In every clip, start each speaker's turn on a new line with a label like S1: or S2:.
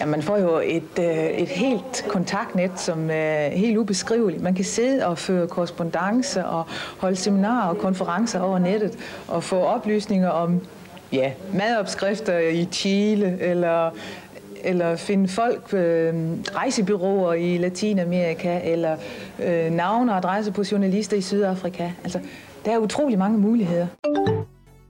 S1: Ja, man får jo et, øh, et helt kontaktnet, som er helt ubeskriveligt. Man kan sidde og føre korrespondence og holde seminarer og konferencer over nettet og få oplysninger om ja, madopskrifter i Chile eller eller finde folk, øh, rejsebyråer i Latinamerika, eller øh, navne og adresser på journalister i Sydafrika. Altså, der er utrolig mange muligheder.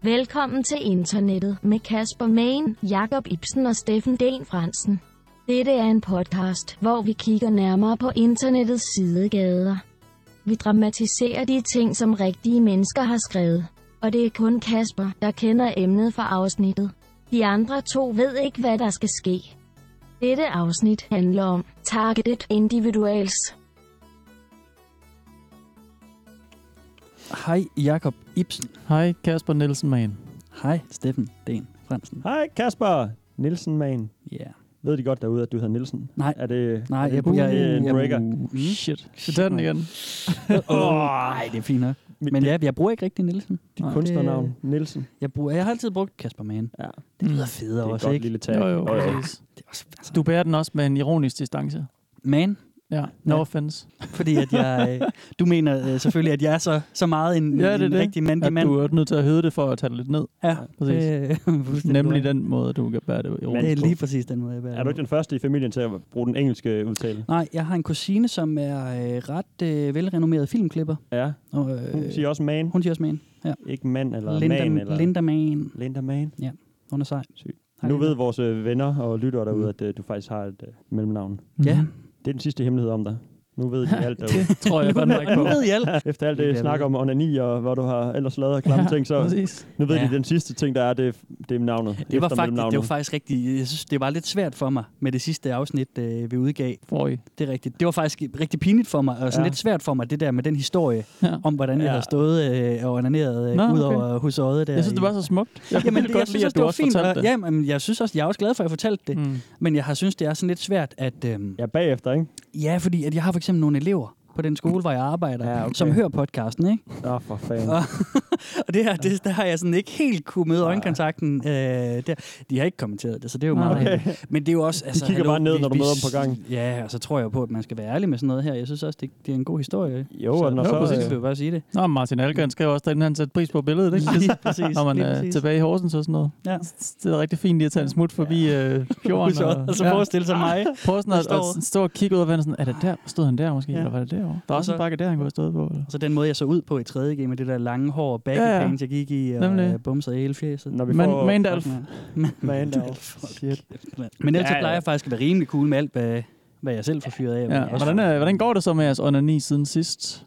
S2: Velkommen til internettet med Kasper Main, Jakob Ibsen og Steffen Den Fransen. Dette er en podcast, hvor vi kigger nærmere på internettets sidegader. Vi dramatiserer de ting, som rigtige mennesker har skrevet. Og det er kun Kasper, der kender emnet for afsnittet. De andre to ved ikke, hvad der skal ske. Dette afsnit handler om Targeted Individuals.
S3: Hej Jakob Ibsen.
S4: Hej Kasper Nielsen Mann.
S3: Hej Steffen Den Fransen.
S5: Hej Kasper Nielsen, man.
S3: Ja. Yeah.
S5: Ved de godt derude, at du hedder Nielsen?
S3: Nej.
S5: Er det,
S3: Nej,
S5: er det
S3: jeg-
S5: uh,
S3: jeg-
S5: en
S3: jeg-
S5: breaker?
S3: Mm.
S4: Shit, vi tager den igen.
S3: Nej, det er fint nok. Men ja, jeg bruger ikke rigtig Nielsen.
S5: Dit
S3: Nej,
S5: kunstnernavn,
S3: det-
S5: Nielsen.
S3: Jeg, bruger, jeg har altid brugt Kasper Mann.
S5: Ja,
S3: Det lyder
S4: Mm.
S5: det
S3: federe
S5: er et
S3: også,
S5: godt
S3: ikke?
S5: lille tag.
S4: Jo, jo,
S5: Jo, jo.
S4: præcis.
S3: Det er også, altså,
S4: Du bærer den også med en ironisk distance.
S3: man,
S4: Ja, no
S3: Ja.
S4: offense.
S3: fordi at jeg, øh, du mener øh, selvfølgelig, at jeg er så, så meget en,
S4: Ja, det er
S3: en
S4: det.
S3: rigtig mandig
S4: At
S3: mand.
S4: du er nødt til at høre det for at tage det lidt ned.
S3: Ja,
S4: præcis.
S3: Øh, fuldstændig.
S4: Nemlig den måde, du kan bære det
S3: Det er
S4: ironisk.
S3: lige præcis den måde, jeg bærer
S5: Er du ikke den første i familien til at bruge den engelske udtale?
S3: Nej, jeg har en kusine, som er øh, ret øh, velrenommeret filmklipper.
S5: Ja,
S3: Og,
S5: hun
S3: øh,
S5: siger også man,
S3: hun siger også man. Ja.
S5: ikke mand eller
S3: Linda,
S5: man. Eller...
S3: Linda Man.
S5: Linda man.
S3: Hun er sej.
S5: Syg.
S3: Hej,
S5: Nu
S3: Linda. Mm.
S5: ved vores øh, venner og lyttere derude, at øh, du faktisk har et øh, mellemnavn.
S3: Ja,
S5: Det er den sidste hemmelighed om dig. Nu ved de alt derude.
S4: Mm. Det tror jeg godt nok
S3: nu
S4: på.
S3: ved jeg alt.
S5: Efter alt
S3: Det
S5: det
S3: bliver
S5: snak
S3: ved.
S5: om onani og hvor du har ellers lavet af klamme ting, så
S4: præcis.
S5: nu ved
S3: Ja.
S5: de, den sidste ting, der er, det, det er navnet.
S3: Det var, faktisk,
S5: Eftermellemnavnet.
S3: det var faktisk rigtig, jeg synes, det var lidt svært for mig med det sidste afsnit, øh, vi udgav.
S4: Forrige.
S3: Det er rigtigt. Det var faktisk rigtig pinligt for mig, og sådan
S5: Ja.
S3: ja. lidt svært for mig, det der med den historie,
S4: Ja.
S3: om hvordan jeg
S5: Ja.
S3: havde stået øh, og onaneret øh,
S4: Nå,
S3: ud
S4: okay.
S3: over hos øjet der.
S4: Jeg synes, det var så smukt. Jeg
S3: Jamen,
S4: kunne
S3: det,
S4: godt
S3: jeg synes
S4: lide, at
S3: også,
S4: du
S3: det var
S4: også
S3: fint.
S4: fortalte
S3: og-
S4: det.
S3: Jamen, jeg synes også, jeg er også glad for, at jeg fortalte det.
S4: Mm.
S3: Men jeg har synes, det er sådan lidt svært, at... Øh,
S5: Ja, bagefter, ikke?
S3: ja, fordi at jeg har for eksempel nogle elever på den skole, hvor jeg arbejder,
S5: Ja, okay.
S3: som hører podcasten, ikke?
S5: Åh, oh, for fanden.
S3: Og- Og det her, det, der har jeg sådan ikke helt kunne møde
S5: Nej.
S3: øjenkontakten. Øh, der. De har ikke kommenteret det, så det er jo
S4: Nej.
S3: meget
S4: Okay.
S3: heldigt. Men det er jo også... Altså,
S5: kigger bare ned, når du møder dem på gangen.
S3: Ja, og så tror jeg på, at man skal være ærlig med sådan noget her. Jeg synes også, det, det er en god historie.
S5: Jo, og når
S4: jo,
S5: så... øh,
S4: præcis.
S3: Jeg vil bare sige det.
S4: Nå, Martin Algren skrev også, at han satte pris på billedet, ikke?
S3: Lige præcis.
S4: Når man
S3: lige
S4: er
S3: præcis.
S4: tilbage i Horsens og sådan noget.
S3: Ja.
S4: Det er rigtig fint lige at tage en smut forbi øh, fjorden.
S3: Så, og så forestille sig mig.
S4: Prøv sådan at,
S3: Der står-
S4: at stå og kigge ud af vandet. Sådan, er det der? Stod han der måske?
S3: Ja.
S4: Ja. Eller var det derovre? Der er
S3: Og
S4: også
S3: så-
S4: en bakke der, han kunne have stået på. Eller?
S3: Og så den måde, jeg så ud på i 3. G med det der lange hår og baggy
S4: Ja, ja.
S3: pants, jeg gik i, og
S4: Nemlig.
S3: Nemlig. bumsede hele fjeset.
S5: Når vi
S4: Man,
S5: får...
S4: Mandalf.
S5: Shit.
S3: Men ellers
S5: Ja,
S3: så
S5: ja.
S3: plejer jeg faktisk at være rimelig cool med alt, hvad, hvad jeg selv får fyret af.
S4: Ja.
S3: men også-
S4: Hvordan, er, hvordan går det så med jeres onani siden sidst?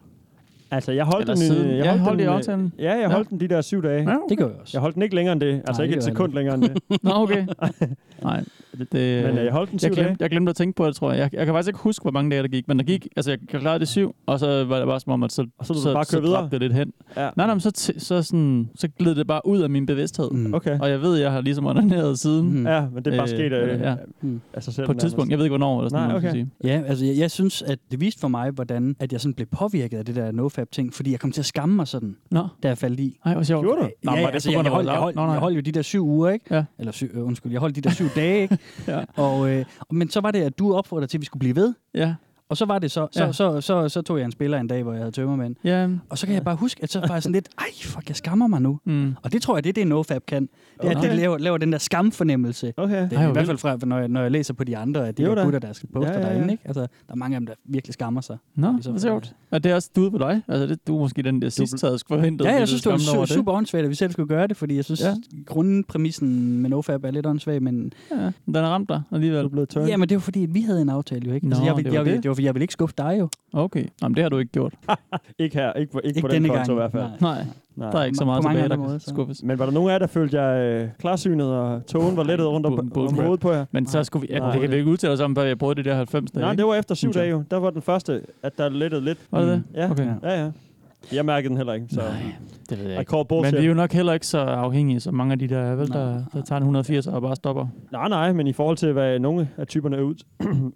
S5: Altså, jeg holdt
S4: Eller
S5: den... øh,
S4: siden. Ja, holdt
S5: den,
S4: I
S5: øh,
S4: aftalen?
S5: Ja, jeg
S4: Ja.
S5: holdt den de der syv dage.
S3: Det gør jeg også.
S5: Jeg holdt den ikke længere end det. Altså,
S3: Nej,
S5: ikke
S3: det
S5: et
S3: gør jeg
S5: sekund længere end det.
S4: Nå, okay. Nej, det, det,
S5: Men øh, jeg holdt den
S4: jeg,
S5: syv dage.
S4: glemte, jeg glemte at tænke på det, tror jeg. jeg. Jeg kan faktisk ikke huske, hvor mange dage der gik, men der gik, altså jeg klarede det syv, og så var det bare som om, at så,
S5: Og så lod du bare køre
S4: så
S5: videre?
S4: dræbte det lidt hen.
S5: Ja.
S4: Nej, nej, men så, t- så, sådan, så gled det bare ud af min bevidsthed.
S3: Mm.
S5: Okay.
S4: Og jeg ved, jeg har ligesom onaneret siden.
S3: Mm.
S5: Ja, men det er bare
S4: Øh,
S5: sket øh,
S4: ja.
S3: Mm.
S5: af sig selv.
S4: På et tidspunkt. Jeg ved ikke, hvornår. Eller sådan
S5: Nej,
S4: noget, man skal
S5: okay.
S4: sige.
S3: Ja, altså jeg, jeg synes, at det viste for mig, hvordan at jeg sådan blev påvirket af det der nofab-ting, fordi jeg kom til at skamme mig sådan,
S4: Nå,
S3: da jeg faldt i.
S4: ej, hvor sjovt.
S5: Gjorde du?
S4: Nå, var det på
S3: altså, jeg,
S4: grund af
S3: jeg, holdt, jeg,
S4: vores lav-
S3: holdt,
S4: Nå, nej.
S3: jeg holdt jo de der syv uger, ikke?
S4: Ja.
S3: Eller syv, øh, undskyld, jeg holdt de der syv dage, ikke?
S4: Ja.
S3: Og, øh, og- men så var det, at du opfordrede til, at vi skulle blive ved.
S4: Ja.
S3: Og så var det så, så,
S4: Ja.
S3: ja. så, så, så, så tog jeg en spiller en dag, hvor jeg havde tømmermænd.
S4: Ja.
S3: Og så kan jeg bare huske, at så var jeg sådan lidt, ej fuck, jeg skammer mig nu.
S4: Mm.
S3: Og det tror jeg, det er det, nofab kan. Det er, at
S4: Okay.
S3: det laver, laver den der skamfornemmelse.
S5: Okay.
S3: Det
S4: Ej,
S3: er
S4: hvor
S3: i hvert fald fra, når jeg, når jeg læser på de andre, at de
S5: Jo
S3: der
S5: da.
S3: gutter, der skal poster
S5: Ja, ja, ja.
S3: derinde, ikke? Altså, der er mange af dem, der virkelig skammer sig.
S4: Nå,
S3: Ligesom
S4: hvor
S3: for-
S4: sjovt. Og det er også duet på dig. Altså, det, du er måske den, der sidst havde forventet.
S3: Ja,
S4: at
S3: jeg
S4: ville
S3: synes, det var
S4: skamme dig over
S3: super, super åndssvagt, at vi selv skulle gøre det, fordi jeg synes,
S4: Ja.
S3: ja. grundpræmissen med NoFab er lidt åndssvag, men
S4: Ja, den har ramt dig alligevel.
S5: Du er blevet tørt.
S3: ja, men det var fordi, at vi havde en aftale jo, ikke? Altså,
S4: Nå,
S3: jeg, vil-
S4: det var
S3: jeg, vil-
S4: det.
S3: det var fordi, jeg ville ikke skuffe dig jo.
S4: Okay. Jamen, det har du ikke gjort.
S5: Ikke her. Ikke, på- ikke,
S3: Ikke
S5: på den
S3: denne
S5: konto
S3: gang.
S5: i hvert fald.
S3: Nej.
S4: Nej,
S5: Nej.
S4: der er ikke så
S3: På
S4: meget
S3: mange
S4: tilbage,
S3: andre
S4: der kan
S3: måder, så.
S4: skuffes.
S5: Men var der nogen af jer, der følte jeg øh, klarsynet, og tågen var lettet rundt om,
S4: Bull- bull
S5: om
S4: crap.
S5: hovedet på jer?
S4: Men så skulle vi... Ja,
S5: Nej.
S4: det kan vi ikke udtale os om, hvad vi har prøvet det der 90 dage.
S5: Nej,
S4: ikke?
S5: det var efter syv
S4: Synes jeg.
S5: dage jo. Der var den første, at der lettede lidt.
S4: Var det det?
S5: Ja.
S4: Okay.
S3: Ja.
S5: Ja, ja. Jeg mærkede den heller ikke, så
S4: Nej, det ved jeg
S5: I
S4: ikke.
S5: call
S4: Men
S5: bullshit.
S4: vi er jo nok heller ikke så afhængige som mange af de der, er, vel,
S3: Nej.
S4: der, der tager en 180 og bare stopper.
S5: Nej, nej, men i forhold til, hvad nogle af typerne ud,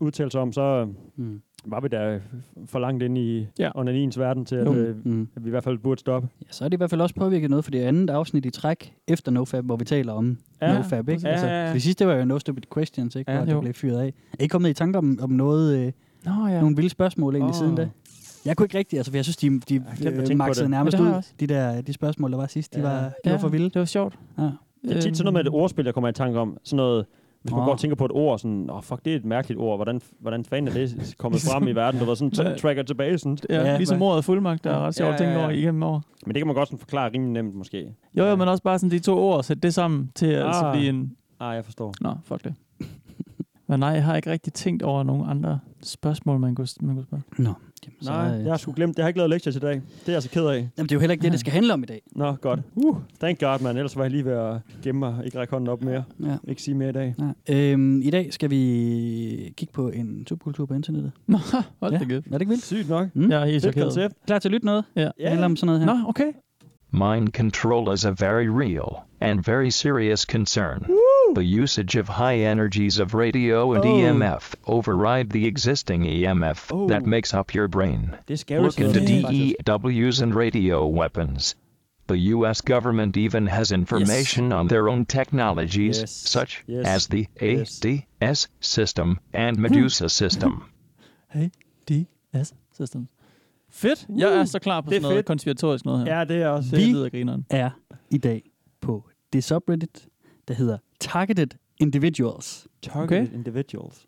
S5: udtaler sig om, så, øh,
S3: Mm.
S5: var vi da for langt inde i
S4: Ja.
S5: ja. onaniens verden til, at,
S4: Jo.
S5: øh,
S3: Mm.
S5: at vi i hvert fald burde stoppe.
S3: Ja, så er det i hvert fald også påvirket noget, for det er andet afsnit i træk efter NoFab, hvor vi taler om
S5: Ja,
S3: NoFab. Ikke?
S4: præcis.
S3: Altså,
S4: Ja, ja, ja.
S3: Det sidste var jo No Stupid Questions, ikke?
S4: Ja,
S3: Ja, hvor
S4: jo.
S3: det blev fyret af. Er I kommet i tanke om, om noget, øh,
S4: Nå ja.
S3: ja. nogle vilde spørgsmål egentlig
S4: Åh.
S3: oh. siden da? Jeg kunne ikke rigtigt, altså, for jeg synes, de, de
S5: har glemt at tænke på
S3: øh, maxede
S5: det.
S3: nærmest
S4: Ja, det har jeg
S3: ud.
S4: også.
S3: De, der, de spørgsmål, der var sidst, de,
S5: Ja.
S3: var, de ja. var for vilde.
S4: Det var sjovt.
S3: Ja.
S5: Det er
S4: Øh.
S5: tit sådan noget med et ordspil, jeg kommer i tanke om. Sådan noget, hvis man
S3: Åh.
S5: går og tænker på et ord, sådan, åh, fuck, det er et mærkeligt ord. Hvordan, hvordan fanden er det kommet frem i verden? Du var sådan,
S4: Hvad-
S5: t- tracker tilbage. Sådan.
S4: Ja,
S3: Ja,
S4: ligesom
S3: hvad-
S4: ordet fuldmagt, der er ret sjovt
S5: Ja,
S4: at tænke
S5: ja, ja.
S4: over igennem over.
S5: Men det kan man godt sådan forklare rimelig nemt, måske.
S4: Jo, jo, men også bare sådan de to ord, sætte det sammen til at altså,
S5: Ah.
S4: blive en...
S5: Ah, jeg forstår.
S4: Nå, fuck det. Men nej, jeg har ikke rigtig tænkt over nogle andre spørgsmål, man kunne, man kunne spørge.
S3: Nå, jamen,
S5: Så, Nej,
S3: øh,
S5: jeg har sgu glemt. Jeg har ikke lavet lektier til i dag. Det er jeg så ked af.
S3: Jamen, det er jo heller ikke det, det skal handle om i dag.
S5: Nå, godt. Uh, thank God, man. Ellers var jeg lige ved at gemme mig. Ikke række hånden op mere.
S3: Ja.
S5: Ikke sige mere i dag.
S3: Nej. Øhm, I dag skal vi kigge på en subkultur på internettet.
S4: Nå, hold
S3: Ja.
S4: da kæft.
S3: Er det ikke vildt?
S5: Sygt nok.
S3: Mm.
S4: Jeg er helt
S5: Fedt
S4: chokeret.
S5: koncept.
S3: Klar til at lytte noget?
S4: Ja.
S3: Det handler om sådan noget her.
S4: Nå, okay.
S6: Mind control is a very real and very serious concern. The usage of high energies of radio and
S5: Oh.
S6: EMF override the existing EMF
S5: Oh.
S6: that makes up your brain.
S5: Det skal jo
S6: Look into
S5: ikke faktisk.
S6: DEWs and radio weapons. The US government even has information on their own technologies,
S5: Yes.
S6: such
S5: Yes.
S6: as the
S5: Yes.
S6: ADS system and Medusa system.
S4: Hey, DS Systems. Fedt. Jeg Uh, er så klar på
S5: det er
S4: sådan noget
S5: fedt.
S4: konspiratorisk noget her.
S5: Ja, det er også.
S4: Det lyder grineren.
S3: er i dag på det subreddit, der hedder Targeted Individuals.
S5: Targeted okay. individuals.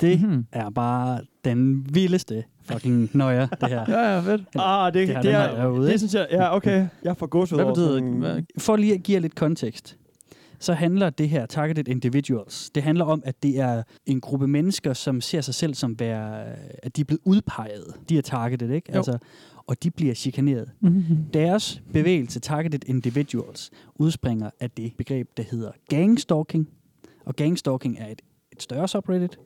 S3: Det
S4: Mhm.
S3: er bare den vildeste fucking nøjer, det her.
S4: Ja, ja, fedt.
S5: Ah, det,
S3: Det har
S5: det, det,
S3: den
S5: er,
S3: her derude,
S5: det
S3: ikke?
S5: synes jeg, ja, okay. Jeg er for god
S4: Hvad betyder det? Hvad?
S3: For lige at give jer lidt kontekst, så handler det her Targeted Individuals, det handler om, at det er en gruppe mennesker, som ser sig selv som være, at de er blevet udpeget. De er targeted, ikke?
S4: Jo.
S3: Altså, og de bliver chikaneret.
S4: Mhm.
S3: Deres bevægelse, Targeted Individuals, udspringer af det begreb, der hedder gangstalking. Og gangstalking er et, et større subreddit,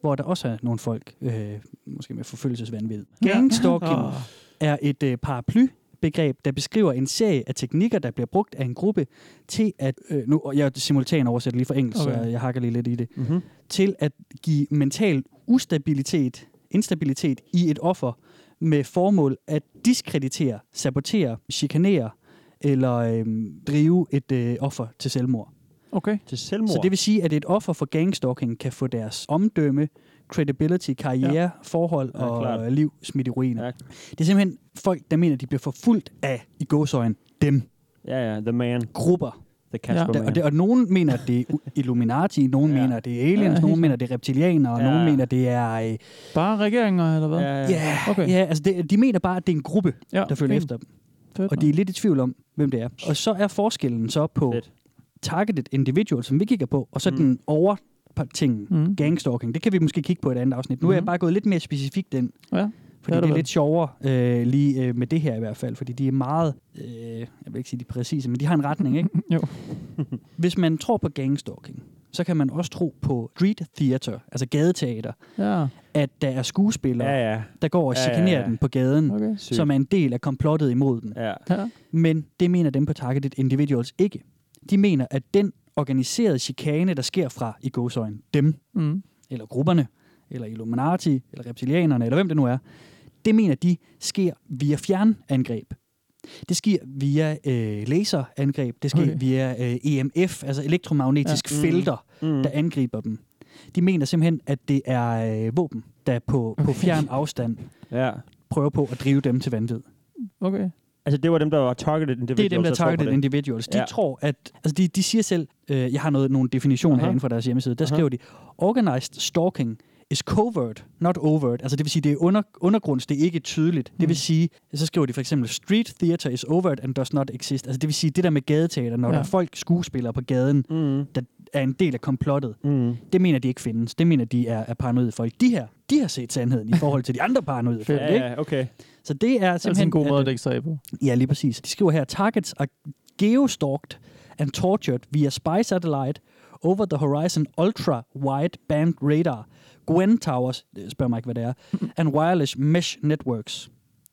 S3: hvor der også er nogle folk, øh, måske med forfølgelsesvanvid. Gangstalking
S4: Åh.
S3: er et øh, paraplybegreb, der beskriver en serie af teknikker, der bliver brugt af en gruppe til at, øh, nu, og jeg simultan oversætter lige fra engelsk, okay. så
S4: Okay.
S3: jeg hakker lige lidt i det,
S5: Mm-hmm.
S3: til at give mental ustabilitet, instabilitet i et offer med formål at diskreditere, sabotere, chikanere eller øhm, drive et øh, offer til selvmord.
S4: Okay.
S5: Til selvmord.
S3: Så det vil sige, at et offer for gangstalking kan få deres omdømme, credibility, karriere, ja. forhold
S5: Ja,
S3: og
S5: klart.
S3: øh, liv smidt i ruiner.
S5: Ja.
S3: Det er simpelthen folk, der mener, at de bliver forfulgt af, i gåsøjen, dem,
S5: Ja, ja, the man.
S3: grupper.
S5: The Casper
S3: Der,
S5: man.
S3: og, det, og nogen mener, at det er u- Illuminati, nogen
S5: Ja.
S3: ja. mener, det er aliens,
S4: Ja,
S3: ja,
S4: helt
S3: nogen mener, det er reptilianere, og
S5: Ja.
S3: nogen mener, det er... Øh,
S4: Bare regeringer, eller hvad?
S5: ja, ja.
S3: ja,
S4: Okay.
S3: okay. ja, altså det, de mener bare, at det er en gruppe,
S4: ja
S3: der følger
S4: fint.
S3: efter dem.
S4: Fedt,
S3: Og de er lidt i tvivl om, hvem det er. Og så er forskellen så på
S5: Fedt.
S3: targeted individual, som vi kigger på, og så
S5: Mm.
S3: mm. den over tingen,
S4: Mm.
S3: mm. gangstalking. Det kan vi måske kigge på i et andet afsnit. Nu er jeg
S4: Mhm.
S3: bare gået lidt mere specifikt den,
S4: Ja,
S3: fordi det,
S4: er du
S3: det er
S4: vel.
S3: lidt sjovere øh, lige øh, med det her i hvert fald, fordi de er meget, øh, jeg vil ikke sige de er præcise, men de har en retning, ikke?
S4: Jo.
S3: Hvis man tror på gangstalking, så kan man også tro på street theater, altså gadeteater,
S4: Ja,
S3: at der er skuespillere,
S5: Ja,
S3: ja, ja.
S5: ja.
S3: der går og
S5: Ja, ja,
S3: chikanerer ja, ja,
S5: ja.
S3: dem på gaden,
S4: okay.
S5: Sygt.
S3: som er en del af komplottet imod den.
S5: Ja.
S4: Ja.
S3: Men det mener dem på Targeted Individuals ikke. De mener, at den organiserede chikane, der sker fra i godsøjen, dem,
S4: Mm.
S3: eller grupperne, eller Illuminati, eller reptilianerne, eller hvem det nu er, det mener de sker via fjernangreb. Det sker via øh, laserangreb, det sker
S4: Okay.
S3: okay. via øh, EMF, altså elektromagnetiske
S5: Ja.
S3: ja.
S5: Mm.
S3: felter,
S5: Mm.
S3: der angriber dem. De mener simpelthen, at det er øh, våben, der på, på
S4: Okay.
S3: fjern afstand
S5: ja.
S3: prøver på at drive dem til vanvid.
S4: Okay.
S5: Altså, det var dem, der var targeted
S3: Det er
S5: individuals.
S3: dem, der
S5: jeg tror på
S3: targeted
S5: det.
S3: individuals. De
S5: Ja.
S3: ja. tror, at... Altså, de, de siger selv... Øh, jeg har noget, nogle definitioner
S5: Aha.
S3: herinde fra deres hjemmeside. Der
S5: Aha.
S3: skriver de, organized stalking is covert, not overt. Altså, det vil sige, det er under, undergrunds, det er ikke tydeligt. Det vil sige, så skriver de for eksempel, street theater is overt and does not exist. Altså, det vil sige, det der med gadeteater, når
S4: Ja.
S3: ja. der er folk, skuespillere på gaden,
S5: Mm.
S3: der er en del af komplottet,
S5: Mm.
S3: det mener de ikke findes. Det mener de er, er paranoide folk. De her, de har set sandheden i forhold til de andre paranoide folk,
S5: Ja,
S3: ikke?
S5: ja, okay.
S3: Så det er
S4: Det er altså
S3: simpelthen...
S4: en god
S3: at-
S4: måde at dække sig af på.
S3: Ja, lige præcis. De skriver her, targets are geostalked and tortured via spy satellite over the horizon ultra wide band radar, Gwen Towers, øh, spørg mig ikke, hvad det er, and wireless mesh networks.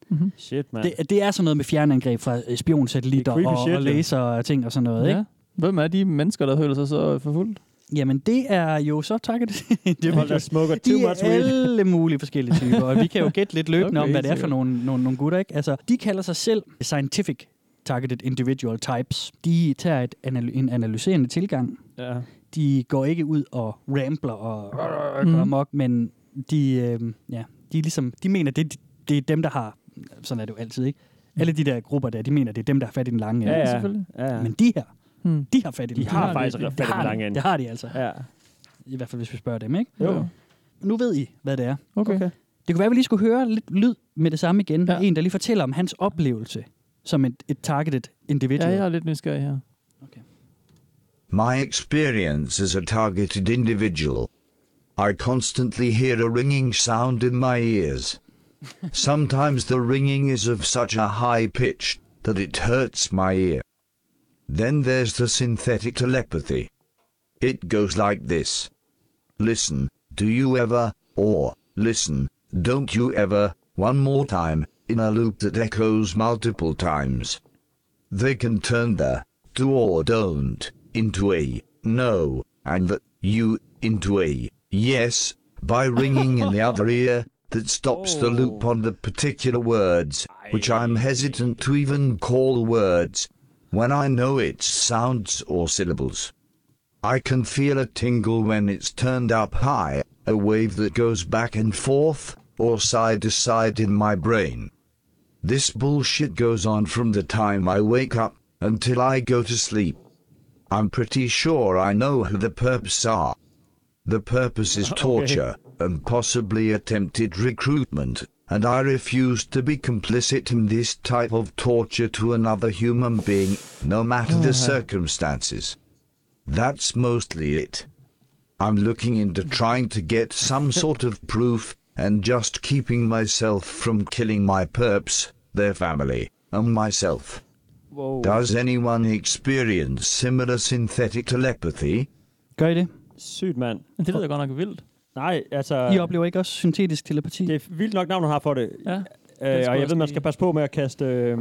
S4: Mm-hmm.
S5: Shit, man.
S3: Det, det er sådan noget med fjernangreb fra øh, spionsatellitter
S5: Det er
S3: og,
S5: creepy shit,
S3: og
S5: jo.
S3: laser og ting og sådan noget, ja.
S4: Ja.
S3: ikke?
S4: Hvem er de mennesker, der føler sig så forfulgt?
S3: Jamen, det er jo så takket. det
S5: Hold da smukker. Too
S3: de er
S5: much weed.
S3: alle mulige forskellige typer, og vi kan jo gætte lidt løbende okay,
S4: Okay,
S3: om, hvad det er for
S4: sikkert.
S3: nogle, nogle, nogle gutter. Ikke? Altså, de kalder sig selv Scientific Targeted Individual Types. De tager et anal- en analyserende tilgang.
S5: Ja.
S3: De går ikke ud og rambler og
S4: Mm.
S3: går amok, men de, øh, ja, de, er ligesom, de mener, det, det er dem, der har... Sådan er det jo altid, ikke? Alle de der grupper der, de mener, det er dem, der har fat i den lange ende.
S5: Ja, ja.
S4: selvfølgelig.
S5: ja, ja.
S3: Men de her,
S4: Hmm.
S3: de har fat i den
S5: De
S3: lange
S5: har
S3: ende.
S5: faktisk
S4: det-
S5: fat i
S3: Det har
S5: den
S3: de.
S5: lange ende.
S3: Det har de altså.
S5: Ja.
S3: I hvert fald, hvis vi spørger dem, ikke?
S5: Jo.
S3: Nu ved I, hvad det er.
S4: Okay.
S5: Okay.
S4: okay.
S3: Det kunne være, at vi lige skulle høre lidt lyd med det samme igen. Ja.
S4: Ja.
S3: En, der lige fortæller om hans oplevelse som et, et targeted
S4: Ja,
S3: individual.
S4: jeg er lidt nysgerrig her.
S7: My experience as a targeted individual. I constantly hear a ringing sound in my ears. Sometimes the ringing is of such a high pitch that it hurts my ear. Then there's the synthetic telepathy. It goes like this Listen, do you ever, or listen, don't you ever, one more time, in a loop that echoes multiple times. They can turn the do or don't into a no and the you into a yes by ringing in the other ear that stops the loop on the particular words, which I'm hesitant to even call words when I know it's sounds or syllables. I can feel a tingle when it's turned up high, a wave that goes back and forth or side to side in my brain. This bullshit goes on from the time I wake up until I go to sleep. I'm pretty sure I know who the purpose are. The purpose is torture and possibly attempted recruitment, and I refuse to be complicit in this type of torture to another human being, no matter the circumstances. That's mostly it. I'm looking into trying to get some sort of proof and just keeping myself from killing my perps, their family, and myself.
S5: Wow.
S7: Does anyone experience similar synthetic telepathy?
S3: Gør I det?
S5: Sygt, mand.
S4: Det lyder godt nok vildt.
S5: Nej, altså...
S3: I oplever ikke også syntetisk telepati?
S5: Det er vildt nok navn, hun har for det.
S4: Ja.
S5: Øh,
S4: skulle
S5: og jeg
S4: også
S5: ved, man
S4: lige-
S5: skal passe på med at kaste øh,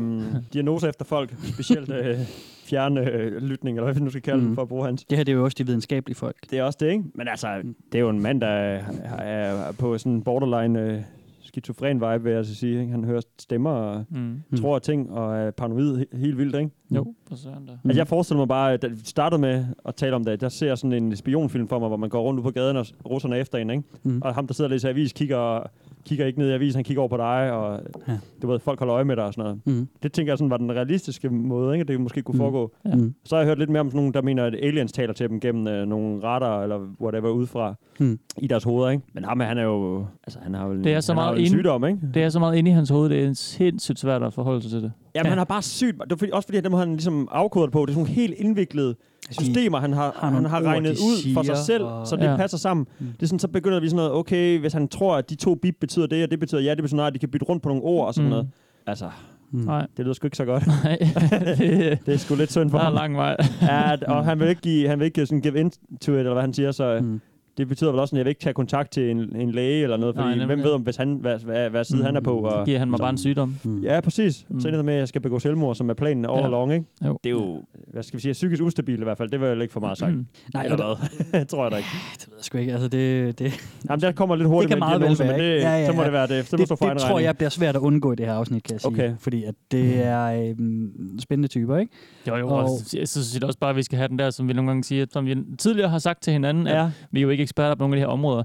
S5: diagnoser efter folk, specielt øh, fjerne øh, lytning, eller hvad vi nu skal kalde mm.
S3: Mhm.
S5: for at bruge hans.
S3: Det her det er jo også de videnskabelige folk.
S5: Det er også det, ikke? Men altså, det er jo en mand, der er, er på sådan en borderline øh, skizofren vibe, vil jeg altså sige. Ikke? Han hører stemmer og
S4: Mm.
S5: mm. tror ting, og er paranoid he- helt vildt, ikke?
S4: Jo, for søren da.
S5: Altså, jeg forestiller mig bare, da vi startede med at tale om det, der ser jeg sådan en spionfilm for mig, hvor man går rundt ude på gaden, og s- russerne er efter en, ikke?
S3: Mm.
S5: Mm.
S4: Mm-hmm.
S5: Og ham, der sidder og læser avis, kigger, kigger ikke ned i avisen, han kigger over på dig, og
S3: Ja.
S5: ja. du ved, folk holder øje med dig og sådan noget.
S4: Mm-hmm.
S3: Mm.
S5: Det tænker jeg sådan var den realistiske måde, ikke? at Det måske kunne
S3: Mm.
S5: foregå.
S3: Ja. Mm.
S5: Så har jeg hørt lidt mere om sådan nogen, der mener, at aliens taler til dem gennem øh, nogle radar, eller whatever, udefra
S3: Mm.
S5: mm. i deres hoveder, ikke? Men ham, han er jo... Altså, han har jo
S4: Det er så
S5: han har
S4: meget
S5: jo en
S4: inde-
S5: sygdom, ikke?
S4: Det er så meget inde i hans hoved, det er sindssygt svært at forholde sig til det.
S5: Ja, men han har bare sygt... Det er fordi, også fordi, at dem har han ligesom afkodet på. Det er sådan nogle helt indviklede systemer, han har,
S3: har
S5: han
S3: nogle
S5: har
S3: ord,
S5: regnet
S3: de
S5: ud for sig
S3: siger,
S5: selv,
S3: og-
S5: så det
S4: Ja.
S5: passer sammen.
S3: Mm.
S5: Det er sådan, så begynder vi sådan noget, okay, hvis han tror, at de to bip betyder det, og det betyder ja, det betyder nej, de kan bytte rundt på nogle ord og sådan mm.
S4: Mm.
S5: noget. Altså,
S3: Mm.
S4: Nej,
S5: det lyder sgu ikke så godt.
S4: nej. det,
S5: Det er sgu lidt synd for
S4: der er
S5: ham.
S4: lang vej.
S5: Ja, at- og han vil ikke, give, han vil ikke sådan give in to it, eller hvad han siger, så mm.
S3: Mm.
S5: det betyder vel også, at jeg vil ikke tage kontakt til en, en læge eller noget,
S4: Nej,
S5: fordi
S4: nemlig.
S5: hvem ved, om, hvis han, hvad, hvad, hvad side mm. han er på.
S4: Så
S5: Og,
S4: giver han mig bare en sygdom.
S3: Mm.
S5: Ja, præcis. Mm.
S4: Mm.
S5: Så ender det med, at jeg skal begå selvmord, som er planen all
S4: Ja.
S5: along, ikke?
S4: Jo.
S5: Det er jo, Øh, hvad skal vi sige, psykisk ustabil i hvert fald. Det var jo ikke for
S4: Hmm.
S5: meget sagt. Mm.
S3: Nej,
S5: Eller
S3: og der-
S5: hvad? tror jeg da ikke.
S3: det ved jeg sgu ikke. Altså, det, det,
S5: Jamen, der kommer lidt hurtigt
S3: Det kan
S5: med
S3: meget vel
S5: diagnoser, men
S3: være,
S5: det,
S3: ikke?
S5: ja,
S3: Ja,
S5: ja,
S3: ja,
S5: så må
S3: ja.
S5: det være det. Det, må
S3: det,
S5: stå
S3: det
S5: for egen
S3: tror
S5: regning.
S3: jeg bliver svært at undgå i det her afsnit, kan jeg sige.
S5: Okay. Mm.
S3: Fordi at det er øhm, spændende typer, ikke?
S4: Jo, jo,
S3: Og-
S4: og jeg synes det er også bare, at vi skal have den der, som vi nogle gange siger, som vi tidligere har sagt til hinanden, ja.
S5: Ja,
S4: at vi er jo ikke eksperter på nogle af de her områder.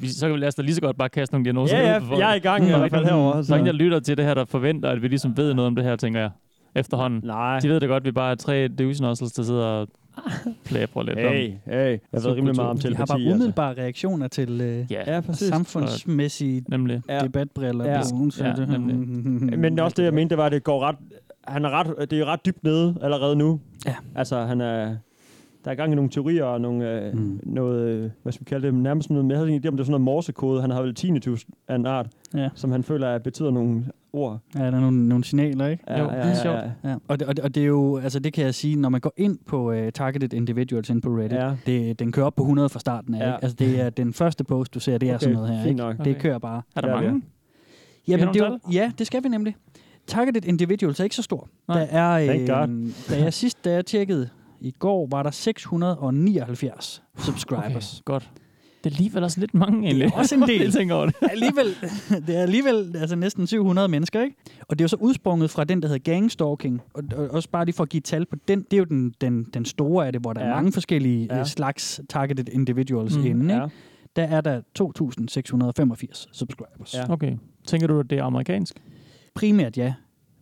S4: Vi- Så kan vi lade os da lige så godt bare kaste nogle diagnoser
S5: ja,
S4: ud på
S5: ja
S4: folk.
S5: jeg er i gang i
S4: Der er
S5: hvert
S4: ikke
S5: fald
S4: nogen-
S5: herovre.
S4: Mm. Der er ingen,
S5: Så.
S4: der lytter til det her, der forventer, at vi ligesom ved noget om det her, tænker jeg. Efterhånden.
S5: Nej.
S4: De ved det godt, at vi bare er tre døsenossels, der sidder og plæber lidt om.
S5: Hey, hey. Jeg ved rimelig meget om
S3: De har
S5: telepati.
S3: bare
S5: altså.
S3: umiddelbare reaktioner til øh,
S4: Ja,
S5: Ja, præcis.
S3: samfundsmæssige
S4: nemlig.
S5: Ja.
S3: debatbriller.
S5: Ja.
S4: Ja, nemlig.
S5: Men også det, jeg mente, det var, at det går ret... Han er ret, det er ret dybt nede allerede nu.
S3: Ja.
S5: Altså, han er... Der er gang i nogle teorier og nogle, øh,
S3: Mm.
S5: mm. noget, øh, hvad skal vi kalde det, nærmest sådan noget, men jeg havde en idé om, det er sådan noget morsekode. Han har vel tinnitus af en art,
S3: Ja.
S5: som han føler, at betyder nogle ord.
S3: Ja, der er nogle, nogle signaler, ikke?
S5: Ja,
S4: Jo,
S5: ja,
S4: det er sjovt.
S3: Ja. Og, det, og, det, og det er jo, altså det kan jeg sige, når man går ind på uh, Targeted Individuals ind på Reddit, ja.
S5: Ja.
S3: det, den kører op på 100 fra starten af, ja.
S5: Ja.
S3: ikke? Altså det er den første post, du ser, det er sådan noget her,
S5: fint
S3: ikke?
S5: nok.
S3: Okay. Det kører bare.
S4: Er der
S5: Ja,
S4: mange?
S3: Jamen,
S4: nogle
S3: det er jo, ja, det skal vi nemlig. Targeted Individuals er ikke så stor.
S4: Nej.
S3: Der er,
S5: Thank God.
S3: da jeg sidst, da jeg tjekkede, I går var der 679 subscribers.
S4: Okay, godt. Det er alligevel også lidt mange, egentlig.
S3: også en del.
S4: jeg tænker over det.
S3: alligevel, det er alligevel altså næsten 700 mennesker, ikke? Og det er jo så udsprunget fra den, der hedder gangstalking. Og, og også bare lige for at give tal på den, det er jo den, den, den store af det, hvor der ja. er
S5: Ja.
S3: mange forskellige ja.
S5: Ja.
S3: slags targeted individuals mm, inde, ikke?
S5: Ja.
S3: Der er der 2.685 subscribers.
S5: Ja.
S4: Okay. Tænker du, at det er amerikansk?
S3: Primært ja.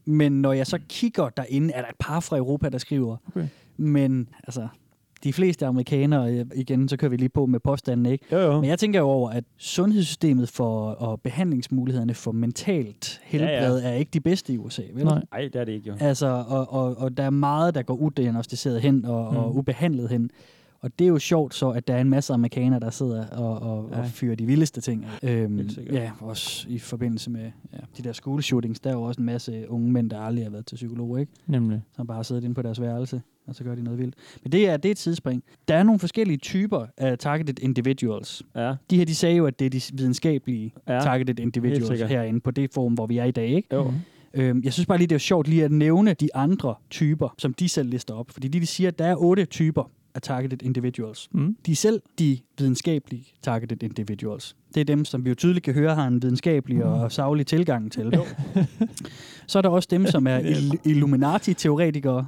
S3: Men når jeg så kigger derinde, er der et par fra Europa, der skriver.
S4: Okay.
S3: Men altså, de fleste amerikanere, øh, igen, så kører vi lige på med påstanden, ikke?
S5: Jo, jo.
S3: Men jeg tænker jo over, at sundhedssystemet for, og behandlingsmulighederne for mentalt helbred ja, ja. er ikke de bedste i USA, vel?
S4: Nej.
S5: Nej, det er det ikke, jo.
S3: Altså, og, og, og der er meget, der går udiagnostiseret hen og, mm. og ubehandlet hen. Og det er jo sjovt så, at der er en masse amerikanere, der sidder og, og, ja. og fyrer de vildeste ting. af. Øhm,
S5: Helt sikkert.
S3: ja, også i forbindelse med ja, de der school shootings, der er jo også en masse unge mænd, der aldrig har været til psykolog, ikke?
S4: Nemlig.
S3: som bare sidder inde på deres værelse, og så gør de noget vildt. Men det er, det er et tidsspring. Der er nogle forskellige typer af targeted individuals.
S5: Ja.
S3: De her, de sagde jo, at det er de videnskabelige ja,
S5: Ja,
S3: targeted
S5: helt
S3: individuals
S5: sikkert.
S3: herinde på det forum, hvor vi er i dag. Ikke?
S5: Jo.
S3: Øhm, jeg synes bare lige, det er sjovt lige at nævne de andre typer, som de selv lister op. Fordi de, de siger, at der er otte typer af targeted individuals.
S4: Mm.
S3: De er selv de videnskabelige targeted individuals. Det er dem, som vi jo tydeligt kan høre har en videnskabelig
S5: Mm.
S3: og savlig tilgang til. Så er der også dem, som er il- Illuminati-teoretikere.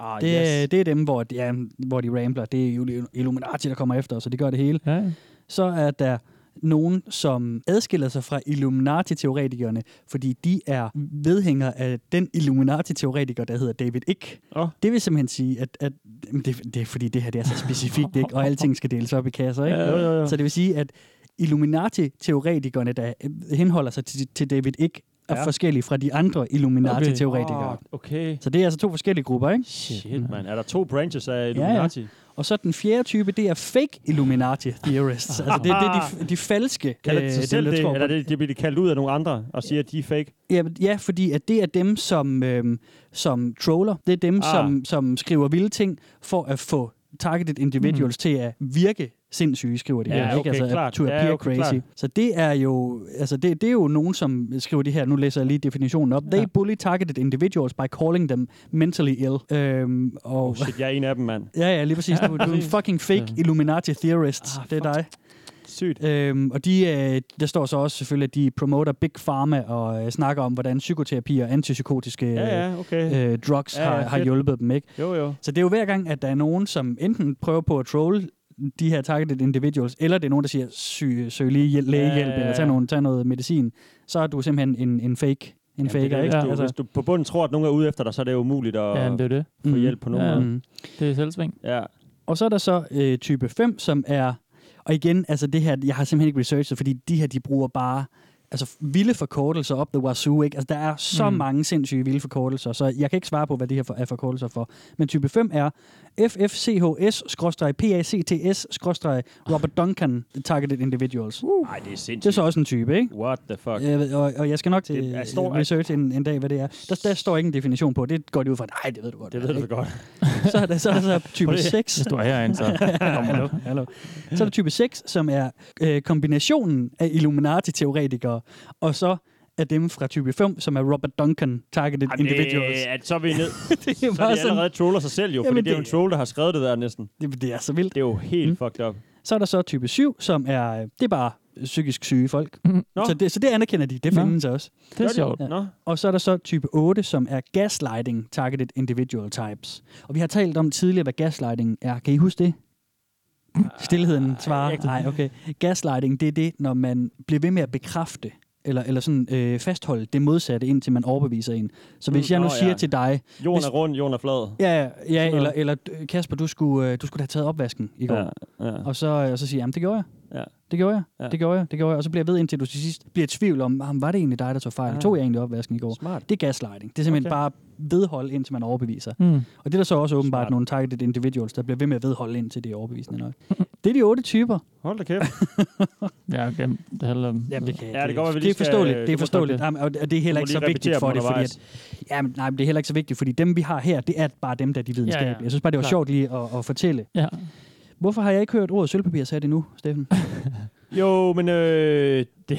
S5: Ah,
S3: Det, yes. det er dem, hvor de, ja, hvor de rambler. Det er jo Illuminati, der kommer efter os, og det gør det hele
S4: Ja.
S3: så er der nogen, som adskiller sig fra Illuminati-teoretikerne, fordi de er vedhængere af den Illuminati-teoretiker, der hedder David Icke.
S5: Åh.
S3: Det vil simpelthen sige, at, at jamen, det, det er fordi, det her det er så specifikt, ikke? og alting skal deles op i kasser. Ikke?
S5: Ja, jo, jo, jo.
S3: Så det vil sige, at Illuminati-teoretikerne, der øh, henholder sig til, til David Icke, er ja.
S5: Ja.
S3: forskellige fra de andre Illuminati-teoretikere. Okay.
S5: Ah, okay.
S3: Så det er altså to forskellige grupper, ikke?
S5: Shit,
S4: Mm.
S5: man. Er der to branches af Illuminati?
S3: Illuminati? Og så den fjerde type, det er fake Illuminati theorists. altså det, det er de, de falske,
S5: Kalder de
S3: øh,
S5: sig
S3: dem,
S5: selv
S3: der
S5: det,
S3: tror på
S5: eller det, det bliver de kaldt ud af nogle andre, og siger, at de er fake?
S3: Ja, ja, fordi at det er dem, som, øhm, som troller. Det er dem, ah.
S5: Ah.
S3: som, som skriver vilde ting for at få targeted individuals mm. til at virke sindssyge, skriver de.
S5: Ja,
S3: her,
S5: okay,
S3: altså, at-
S5: klart.
S3: To appear
S5: Ja, okay,
S3: crazy.
S5: klart.
S3: Så det er jo altså det, det er jo nogen, som skriver det her. Nu læser jeg lige definitionen op. They
S4: Ja.
S3: bully targeted individuals by calling them mentally ill. Øhm, og,
S5: Oh, shit, jeg er en af dem, mand.
S3: Ja, ja, lige præcis. Du, du er en fucking fake
S4: Ja.
S3: Illuminati theorist.
S4: Ah,
S3: det er dig.
S5: Sygt.
S3: Øhm, og de, øh, der står så også selvfølgelig, at de promoter Big Pharma og øh, snakker om, hvordan psykoterapi og antipsykotiske
S5: Ja, ja, okay.
S3: øh, drugs ja,
S5: Ja, ja,
S3: ja, har, har
S5: fedt.
S3: hjulpet dem. ikke.
S5: Jo, jo.
S3: Så det er jo hver gang, at der er nogen, som enten prøver på at troll de her targeted individuals, eller det er nogen, der siger, søg, søg lige hjæl-
S5: Ja,
S3: lægehjælp, ja, ja,
S5: ja,
S3: ja.
S5: ja.
S3: eller tag, nogle, tag noget medicin, så er du simpelthen en, en fake. En
S5: Jamen,
S3: faker,
S5: det, er det,
S3: ikke? Altså,
S5: Hvis, du, hvis du på bunden tror, at nogen er ude efter dig, så er det umuligt at
S4: ja, men det er jo det.
S5: få hjælp på nogen
S4: Ja.
S5: måde.
S3: Mm.
S4: Det er selvsving.
S5: Ja.
S3: Og så er der så øh, type 5, som er... Og igen, altså det her, jeg har simpelthen ikke researchet, fordi de her, de bruger bare altså vilde forkortelser op the wazoo, ikke? Altså der er så
S4: Mm.
S3: mm. mange sindssyge vilde forkortelser, så jeg kan ikke svare på, hvad det her for, er forkortelser for. Men type 5 er FFCHS-PACTS-Robert Duncan Targeted Individuals. Uh.
S5: Nej, det er
S3: Det er
S5: sindssygt.
S3: så også en type, ikke?
S5: What the fuck?
S3: Jeg ved, og, og jeg skal nok til
S5: Det er-
S3: det,
S5: står-
S3: research en, en dag, hvad det er. Der, der står ikke en definition på. Det går de ud fra. Nej, det ved du godt.
S5: Det ved du godt.
S3: Så er der så, er der så type
S5: Prøv lige-
S3: 6.
S4: Hvis du er herinde, så...
S3: hallo, hallo. Så er der type 6, som er øh, kombinationen af Illuminati-teoretikere, og så er dem fra type 5, som er Robert Duncan, Targeted
S5: Jamen,
S3: Individuals.
S5: det, øh, at så er vi ned.
S3: Det er
S5: Så er
S3: bare
S5: de
S3: sådan,
S5: allerede troller sig selv jo, fordi
S3: Jamen,
S5: det er jo en
S3: det- Mm.
S5: troll, der har skrevet det der næsten.
S3: det, det er så vildt.
S5: Det er jo helt fucked up.
S3: Så er der så type 7, som er, øh, det er bare psykisk syge folk.
S5: Nå.
S3: Så det, så det anerkender de, det
S4: Nå.
S3: findes også.
S4: Det er sjovt.
S5: Ja. Nå?
S3: Og så er der så type 8, som er gaslighting targeted individual types. Og vi har talt om tidligere, hvad gaslighting er. Kan I huske det? Stilheden
S5: Ah,
S3: svarer. Nej, okay. Gaslighting, det er det, når man bliver ved med at bekræfte eller, eller sådan, øh, fastholde det modsatte, indtil man overbeviser en. Så hvis
S5: Mm,
S3: jeg nu
S5: nå,
S3: siger
S5: ja.
S3: til dig,
S5: Jorden
S3: Hvis-
S5: er rund, jorden er flad.
S3: ja, ja, ja
S5: noget.
S3: eller, eller øh, Kasper, du skulle, øh, du skulle have taget opvasken i går.
S5: Ja,
S3: Ja.
S5: ja.
S3: Og så, øh, og så siger jeg, jamen det gjorde jeg.
S5: Ja.
S3: Det gjorde jeg, ja.
S5: Ja.
S3: det gjorde jeg, det gjorde jeg. Og så bliver jeg ved, indtil du til sidst bliver i tvivl om, "Ah, var det egentlig dig, der tog fejl?
S5: Ja.
S3: Tog jeg egentlig opvasken i går?
S5: Smart.
S3: Det er gaslighting. Det er simpelthen okay.
S5: Okay.
S3: bare vedhold, indtil man overbeviser.
S4: Mm.
S3: Og det er der så også åbenbart Smart.
S5: Smart.
S3: nogle targeted individuals, der bliver ved med at vedholde, indtil det er overbevisende nok. det er de otte typer.
S5: Hold da kæft.
S4: Ja, okay. det handler om...
S3: kan,
S5: Ja, det kan godt være, vi
S3: det er
S5: lige skal-
S3: forståeligt.
S5: du
S3: det er
S5: må snakke
S3: forståeligt.
S5: det.
S3: Jamen, og det og det er heller
S5: Du må
S3: ikke så
S5: lige
S3: vigtigt
S5: repetere
S3: for
S5: dem
S3: det, fordi
S5: undervejs.
S3: at, jamen, nej, men det er heller ikke så vigtigt, fordi dem, vi har her, det er bare dem, der er de videnskabelige.
S4: Ja, ja.
S3: Jeg synes bare, det var
S4: Klart.
S3: sjovt lige at, at fortælle.
S4: Ja.
S3: Hvorfor har jeg ikke hørt ordet sølvpapir sat endnu, Steffen?
S5: Jo, men øh, det,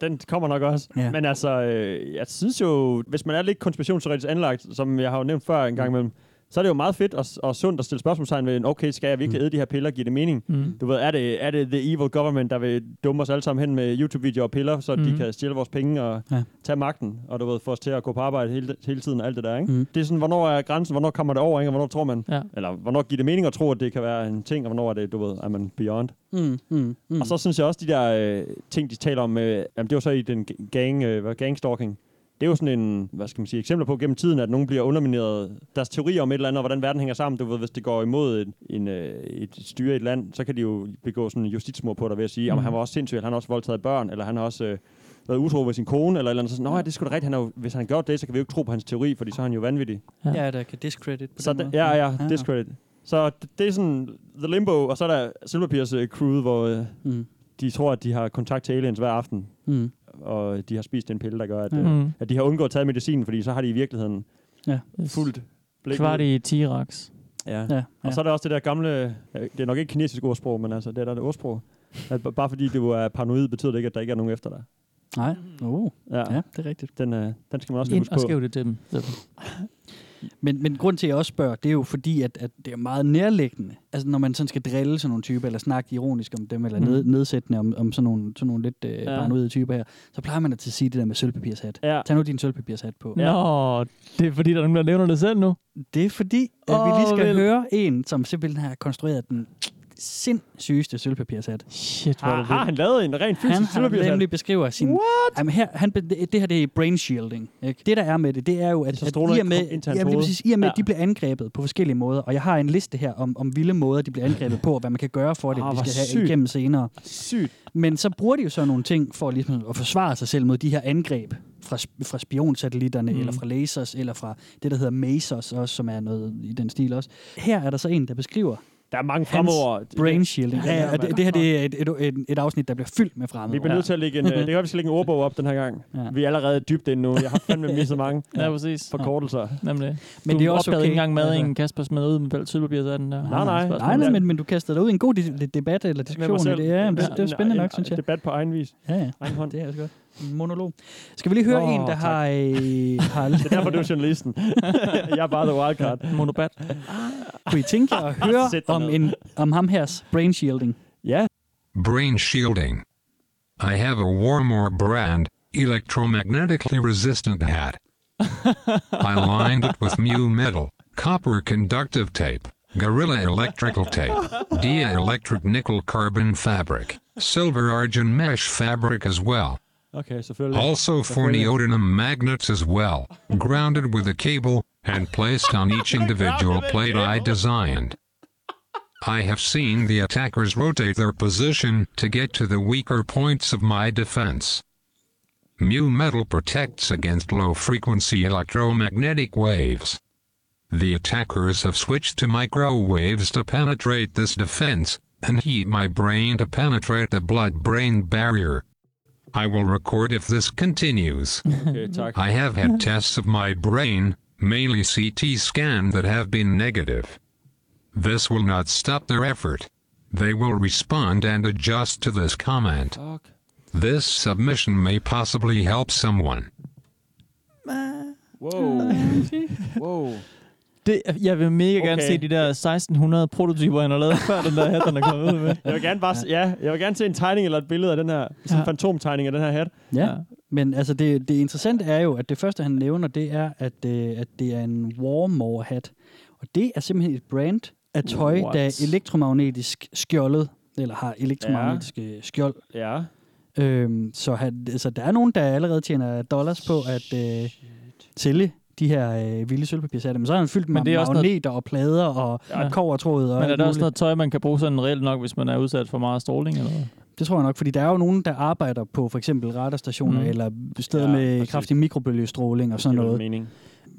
S5: den kommer nok også.
S3: Ja.
S5: Ja. Men
S3: Mm.
S5: altså, øh, jeg synes jo, hvis man er lidt konspirationsteoretisk anlagt, som jeg har jo nævnt før en gang imellem, så er det jo meget fedt og, og sundt at stille spørgsmålstegn ved, okay, skal jeg virkelig æde de her piller, giver det mening?
S3: Mm.
S5: Du ved, er det, er det the evil government, der vil dumme os alle sammen hen med YouTube-videoer og piller, så mm. de
S3: Mhm.
S5: kan stjæle vores penge og
S3: Ja.
S5: ja. tage magten, og du ved, få os til at gå på arbejde hele, hele tiden og alt det der, ikke?
S3: Mhm.
S5: Mm. Det er sådan, hvornår er grænsen, hvornår kommer det over, ikke? og hvornår tror man,
S4: Ja.
S5: eller hvornår giver det mening at tro, at det kan være en ting, og hvornår er det, du ved, er man beyond?
S3: Mm, mm, mm.
S5: Og så synes jeg også, de der øh, ting, de taler om, øh, jamen, det var så i den g- gang, øh, hvad, gangstalking. Det er jo sådan en, hvad skal man sige, eksempler på gennem tiden, at nogen bliver undermineret. Deres teorier om et eller andet, og hvordan verden hænger sammen. Du ved, hvis det går imod en, en, øh, et styre i et land, så kan de jo begå sådan en justitsmord på dig ved at sige, jamen han var også sindssyg, eller han har også voldtaget børn, eller han har også øh, været utro ved sin kone, eller et eller andet. Så sådan, Nå, ja, det er sgu da rigtigt, han er jo, hvis han har gjort det, så kan vi jo ikke tro på hans teori, fordi så er han jo vanvittig.
S4: Ja.
S3: Ja, der kan discredit på
S5: Så
S3: den
S5: det,
S3: måde.
S5: ja, ja, discredit. Så det, det er sådan The Limbo, og så er der Silverpears øh, crew, hvor øh,
S3: Mm,
S5: de tror, at de har kontakt til aliens hver aften,
S3: mm.
S5: og de har spist en pille, der gør, at, mm.
S4: Mm.
S5: at de har undgået at tage medicin, fordi så har de i virkeligheden
S3: Ja.
S5: fuldt blik.
S4: Kvart
S5: ud.
S4: i T-Rex.
S5: Ja.
S3: Ja,
S5: Og så er der også det der gamle, ja, det er nok ikke kinesisk ordsprog, men altså, det er der et ordsprog, at b- bare fordi du er paranoid, betyder det ikke, at der ikke er nogen efter dig.
S3: Nej. Oh,
S5: Ja,
S3: ja.
S5: ja.
S3: det er rigtigt.
S5: Den, øh, den skal man også lige
S4: Ind
S5: huske
S4: og
S5: på.
S4: skriv det til dem.
S3: Men, men grund til, at jeg også spørger, det er jo fordi, at, at det er meget nærliggende. Altså, når man sådan skal drille sådan nogle typer, eller snakke ironisk om dem, eller
S4: Mm.
S3: ned, nedsættende om, om sådan, nogle, sådan nogle lidt øh, ja. paranoide typer her, så plejer man at til at sige det der med sølvpapirshat.
S5: Ja.
S3: Tag nu din sølvpapirshat på.
S4: Ja. Nå, det er fordi, der er nogen, der nævner det selv nu.
S3: Det er fordi, at Øh, vi lige
S4: Åh,
S3: skal
S4: vel.
S3: høre en, som simpelthen har konstrueret den sindssygeste sølvpapirshat.
S4: Shit, hvor er
S5: Har,
S4: det
S5: Ah, har
S4: vildt.
S5: han lavet en rent
S3: Han
S5: fysisk
S3: har
S5: silverpirshal?
S3: nemlig beskriver sin... What? Jamen her, han, be- det her det er brain shielding. Ikke? Det der er med det, det er jo, at,
S5: Så
S3: at
S5: stråler
S3: i og
S5: ikke
S3: med,
S5: ind til hans
S3: jamen, lige
S5: hoved.
S3: præcis, i og med ja.
S5: Ja.
S3: de bliver angrebet på forskellige måder, og jeg har en liste her om, om vilde måder, de bliver angrebet på, og hvad man kan gøre for det,
S5: Ah,
S3: vi
S5: hvor
S3: skal have
S5: sygt.
S3: igennem senere.
S5: Sygt.
S3: Men så bruger de jo sådan nogle ting for ligesom at forsvare sig selv mod de her angreb fra, sp- fra spionsatellitterne, mm. eller fra lasers, eller fra det, der hedder masers også, som er noget i den stil også. Her er der så en, der beskriver
S5: Der er mange
S3: hans
S5: fremover.
S3: brain shielding. Ja, ja,
S5: mand.
S3: og det, det her det er et, et, et, et afsnit, der bliver fyldt med
S5: Vi
S3: fremmede.
S5: bliver nødt til at lægge en, øh, det gør, vi skal lægge en ordbog op den her gang.
S3: Ja.
S5: Ja. Vi er allerede dybt inde nu. Jeg har fandme misset mange
S4: Ja, præcis.
S5: forkortelser.
S4: Nemlig.
S3: Men
S4: Men
S3: det
S4: det
S3: er også
S4: opdagede
S3: okay.
S4: ikke engang mad,
S3: Altså-
S4: altså. Kasper smed ud med sølvpapir, så er den der.
S5: Nej, nej.
S4: Spørgsmål.
S3: Nej, nej,
S5: Ja.
S3: men, men du kaster dig ud i en god di- lidt debat eller
S5: Med mig
S3: diskussion. i
S5: selv.
S3: Det, ja, men det, det er
S5: en-
S3: spændende
S5: en-
S3: nok, synes jeg.
S5: Debat på egen vis.
S3: Ja, ja.
S5: Egen hånd.
S3: Det er også godt. En monolog. Skal vi lige høre
S5: Nå,
S3: en, der
S5: tak.
S3: har... Øh, har
S5: Det er derfor, du er journalisten. jeg er bare the wildcard.
S4: Monobat.
S3: kunne I tænke jer at høre
S5: Sæt dig
S3: om,
S5: ned.
S3: en, om ham hers brain shielding?
S5: Ja,
S8: Brain shielding. I have a Warmore brand, electromagnetically resistant hat. I lined it with mu metal, copper conductive tape, gorilla electrical tape, dia electric nickel carbon fabric, silver argent mesh fabric as well.
S5: okay, selvfølgelig.
S8: Also forneodymium magnets as well, grounded with a cable and placed on each individual plate I designed. I have seen the attackers rotate their position to get to the weaker points of my defense. Mu metal protects against low frequency electromagnetic waves. The attackers have switched to microwaves to penetrate this defense, and heat my brain to penetrate the blood brain barrier. I will record if this continues.
S5: Okay, tak.
S8: I have had tests of my brain, mainly CT scan that have been negative. This will not stop their effort. They will respond and adjust to this comment.
S5: Fuck.
S8: This submission may possibly help someone.
S5: Wow. wow.
S4: Det, jeg vil mega okay. gerne
S5: Okay.
S4: se de der 1600 prototyper, han har lavet før den der hat, den er kommet ud med.
S5: Jeg vil gerne bare, s- ja, jeg vil gerne se en tegning eller et billede af den her, sådan en fantomtegning af den her hat.
S3: Ja.
S4: Ja.
S3: Men altså, det, det interessante er jo, at det første, han nævner, det er, at, øh, at det er en warmore hat. Og det er simpelthen et brand af tøj, What?
S4: What?
S3: der er elektromagnetisk skjoldet, eller har elektromagnetiske ja. skjold.
S5: Ja.
S3: Øhm, så han, altså, der er nogen, der allerede tjener dollars på at øh, sælge de her øh, vilde sølvpapirsatte. Men så har han fyldt dem
S4: Men
S3: med
S4: det er også noget-
S3: magneter noget... og plader og ja.
S4: Ja.
S3: kovertråd. Og
S4: Men er
S3: alt
S4: der også
S3: muligt.
S4: noget tøj, man kan bruge sådan reelt nok, hvis man er udsat for meget stråling eller hvad?
S3: Det tror jeg nok, fordi der er jo nogen, der arbejder på for eksempel radarstationer mm.
S4: Mm.
S3: eller steder
S5: Ja,
S3: ja, med
S5: præcis.
S3: kraftig mikrobølgestråling og sådan
S5: Giver vel
S3: noget.
S5: mening.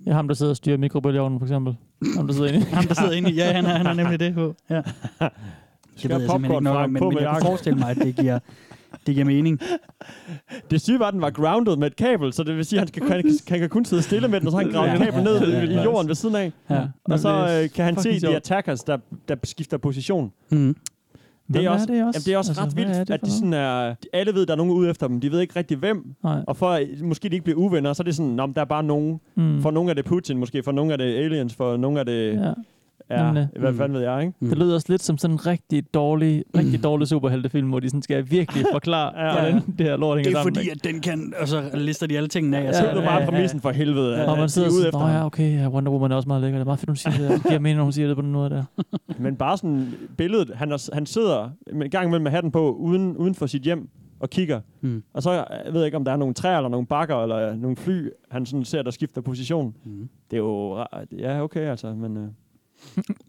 S4: Ja, ham, der sidder og styrer mikrobølgeovnen, for eksempel. Ham, der sidder inde. i-
S3: Ham, der sidder inde i... Ja, han har, han har nemlig det på. Ja. Det ved jeg simpelthen ikke
S5: popcorn
S3: nok
S5: fra
S3: om, men,
S5: på
S3: men
S5: med
S3: jeg kan
S5: jakken.
S3: forestille mig, at det giver, det giver mening. Mm.
S5: Det syge var, at den var grounded med et kabel, så det vil sige, at han, skal, han, kan- han kan kun sidde stille med den, og så har han gravet
S3: Ja.
S5: et kabel ned
S3: Ja, ja,
S5: i-
S3: ja.
S5: i jorden ved siden af.
S3: Ja.
S5: Og så øh, kan han se
S4: fucking
S5: de
S4: sjovt.
S5: attackers, der, der skifter position.
S3: Mm.
S5: Det
S4: Hvem
S5: er, også,
S4: det også?
S5: Jamen, det er også altså, ret
S4: hvad
S5: vildt,
S4: er det
S5: at
S4: for
S5: de
S4: noget?
S5: sådan er, alle ved, der er nogen ude efter dem. De ved ikke rigtig hvem.
S4: Nej.
S5: Og for at måske de ikke bliver uvenner, så er det sådan, om der er bare nogen.
S4: Mm.
S5: For nogen er det Putin måske, for nogen er det aliens, for nogen er det... Ja.
S4: Ja.
S5: Ja,
S4: Nemlig.
S5: hvad
S3: Mm.
S5: fanden ved jeg, ikke?
S4: Det lyder også lidt som sådan en rigtig dårlig,
S5: Mm.
S4: rigtig dårlig superheltefilm, hvor de sådan skal virkelig forklare,
S5: Ja.
S4: ja, hvordan det her lort hænger
S3: Det er
S4: sammen.
S3: fordi,
S4: ikke?
S3: at den kan... Og så lister de alle tingene af. og
S5: Jeg
S3: så-
S5: ja, ja, bare præmissen for helvede. at-
S4: og
S5: at
S4: man
S5: de
S4: sidder
S5: er
S4: sådan,
S5: efter
S4: Nå
S5: ham."
S4: ja, okay, ja, Wonder Woman er også meget lækker. Det er meget fedt, hun siger det. Det giver mening, når hun siger det på den måde der.
S5: Men bare sådan billedet, han, er, han sidder en gang imellem med hatten på uden, uden for sit hjem og kigger.
S3: Mm.
S5: Mm. Og så jeg ved jeg ikke, om der er nogle træer eller nogle bakker eller øh, nogle fly, han sådan ser, der skifter position.
S3: Mm.
S5: Det er jo... ra- Ja, okay, altså, men... Øh,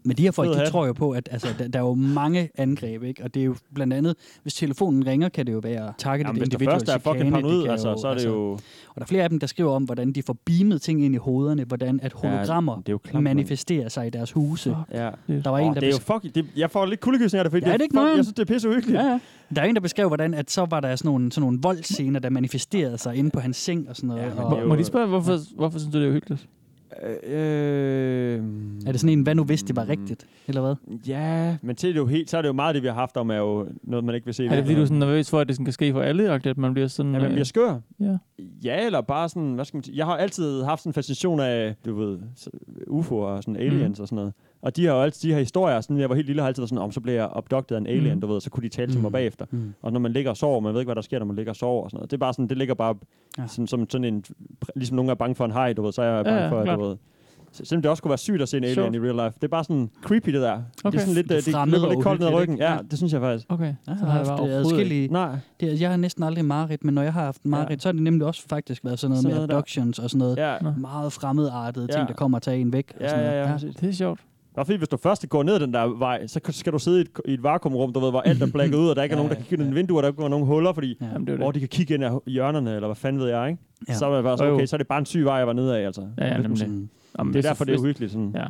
S3: Men de her folk,
S5: Fed
S3: de
S5: hat.
S3: tror jo på, at altså, der, der er jo mange angreb, ikke? Og det er jo blandt andet, hvis telefonen ringer, kan det jo være targeted
S5: jamen, hvis der
S3: individual
S5: først er fucking
S3: chikane, det
S5: paranoid,
S3: kan
S5: altså, så er det jo...
S3: Og der er flere af dem, der skriver om, hvordan de får beamet ting ind i hovederne, hvordan at hologrammer
S5: det er jo
S3: ja,
S5: klamt,
S3: manifesterer sig i deres huse.
S4: Fuck.
S5: Ja.
S3: Der var
S5: Og
S3: en,
S5: en,
S3: der
S5: det er jo fucking... Det, jeg får lidt kuldegysning af det, fordi
S3: Ja, er det
S5: det
S3: ikke
S5: fuck,
S3: noget?
S5: jeg synes, det er pisse uhyggeligt.
S3: Ja, ja. Der er en, der beskrev, hvordan at så var der sådan nogle, sådan nogle voldscener, der manifesterede sig inde på hans seng og sådan noget.
S5: Ja, men
S3: Ja, og,
S5: det er
S4: Må,
S5: jo-
S4: må de spørge, hvorfor, hvorfor synes du, det er uhyggeligt?
S5: Øh, mm,
S3: er det sådan en, hvad nu hvis det var rigtigt, eller hvad?
S5: Ja, men til det er jo helt, så er det jo meget af det, vi har haft om, er jo noget, man ikke vil se.
S4: Er det fordi, du er sådan nervøs for, at det sådan kan ske for alle, og at man bliver sådan...
S5: Ja, man bliver
S4: øh,
S5: skør.
S4: ja.
S5: Ja, eller bare sådan, hvad skal man sige? Jeg har altid haft sådan en fascination af, du ved, s- UFO'er og
S3: Mhm.
S5: sådan aliens mm. og sådan noget. Og de har jo altid de her historier, sådan, jeg var helt lille, har altid været sådan, om så blev jeg opdogtet af en alien,
S4: Mm.
S5: mm. du ved, så kunne de tale til
S3: Mm.
S5: mig bagefter.
S3: Mm.
S5: Og når man ligger og sover, man ved ikke, hvad der sker, når man ligger og sover og sådan noget. Det er bare sådan, det ligger bare
S3: Ja.
S5: ja. sådan, som sådan en, ligesom nogen er bange for en haj, du ved, så er jeg bange
S4: ja,
S5: ja, for,
S4: klart.
S5: du ved. Så- Selvom det også kunne være sygt at se en alien
S4: Sjovt.
S5: i real life. Det er bare sådan creepy, det der. Det
S4: Okay.
S5: er sådan lidt,
S3: Det
S5: øh, det,
S3: fremmede
S5: det løber
S3: og
S5: lidt koldt ned ad
S3: uhyggeligt,
S5: ryggen.
S3: ikke?
S5: Ja,
S3: Ja.
S5: det synes jeg faktisk.
S4: Okay.
S3: Ja,
S4: Så har jeg bare overhovedet ikke.
S3: adskillige...
S5: Nej,
S3: Det, jeg har næsten aldrig mareridt, men når jeg har haft mareridt, ja. så har det nemlig også faktisk været sådan noget
S5: Sådan
S3: med
S5: noget der.
S3: abductions og sådan noget.
S5: ja.
S4: Nå.
S3: Meget fremmedartede
S5: Ja.
S3: ting, der kommer og tager en væk. og
S5: Ja,
S3: sådan noget.
S5: ja, ja,
S4: Ja,
S5: præcis.
S4: det er sjovt.
S5: Og fordi hvis du først går ned ad den der vej, så skal du sidde i et, i et vakuumrum, du ved, hvor alt er blækket ud, og der ikke er
S3: Ja,
S5: nogen, der kan kigge ind i vinduer, der ikke er nogen huller, fordi
S3: Ja.
S4: Jamen, det er
S5: hvor
S4: jo det.
S5: de kan kigge ind af hjørnerne, eller hvad fanden ved jeg, ikke?
S3: Ja.
S5: Ja. Så er man bare sådan,
S4: Jo, jo.
S5: okay, så er det bare en syg vej, jeg var nede af, altså.
S4: Ja, ja, nemlig.
S3: Sådan,
S4: Jamen,
S5: Det
S4: hvis
S5: er
S4: du-
S5: derfor, det er
S4: hvis-
S5: uhyggeligt. Sådan.
S4: Ja.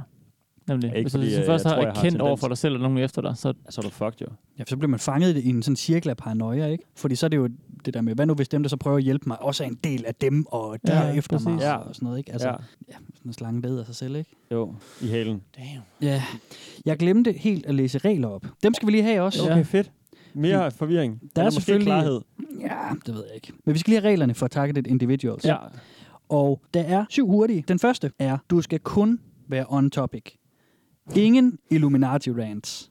S4: Nemlig.
S5: Ikke
S4: Hvis du,
S5: fordi,
S4: hvis du
S5: øh,
S4: først
S5: jeg
S4: har
S5: tror, jeg har
S4: erkendt over
S5: tendens.
S4: for dig selv, at nogen er efter dig, så
S5: Så er du fucked, jo.
S3: Ja, for så bliver man fanget i en sådan cirkel af paranoia, ikke? Fordi så er det jo det der med, hvad nu hvis dem, der så prøver at hjælpe mig, også er en del af dem, og de
S4: Ja,
S3: er efter mig,
S4: præcis.
S5: Ja.
S3: og sådan noget, ikke? Altså,
S5: Altså, ja.
S3: ja. sådan en slange bed af sig selv, ikke?
S5: Jo, i halen.
S3: Ja. Jeg glemte helt at læse regler op. Dem skal vi lige have også.
S5: Okay, fedt. Mere forvirring. Der
S3: er
S5: er, måske
S3: selvfølgelig-
S5: klarhed.
S3: Ja, det ved jeg ikke. Men vi skal lige have reglerne for targeted individuals.
S4: Ja.
S3: Og der er syv hurtige. Den første er, du skal kun være on topic. Ingen Illuminati rants.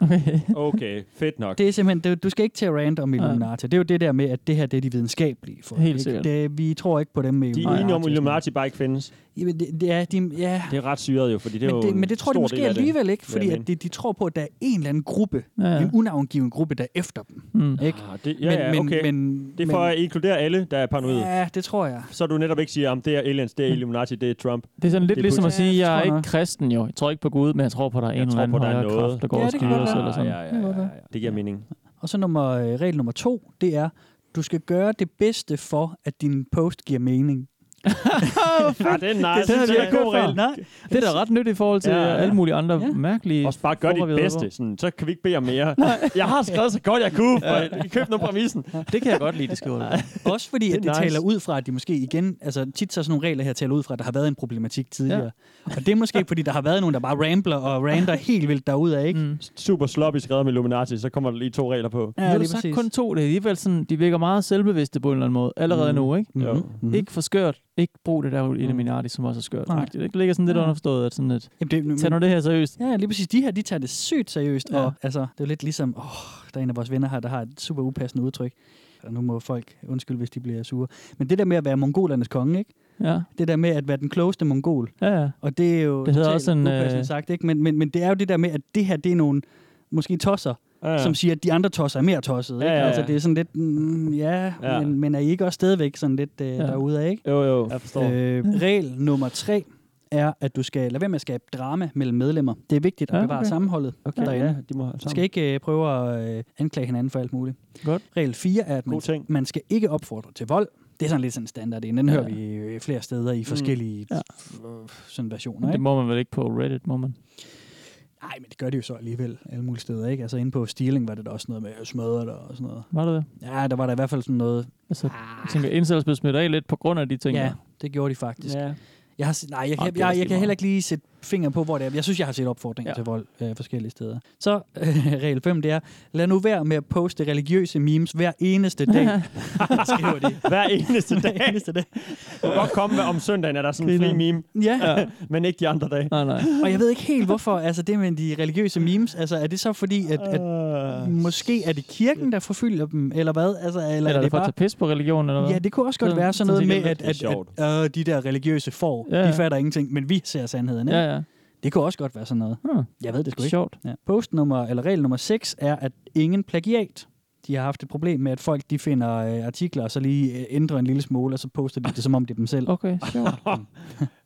S5: Okay, fedt nok.
S3: Det er simpelthen, du, du skal ikke til at rant om
S4: Nej.
S3: Illuminati. Det er jo det der med, at det her det er de videnskabelige folk.
S4: Helt
S3: ikke?
S4: sikkert.
S3: Det, vi tror ikke på dem med
S5: De er enige om, at Illuminati bare ikke findes.
S3: Jamen, det, det er, de, ja.
S5: Det er ret syret jo, fordi det er
S3: Men
S5: jo
S3: det,
S5: en
S3: men det tror de
S5: stor
S3: måske
S5: del af det,
S3: alligevel ikke,
S5: vil
S3: fordi
S5: jeg
S3: at
S5: mene.
S3: de, de tror på, at der er en eller anden gruppe,
S4: Ja, ja.
S3: en unavngiven gruppe, der er efter dem.
S4: Mm.
S3: Ikke?
S5: Ah, det, ja, ja, okay.
S3: men, men,
S5: det er for at inkludere alle, der er paranoid.
S3: men, Ja, det tror jeg.
S5: Så du netop ikke siger, om det er aliens, det er Illuminati, det er Trump.
S4: Det er sådan lidt
S5: Det er
S4: ligesom at
S3: Putin.
S4: sige,
S3: Ja, det tror jeg
S4: at jeg er ikke
S3: nok.
S4: kristen jo. Jeg tror ikke på Gud, men jeg tror på, at der er en
S5: Jeg
S4: eller
S5: tror på,
S4: anden
S5: der er
S4: højere
S5: noget.
S4: kraft, der går
S3: Ja,
S4: og
S3: det kan
S4: styrer
S3: godt
S4: os
S3: være.
S4: eller sådan.
S5: Ah, Ja, ja, ja, ja, ja. Det giver mening.
S3: Og så nummer, øh, regel nummer to, det er, du skal gøre det bedste for, at din post giver mening.
S5: Ja, Ah, det er nice.
S4: Det synes jeg er god regel.
S3: Nej,
S4: Det er da ret nyttigt i forhold til
S5: Ja, ja.
S4: alle mulige andre
S3: Ja.
S4: mærkelige...
S5: Også bare gør
S4: former, vi
S5: dit
S4: har
S5: bedste, sådan, så kan vi ikke bede om mere. jeg har skrevet så godt, jeg kunne, for I købte noget præmissen.
S4: været på. Det kan jeg godt lide, det skriver du.
S3: Også fordi,
S5: Det er
S3: at det
S5: nice.
S3: taler ud fra, at de måske igen, altså tit så er sådan nogle regler her taler ud fra, at der har været en problematik tidligere. Og det er måske, fordi der har været nogen, der bare rambler og rander helt vildt derudad, ikke?
S4: Mm.
S5: Super sloppy skrevet med Illuminati, så kommer der lige to regler på.
S4: Ja, det er sagt kun to. Det er alligevel sådan, de virker meget selvbevidste på en eller anden måde. Allerede
S3: Mm.
S4: nu, ikke?
S5: Jo.
S3: Mm.
S4: Mm. Ikke for skørt. Ikke brug det der Illuminati, som også er skørt.
S3: Nej.
S4: agtigt. Det ligger sådan lidt
S3: Ja.
S4: underforstået, at sådan et,
S3: Jamen, det, men,
S4: tag nu det her seriøst.
S3: Ja, lige præcis. De her, de tager det sygt seriøst. Ja.
S4: Ja.
S3: Og altså, det er jo lidt ligesom, åh, oh, der er en af vores venner her, der har et super upassende udtryk. Og nu må folk undskylde, hvis de bliver sure. Men det der med at være mongolernes konge, ikke?
S4: Ja,
S3: Det der med at være den klogeste mongol,
S4: ja, ja.
S3: Og det er jo
S4: Det hedder
S3: totalt
S4: også en, øh,
S3: upassende sagt, ikke? Men, men, men det er jo det der med, at det her, det er nogle måske tosser,
S5: Ja,
S3: ja.
S5: ja.
S3: som siger, at de andre tosser er mere tossede. Ikke?
S5: Ja, ja, ja.
S3: Altså, det er sådan lidt, mm, ja, ja.
S5: Ja.
S3: Men, men er I ikke også stadigvæk sådan lidt øh, ja. derude af, ikke?
S5: Jo, jo. Jeg forstår.
S4: Mm.
S3: Øh, regel nummer tre er, at du skal lade være med at skabe drama mellem medlemmer. Det er vigtigt at
S4: Ja,
S3: bevare
S4: okay.
S3: sammenholdet okay, derinde.
S5: ja, de må have
S3: Du skal ikke øh, prøve at øh, anklage hinanden for alt muligt.
S4: Godt.
S3: Regel 4 er, at man,
S5: God ting.
S3: man skal ikke opfordre til vold. Det er sådan lidt sådan en standard en. Den
S4: Ja. Mm.
S3: hører vi øh, flere steder i forskellige
S4: Ja.
S3: øh, sådan versioner.
S4: Men
S3: Ikke?
S4: det må man vel ikke på Reddit, må man?
S3: Nej, men det gør det jo så alligevel alle mulige steder, ikke? Altså inde på Stealing var det da også noget med, at jeg smadrer dig og sådan noget.
S4: Var det det?
S3: Ja, der var der i hvert fald sådan noget. Ah.
S4: Altså, jeg tænker, incels blev smidt af lidt på grund af de ting.
S3: Ja,
S4: der.
S3: det gjorde de faktisk. Ja.
S5: Ja.
S3: Jeg har, se- nej, jeg,
S4: Nå,
S3: kan,
S4: det er
S3: jeg, jeg
S4: også lige
S3: kan
S4: meget.
S3: heller ikke lige sætte finger på, hvor det er. Jeg synes, jeg har set opfordringer ja.
S4: Ja.
S3: til vold øh, forskellige steder. Så øh, regel 5, det er, lad nu være med at poste religiøse memes hver eneste dag. skriver de.
S5: Hver eneste dag.
S3: Hver eneste dag.
S5: Det kan godt komme om søndagen, er der sådan en fri meme,
S3: Ja.
S5: men ikke de andre dage.
S4: Nej, nej.
S3: Og jeg ved ikke helt, hvorfor altså, det med de religiøse memes, altså er det så fordi, at, at
S5: Ah.
S3: måske er det kirken, der forfølger dem, eller hvad? Altså, eller,
S4: Øh. Eller
S3: er
S4: er det
S3: det
S4: for at
S3: bare...
S4: tage pis på religion, eller hvad?
S3: Ja, det kunne også godt
S4: Så-
S3: være sådan
S4: så
S3: noget med,
S4: tænker
S3: at,
S4: jeg,
S3: at,
S5: det er sjovt.
S3: at øh, de der religiøse får,
S4: Ja,
S3: ja. de
S4: ja.
S3: fatter ingenting, men vi ser sandheden. Ikke?
S4: Ja,
S3: Ja.
S4: ja.
S3: Det kunne også godt være sådan noget.
S4: Hmm.
S3: Jeg ved det sgu ikke.
S4: Sjovt.
S3: Ja. Post nummer, eller regel nummer 6 er, at ingen plagiat. De har haft et problem med, at folk de finder øh, artikler, og så lige øh, ændrer en lille smule, og så poster de det, som om det er dem selv.
S4: Okay, sjovt.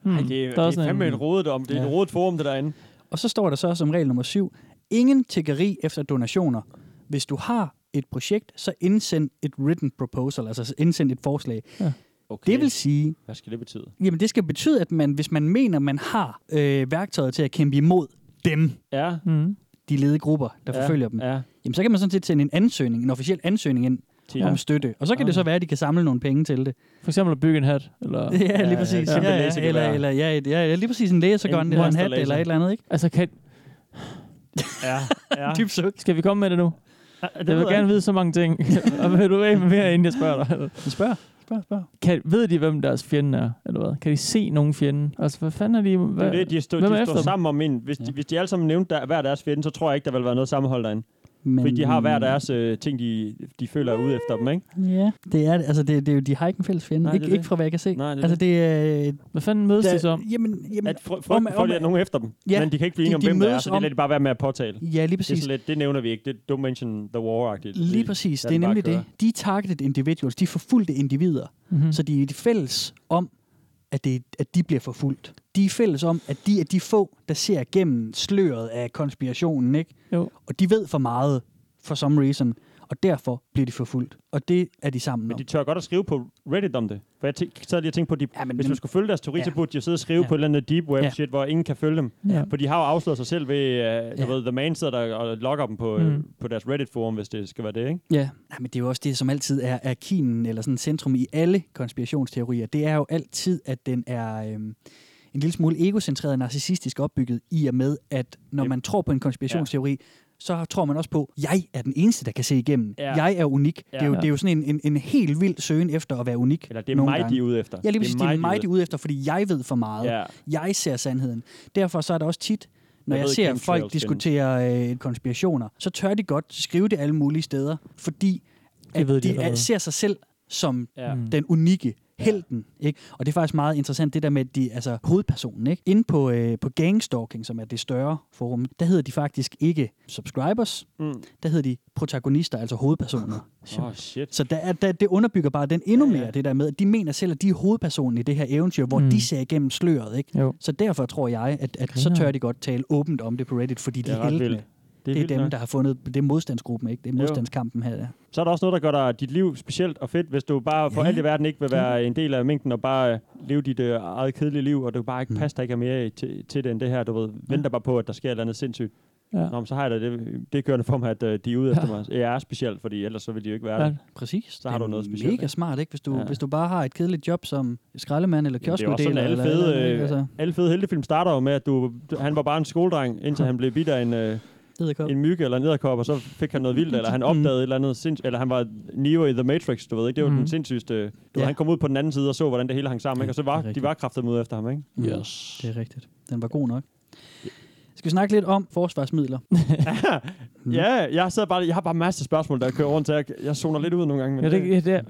S4: Hm,
S5: Ej, det er,
S4: Der er
S5: det er
S4: sådan
S5: fandme
S4: en-
S5: et rodet om. Det er
S3: Ja.
S5: et rodet forum, det derinde.
S3: Og så står der så som regel nummer 7, ingen tiggeri efter donationer. Hvis du har et projekt, så indsend et written proposal, altså indsend et forslag.
S5: Okay.
S3: Det vil sige,
S5: Hvad skal det betyde?
S3: jamen det skal betyde, at man, hvis man mener, man har øh, værktøjet til at kæmpe imod dem,
S5: Ja.
S4: Mm.
S3: de ledige grupper, der ja, forfølger dem, ja.
S5: Ja.
S3: jamen så kan man sådan set sende en ansøgning, en officiel ansøgning ind
S5: Til
S3: ja. om støtte. Og så kan ja. det så være, at de kan samle nogle penge til det.
S4: For eksempel at bygge en hat. Eller...
S3: Ja, lige
S5: ja,
S3: præcis. Ja,
S5: kæmpe
S3: ja,
S5: læsegevær.
S3: eller, eller, ja, et- ja, lige præcis en læsergun
S5: En
S3: eller en hat
S5: monsterlaser.
S3: eller et eller andet, ikke?
S4: Altså, kan...
S5: ja. ja.
S3: Dybt suk.
S4: skal vi komme med det nu?
S5: det
S4: Jeg vil gerne vide så mange ting. Og vil du af med mere, inden jeg spørger dig?
S3: Spørg, spørg, spørg.
S4: Kan, ved de, hvem deres fjende er, eller hvad? Kan de se nogen fjende? Altså, hvad fanden er de... Hvad?
S5: Det er jo det, de, stod,
S4: Hvem er
S5: de
S4: efter
S5: står
S4: dem?
S5: sammen om en. Hvis, de, hvis de alle sammen nævnte der, hver deres fjende, så tror jeg ikke, der vil være noget sammenhold derinde.
S3: Men,
S5: Fordi de har hver deres øh, ting, de, de føler er ude efter dem, ikke?
S3: Ja, det er det. Altså, det, det er jo, de har ikke en fælles fjende.
S5: Nej,
S3: Nej,
S5: det er
S3: ikke,
S5: det.
S3: ikke fra hvad jeg kan se.
S5: Nej, det er
S3: altså, det er...
S4: Hvad fanden mødes de så om?
S3: jamen, jamen,
S5: At fry- frygten for, at der er nogen efter dem,
S3: Ja,
S5: ja, men de kan ikke blive
S3: de-
S5: enige om,
S3: de
S5: hvem det er,
S3: mødes
S5: så det
S3: om-
S5: lader de bare være med at påtale.
S3: ja, lige
S5: Det, er
S3: præcis.
S5: sådan lidt, det nævner vi ikke. Det, don't mention the war-agtigt.
S3: Lige præcis.
S5: Lad
S3: Det er
S5: den bare
S3: nemlig
S5: køre.
S3: det. De er targeted individuals. De er forfulgte individer.
S4: Mm-hmm.
S3: Så de er fælles om, at, det, at de bliver forfulgt. De er fælles om, at de er de få, der ser gennem sløret af konspirationen, ikke?
S4: Jo.
S3: Og de ved for meget, for some reason. Og derfor bliver de forfulgt. Og det er de sammen
S5: Men
S3: om.
S5: de tør godt at skrive på Reddit om det. For jeg tæ- sad lige og tænkte på, at de,
S3: Ja,
S5: ja,
S3: men
S5: men, hvis
S3: dem-
S5: man skulle følge deres teori,
S3: Ja.
S5: ja. så burde de jo sidde og skrive
S3: Ja.
S5: ja. på et eller andet deep web
S3: Ja.
S5: ja. shit, hvor ingen kan følge dem.
S4: Ja.
S5: For de har jo afsløret sig selv ved, uh,
S3: Ja.
S5: ja. ved The Man sidder der og logger dem på, mm.
S4: Mm.
S5: på deres Reddit-forum, hvis det skal være det, ikke?
S3: Ja, Nej, men det er jo også det, som altid er, er kimen, eller sådan centrum i alle konspirationsteorier. Det er jo altid, at den er øhm, en lille smule egocentreret og narcissistisk opbygget, i og med, at når
S5: Yep.
S3: man tror på en konspirationsteori, så tror man også på, jeg er den eneste, der kan se igennem.
S5: Ja.
S3: Jeg er unik.
S5: Ja.
S3: Det, er jo, det er jo sådan en, en, en helt vild søgen efter at være unik.
S5: Eller det er
S3: nogle
S5: mig,
S3: gange.
S5: de er ude efter.
S3: Ja, lige præcis. Det er mig, de er ude efter, fordi jeg ved for meget.
S5: Ja.
S3: Jeg ser sandheden. Derfor så er der også tit, når
S5: Jeg
S3: jeg,
S5: ved
S3: jeg
S5: ikke,
S3: ser
S5: hvem
S3: folk
S5: Trails findes.
S3: diskutere øh, konspirationer, så tør de godt skrive det alle mulige steder, fordi at
S4: ved
S3: de,
S4: de
S3: de er,
S4: allerede.
S3: ser sig selv som
S5: Ja.
S4: Mhm.
S3: mm. den unikke helten. Ikke? Og det er faktisk meget interessant, det der med, at de, altså hovedpersonen, ikke? inde på, øh, på Gangstalking, som er det større forum, der hedder de faktisk ikke subscribers,
S5: Mm.
S3: der hedder de protagonister, altså hovedpersoner.
S5: Åh, oh, shit.
S3: Så der, er- der, det underbygger bare den endnu
S5: Ja,
S3: mere,
S5: ja.
S3: det der med, at de mener selv, at de er hovedpersonen i det her eventyr, hvor
S4: Mm.
S3: mm. de ser igennem sløret. Ikke?
S4: Jo.
S3: Så derfor tror jeg, at, at så
S4: Griner.
S3: tør de godt tale åbent om det på Reddit, fordi
S5: Det
S3: de
S5: er ret
S3: heltene.
S5: vildt.
S3: Det er, det er
S5: vildt
S3: dem,
S5: nok.
S3: der har fundet det er modstandsgruppen, ikke? Det er modstandskampen her. Der.
S5: Så er der også noget, der gør dig, dit liv specielt og fedt, hvis du bare for
S3: Ja,
S5: ja.
S3: ja.
S5: alt i verden ikke vil være en del af mængden og bare øh, leve dit øh, eget kedelige liv, og du bare ikke passer dig ikke er mere i- til, til det end det her. Du ved, venter bare på, at der sker et eller andet sindssygt.
S4: Ja.
S5: Nå, men så har jeg da det, det kørende for mig, at øh, de er ude ja. efter mig. Jeg er specielt, fordi ellers så vil de jo ikke være
S4: Ja.
S5: der.
S3: Præcis.
S5: Så har
S3: Det er
S5: du noget specielt,
S3: Mega
S5: ikke?
S3: smart, ikke? Hvis du, ja.
S5: Ja.
S3: hvis du bare har et kedeligt job som skraldemand eller
S5: det er også sådan,
S3: kioskuddeler.
S5: alle
S3: eller-
S5: fede,
S3: eller-
S5: øh,
S3: altså,
S5: Alle fede heltefilm starter jo med, at du, du- han var bare en skoledreng, indtil han blev bidt af en, øh,
S3: edderkop.
S5: en myg eller en edderkop, og så fik han noget vildt, eller
S3: Mm.
S5: han opdagede et eller andet sinds- eller han var Neo i The Matrix, du ved ikke, det var
S4: Mhm.
S5: den sindssygeste. Du
S3: Mm. Ja.
S5: ved, han kom ud på den anden side og så, hvordan det hele hang sammen, ikke? og så
S3: det er
S5: var de
S3: rigtigt.
S5: var kraftet ud efter ham, ikke?
S3: Yes. Mm. Det er rigtigt. Den var god nok. Skal vi snakke lidt om forsvarsmidler? Mm.
S5: Ja, jeg sidder bare, jeg har bare masser af spørgsmål, der kører rundt, så jeg, jeg zoner lidt ud nogle gange. Men
S4: Ja, det, ja, det, er,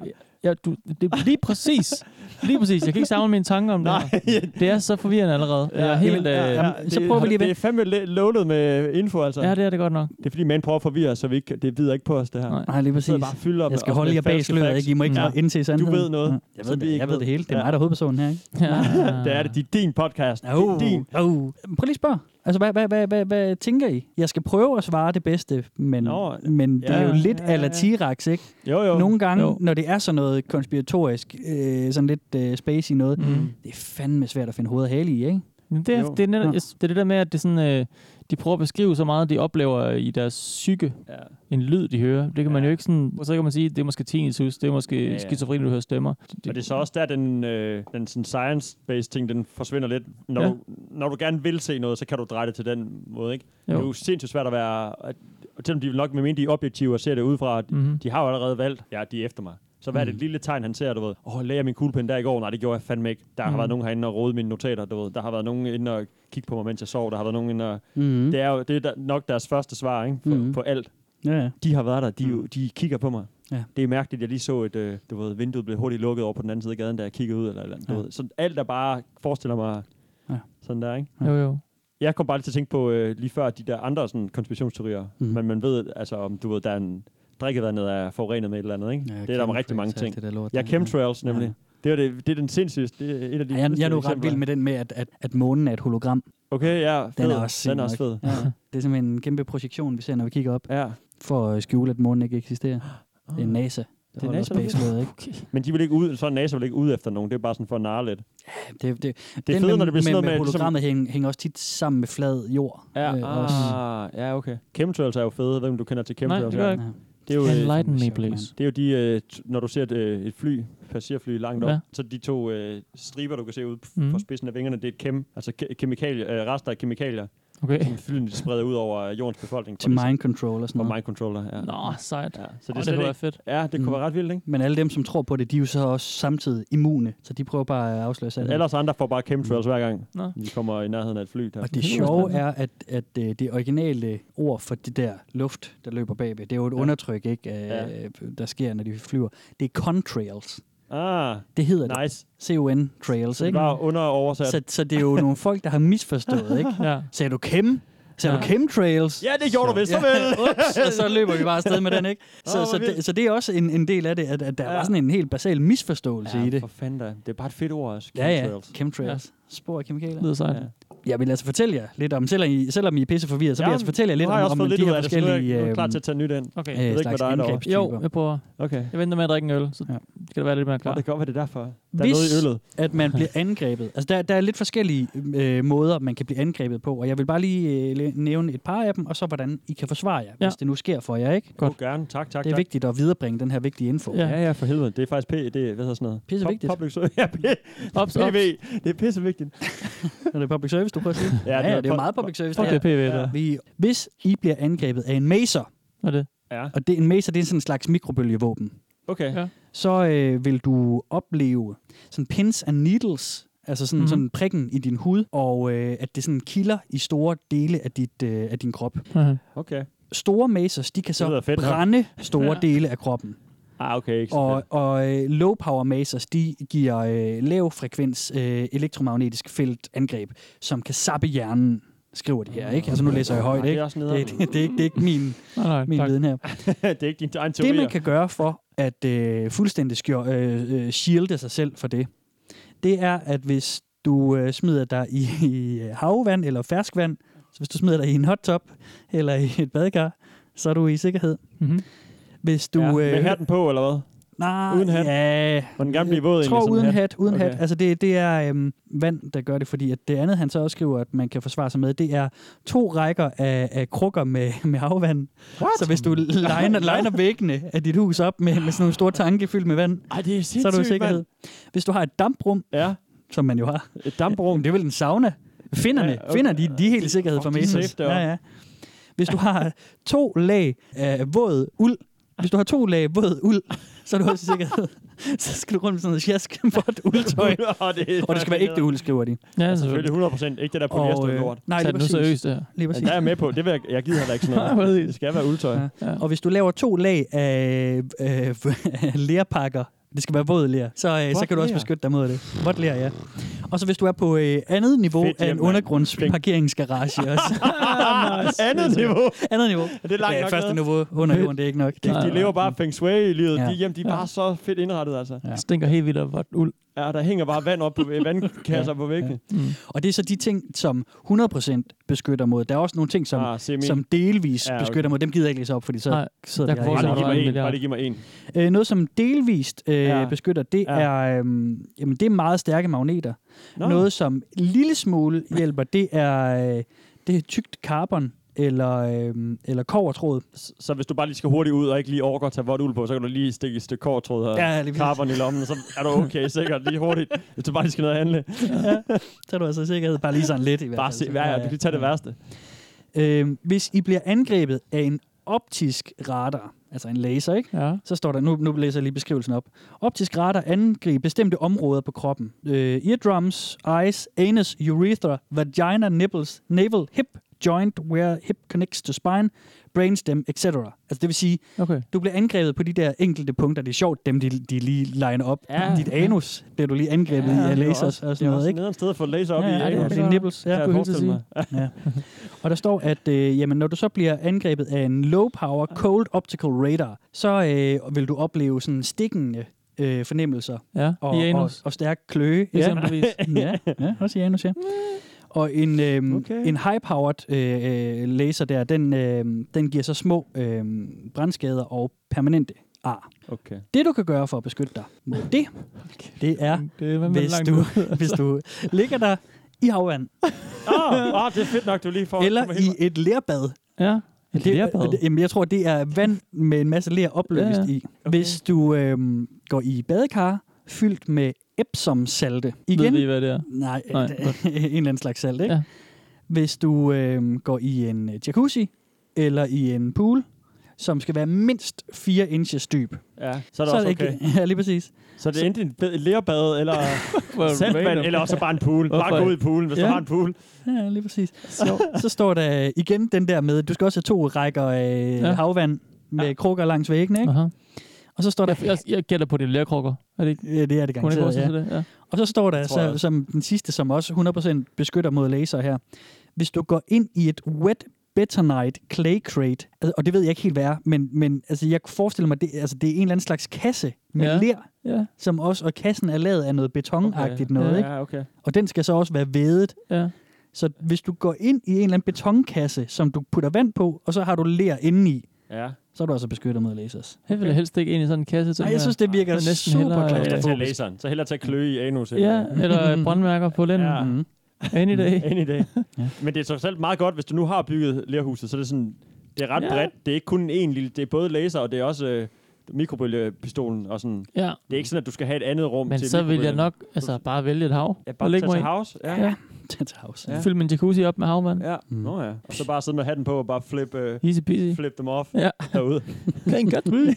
S4: ja, du, det er lige præcis. Lige præcis. Jeg kan ikke samle mine tanker om
S5: Nej. øh,
S4: det her. Det er så forvirrende allerede. Ja, jeg er helt, ja, ja, ja.
S3: så prøver vi lige at
S5: Det er fandme lidt lånet med info, altså.
S4: ja, det er det godt nok.
S5: Det er fordi, man prøver at forvirre os, så vi ikke, det vidder ikke på os, det her.
S4: Nej.
S3: Nej, lige
S5: Jeg sidder
S3: præcis.
S5: bare og fylder op
S3: Jeg skal
S5: op
S3: holde
S5: med
S3: jer bag
S5: falske
S3: sløret,
S5: facts.
S3: ikke? I må ikke
S5: Ja.
S3: ja. indse sandheden.
S5: ved noget,
S3: Ja. Jeg ved
S5: som vi
S3: det,
S5: ikke
S3: jeg ved
S5: ved.
S3: det hele. Det er
S5: Ja.
S3: mig, der er hovedpersonen her, ikke?
S4: Ja.
S5: Det er det. Det er din podcast. Det er
S3: Oh,
S5: din.
S3: oh. Prøv lige at spørge. Altså, hvad, hvad, hvad, hvad, hvad tænker I? Jeg skal prøve at svare det bedste, men,
S5: Nå,
S3: men det er jo
S5: ja,
S3: lidt
S5: ja,
S3: ja,
S5: ja.
S3: ala T-Rex, ikke?
S5: Jo, jo.
S3: Nogle gange,
S4: Jo.
S3: jo. når det er sådan noget konspiratorisk, øh, sådan lidt øh, spacey noget, mm.
S4: Mm.
S3: det er fandme svært at finde hoved og hale i, ikke?
S4: Men Det er,
S5: Jo.
S4: det, er netop,
S3: Ja.
S4: jeg s- det er det der med, at det er sådan, øh, de prøver at beskrive så meget, de oplever i deres psyke,
S5: Ja.
S4: en lyd, de hører. Det kan ja. man
S5: Ja.
S4: jo ikke sådan... Så kan man sige, det er måske tinnitus, det er måske ja,
S5: ja.
S4: ja. skizofreni, du hører stemmer.
S5: Og det er så også der, den, øh, den sådan science-based ting, den forsvinder lidt. Når,
S4: Ja.
S5: ja. du, når du gerne vil se noget, så kan du dreje det til den måde, ikke? Jo. Det er jo sindssygt svært at være... At, og selvom de nok med mindre de er objektive og ser det udefra, mm.
S4: Mm-hmm.
S5: de har jo allerede valgt, ja, de er efter mig. Så hvad er det
S4: Mhm.
S5: lille tegn, han ser, du ved? Åh, oh, lagde jeg min kuglepen der i går? Nej, det gjorde jeg fandme ikke. Der har
S4: Mhm.
S5: været nogen herinde og rode mine notater, du ved. Der har været nogen inde og kigge på mig, mens jeg sov. Der har været nogen inde og...
S3: Mm-hmm.
S5: Det er jo det er der- nok deres første svar, ikke? På,
S3: Mhm.
S5: på alt.
S3: Ja, ja.
S5: De har været der. De, er jo- de kigger på mig.
S3: Ja.
S5: Det er mærkeligt, jeg lige så, at øh, du ved, vinduet blev hurtigt lukket over på den anden side af gaden, da jeg kiggede ud. Eller, et eller andet, du
S3: Ja.
S5: ved. Så alt er bare, forestiller mig
S3: Ja.
S5: sådan der, ikke?
S4: Jo, jo.
S5: Jeg kom bare lige til at tænke på øh, lige før de der andre sådan, konspirationsteorier.
S3: Mhm.
S5: Mm. Men man ved, altså, om du ved, der er en drikkevandet er forurenet med et eller andet, ikke? det er der med rigtig mange ting.
S3: Det der lort,
S5: Ja, chemtrails nemlig.
S3: Ja.
S5: Det, er det, det er den sindssygt. Det er et af de
S3: Ja, jeg, jeg er
S5: fedeste
S3: nu ret
S5: eksempler.
S3: vild med den med, at, at, at månen er et hologram.
S5: Okay, ja, fed.
S3: Den er også,
S5: den er også
S3: syg
S5: fed.
S3: nok. Ja. Det er simpelthen en kæmpe projektion, vi ser, når vi kigger op,
S5: Ja.
S3: for at skjule, at månen ikke eksisterer. Det er NASA. Det
S5: Ah. er
S3: er
S5: NASA,
S3: NASA,
S5: der
S3: noget, ikke?
S5: Men de vil ikke ud, så er NASA vil ikke ud efter nogen. Det er bare sådan for at narre lidt.
S3: Ja, Det, det,
S5: Det er fedt, når det bliver sådan noget med...
S3: med,
S5: ligesom-
S3: med hologrammet hænger, hænger også tit sammen med flad jord.
S5: Ja,
S3: øh, også.
S5: ah, ja, okay. Chemtrails er jo fede. Jeg ved ikke, om du kender til
S4: Nej,
S5: chemtrails.
S4: det gør jeg ikke.
S3: Ja.
S5: det er jo, øh,
S4: Enlighten me,
S3: sjovt,
S4: please.
S5: det er jo de, øh, t- når du ser et, øh, et fly, passagerfly langt op,
S4: Ja.
S5: ja. så de to øh, striber, du kan se ud f-
S4: Mhm.
S5: fra spidsen af vingerne, det er et kem, altså ke- kemikalie, øh, rester af kemikalier,
S4: Okay.
S5: som flyene spreder ud over jordens befolkning.
S3: Til mind control og sådan
S5: Og
S3: noget.
S5: mind controller, ja.
S4: Nå, sejt. Ja.
S5: ja. Så
S4: Så
S5: det, er slet
S4: det, det kunne være
S5: ikke,
S4: fedt.
S5: ja, det kunne
S3: Mhm.
S5: være ret vildt, ikke?
S3: Men alle dem, som tror på det, de er jo så også samtidig immune, så de prøver bare at afsløre sig.
S5: Men ellers andre får bare chemtrails hver gang,
S4: Nå.
S5: de kommer i nærheden af et fly. Der.
S3: Mhm. Og det sjove er, at, at øh, det originale ord for det der luft, der løber bagved, det er jo et
S5: Ja.
S3: undertryk, ikke, øh,
S5: Ja.
S3: der sker, når de flyver. Det er contrails.
S5: Ah,
S3: Det hedder det.
S5: nice.
S3: C-O-N-trails,
S5: Så det
S3: ikke?
S5: er bare underoversat.
S3: Så, så det er jo nogle folk, der har misforstået, ikke?
S4: Ja.
S3: Sagde du Kim? Sagde ja. du Chemtrails?
S5: Ja, det gjorde du vist, så vel.
S3: Ups, og så løber vi bare afsted med den, ikke? Så,
S5: Åh, hvor
S3: så,
S5: vildt.
S3: det, så det er også en, en del af det, at, at der
S5: Ja.
S3: ja. var sådan en helt basal misforståelse i det.
S5: for fanden da. Det er bare et fedt ord også.
S3: Ja, ja.
S5: chemtrails.
S3: Chemtrails. Spor af kemikalier.
S4: Det lyder sejt.
S5: Ja.
S4: Ja.
S3: Jeg vil altså fortælle jer lidt om, selvom I, selvom I er pisseforvirret, så vil jeg altså fortælle jer lidt
S5: nu har
S3: om,
S5: jeg også
S3: om
S5: fået
S3: de
S5: lidt ud
S3: her
S5: af det, så nu er jeg-
S3: forskellige
S5: nu er jeg klar til
S3: øhm,
S5: at tage nyt ind.
S4: Okay.
S5: ved
S3: øh,
S5: ikke,
S3: slags
S5: hvad der er derovre.
S3: indgrebstyper.
S4: Jo, jeg prøver.
S5: Okay.
S4: Jeg venter med at drikke en øl, så
S3: Ja.
S4: skal det være lidt mere
S5: Nå,
S4: klar.
S5: det kan godt være, det er derfor. Der er
S3: Hvis-
S5: noget i øllet.
S3: at man bliver angrebet. Altså, der, der er lidt forskellige øh, måder, man kan blive angrebet på, og jeg vil bare lige øh, læ- nævne et par af dem, og så hvordan I kan forsvare jer,
S4: Ja.
S3: hvis det nu sker for jer, ikke?
S5: Godt. gerne. Tak, tak,
S3: Det er
S5: tak.
S3: vigtigt at viderebringe den her vigtige info.
S4: Ja.
S5: Ja, ja, for helvede. Det er faktisk P, det er, hvad hedder sådan noget?
S3: Pisse
S5: Pub-
S3: vigtigt.
S5: Public service. Ja, P.
S4: Ops, ops.
S5: PV. Det er pisse vigtigt.
S3: Er det public service, du prøver at sige?
S5: Ja,
S3: ja,
S5: det
S3: ja,
S5: er
S3: det er jo
S5: pub-
S3: meget public service.
S4: Fuck, det
S3: det
S4: er PV,
S5: Ja.
S4: der.
S3: her. Vi, hvis I bliver angrebet af en maser,
S4: Hvad er det?
S5: Ja.
S3: og det, en maser det er sådan en slags mikrobølgevåben,
S5: Okay.
S4: Ja.
S3: så øh, vil du opleve sådan pins and needles, altså sådan,
S4: Mhm.
S3: mm-hmm. sådan prikken i din hud, og øh, at det sådan kilder i store dele af, dit, øh, af din krop.
S4: Okay.
S5: Okay.
S3: Store masers, de kan
S5: lyder
S3: så
S5: fedt, ja.
S3: brænde store
S4: Ja.
S3: dele af kroppen.
S5: Ah, okay. Ikke så
S3: Og,
S5: fedt.
S3: og øh, low power masers, de giver øh, lav frekvens øh, elektromagnetisk feltangreb, som kan sappe hjernen, skriver de her, ikke? Altså nu læser jeg
S5: Ej, Ah,
S3: højt,
S5: det
S3: ikke?
S5: er også nederen.
S3: Det, det, det, er ikke, det er ikke min,
S4: Nej, nej,
S3: min
S4: tak.
S3: viden her.
S5: det er ikke din egen
S3: Det,
S5: teori. altså.
S3: man kan gøre for at øh, fuldstændig skjor, øh, øh, shielde sig selv for det, det er, at hvis du øh, smider dig i, i øh, havvand eller ferskvand, så hvis du smider dig i en hot tub eller i et badekar, så er du i sikkerhed.
S4: Mhm.
S3: Hvis du... øh,
S5: ja. Med hatten på, eller hvad?
S3: nej,
S5: uden hat?
S3: Ja,
S5: Må den gerne blive våd
S3: jeg tror
S5: egentlig, sådan
S3: uden
S5: en
S3: hat. uden
S5: Okay.
S3: okay. hat. Altså det, det er øhm, vand, der gør det, fordi at det andet, han så også skriver, at man kan forsvare sig med, det er to rækker af, af krukker med, med havvand. What? Så hvis du liner, liner væggene af dit hus op med, med sådan nogle store tanke fyldt med vand,
S5: Ej, det er sindssygt,
S3: så er du i sikkerhed. Hvis du har et damprum,
S5: mand. Ja,
S3: som man jo har,
S5: et damprum.
S3: Jamen, det er vel en sauna. Finderne,
S5: Ja,
S3: ja,
S5: okay.
S3: okay. finder de, de er helt i sikkerhed
S5: Fuck,
S3: for
S5: de er
S3: Mesos.
S5: safe deroppe.
S3: Ja, ja. Hvis du har to lag af våd uld, hvis du har to lag våd uld, så er du også i sikkerhed. Så skal du rundt med sådan noget sjask vådt uldtøj.
S5: og, det er
S3: Og det skal være ægte uld, skriver de.
S4: Ja,
S5: Selvfølgelig
S4: selvfølgelig.
S5: 100% ikke det der polyester
S3: øh,
S5: lort.
S3: nej, lige
S4: Tag det nu
S3: præcis.
S4: seriøst, det her.
S3: Lige
S5: Ja,
S3: præcis.
S5: der er jeg med på. Det vil jeg, jeg gider heller ikke sådan
S4: Nej,
S5: noget. Det skal være uldtøj.
S3: Ja.
S4: Ja.
S3: Og hvis du laver to lag af øh, lærpakker, det skal være våd lær, så, øh, så
S5: Vådt
S3: kan du også
S5: ler?
S3: beskytte dig mod det. Vådt lær, ja. Og så hvis du er på øh, andet niveau
S5: Fedt,
S3: Fedt, af en
S5: jamen,
S3: undergrundsparkeringsgarage også. Ah,
S5: Andet niveau.
S3: andet niveau.
S5: Det er langt nok
S3: første
S5: ned.
S3: niveau under jorden, det er ikke nok. Det,
S5: De lever bare feng shui i livet.
S3: Ah, Ja.
S5: De hjem, de er bare så fedt indrettet, altså.
S3: Ja.
S4: Stinker helt vildt af vådt uld.
S5: Ja, der hænger bare vand op på væ- vandkasser på væggene.
S3: Og det er så de ting, som 100% beskytter mod. Der er også nogle ting, som,
S5: Ah, semi.
S3: som delvis
S5: Ja,
S3: ja,
S5: okay.
S3: beskytter mod. Dem gider jeg ikke læse op, fordi så
S4: Nej,
S3: sidder
S4: jeg
S3: vi
S4: kan
S3: her
S5: Bare
S3: hele
S5: lige giv
S4: forestille mig,
S3: dagen.
S4: der er
S5: mig
S4: en
S5: en. Bare lige giv
S4: milliard.
S5: mig en.
S3: Øh, noget, som delvist øh,
S5: Ja.
S3: ja. beskytter, det
S5: Ja.
S3: ja. er, øh, jamen, det er meget stærke magneter.
S5: Nå.
S3: Nå. Noget, som en lille smule hjælper, det er, øh, det er tykt carbon eller, øh, eller kovertråd.
S5: Så hvis du bare lige skal hurtigt ud og ikke lige overgår at tage vådt uld på, så kan du lige stikke et stykke kortråd og
S3: Ja, lige præcis.
S5: karbon i lommen, og så er du okay sikkert lige hurtigt, hvis du bare lige skal ned og handle.
S3: Så er du altså i sikkerhed. Bare lige sådan lidt i hvert fald.
S5: Bare se, ja, ja, du kan lige tage det værste.
S3: Øh, hvis I bliver angrebet af en optisk radar, altså en laser, ikke?
S4: Ja.
S3: Så står der, nu, nu læser jeg lige beskrivelsen op. Optisk radar angriber bestemte områder på kroppen. Øh, eardrums, eyes, anus, urethra, vagina, nipples, navel, hip, joint, where hip connects to spine, brainstem, etc. Altså det vil sige,
S4: Okay.
S3: du bliver angrebet på de der enkelte punkter. Det er sjovt, dem de, de lige liner op.
S4: Ja.
S3: Ja. Dit anus bliver du lige angrebet ja, i af lasers og sådan noget, ikke?
S5: Nede sted at få laser op
S3: Ja,
S5: i.
S3: ja, det
S5: ikke?
S3: er dine nipples. Ja.
S5: Kan jeg
S4: kunne jeg
S5: forestille
S4: hilse
S5: mig.
S4: at
S3: Ja. Og der står, at øh, jamen, når du så bliver angrebet af en low-power cold optical radar, så øh, vil du opleve sådan stikkende øh, fornemmelser
S4: Ja,
S3: og,
S4: i
S3: og,
S4: anus.
S3: og stærk kløe,
S4: Ja.
S3: eksempelvis. ja, ja, også i anus, ja. Og en, øhm,
S5: Okay.
S3: okay. en high-powered øh, øh, laser der, den, øh, den giver så små øh, brandskader og permanente ar.
S5: Okay.
S3: Det, du kan gøre for at beskytte dig mod det, det er,
S4: Det er
S3: hvis du, hvis du ligger der i havvand,
S5: Ah, ah, det er fedt nok, du lige får.
S3: eller
S5: kommer helt-
S3: i et lærbad,
S4: Ja. Et
S3: Det-
S4: lærbad.
S3: øh, Jamen, jeg tror, det er vand med en masse ler opløst
S4: Ja,
S3: ja,
S4: ja.
S3: i. Hvis du øhm, går i badekar fyldt med Epsom-salte. Igen.
S4: Ved vi, hvad det er?
S3: Nej,
S4: Nej,
S3: Nej. en eller anden slags salt, ikke?
S4: Ja.
S3: Ja. Hvis du øhm, går i en øh, jacuzzi eller i en pool, som skal være mindst 4 inches dyb.
S5: Ja, så er det også okay.
S3: ikke, ja, lige præcis.
S5: Så det er enten et bed- et lærbad, eller
S4: Hvor
S5: saltvand,
S4: random.
S5: eller også bare en pool. Bare
S4: Hvorfor?
S5: gå ud i poolen, hvis du
S3: Ja.
S5: har en pool.
S3: Ja, lige præcis. Så, så står der øh, igen den der med, du skal også have to rækker øh,
S4: Ja.
S3: ja. havvand med ja. krukker langs væggene, ikke?
S4: Aha.
S3: Og så står der...
S4: Jeg, jeg, jeg gætter på det er lærkrukker. Er det ikke?
S3: Ja, det er det
S4: Kunne det
S3: garanteret,
S4: også
S3: ja.
S4: ja. det? Ja.
S3: Og så står der
S5: Tror jeg
S3: så,
S5: også.
S3: som den sidste, som også 100% beskytter mod laser her. Hvis du går ind i et wet betonite clay crate, altså, og det ved jeg ikke helt, hvad er, men, men altså, jeg forestiller mig, det, altså, det er en eller anden slags kasse med
S4: Ja.
S3: ja. ler,
S4: Ja.
S3: som også, og kassen er lavet af noget betonagtigt
S4: Okay.
S3: okay. noget,
S4: Ja,
S3: ikke?
S5: Ja, okay.
S3: og den skal så også være vædet.
S4: ja.
S3: Så hvis du går ind i en eller anden betonkasse, som du putter vand på, og så har du ler indeni,
S5: Ja.
S3: så er du altså beskyttet mod lasers.
S4: Jeg vil helst ikke ind i sådan en kasse.
S3: Ej, jeg synes, det virker
S4: det er næsten
S3: super
S4: hellere-
S5: Så hellere
S3: klaustrofobisk.
S5: tage laseren. Så hellere tage kløe i anus.
S4: Ja, eller brandmærker på lænden.
S5: Ja.
S3: Mhm.
S4: Ja. Any day.
S5: Any day. Men det er trods alt meget godt, hvis du nu har bygget lærhuset, så er det sådan, det er ret
S4: Ja.
S5: ja. bredt. Det er ikke kun en lille, det er både laser, og det er også øh, mikrobølgepistolen. Og sådan.
S4: Ja.
S5: Det er ikke sådan, at du skal have et andet rum
S4: Men
S5: til
S4: så vil jeg
S5: mikrobølgen.
S4: nok altså, bare vælge et hav.
S5: Ja,
S4: og
S5: bare tage
S4: lægge mig
S5: til
S4: ind.
S5: house. Ja.
S3: Ja. Det er også.
S5: Ja.
S3: Ja.
S4: Fylde min jacuzzi op med havvand.
S5: ja. Nå ja. Og så bare sidde med hatten på og bare flip, øh,
S4: Easy peasy.
S5: flip dem off
S4: Ja.
S5: derude.
S4: Thank God.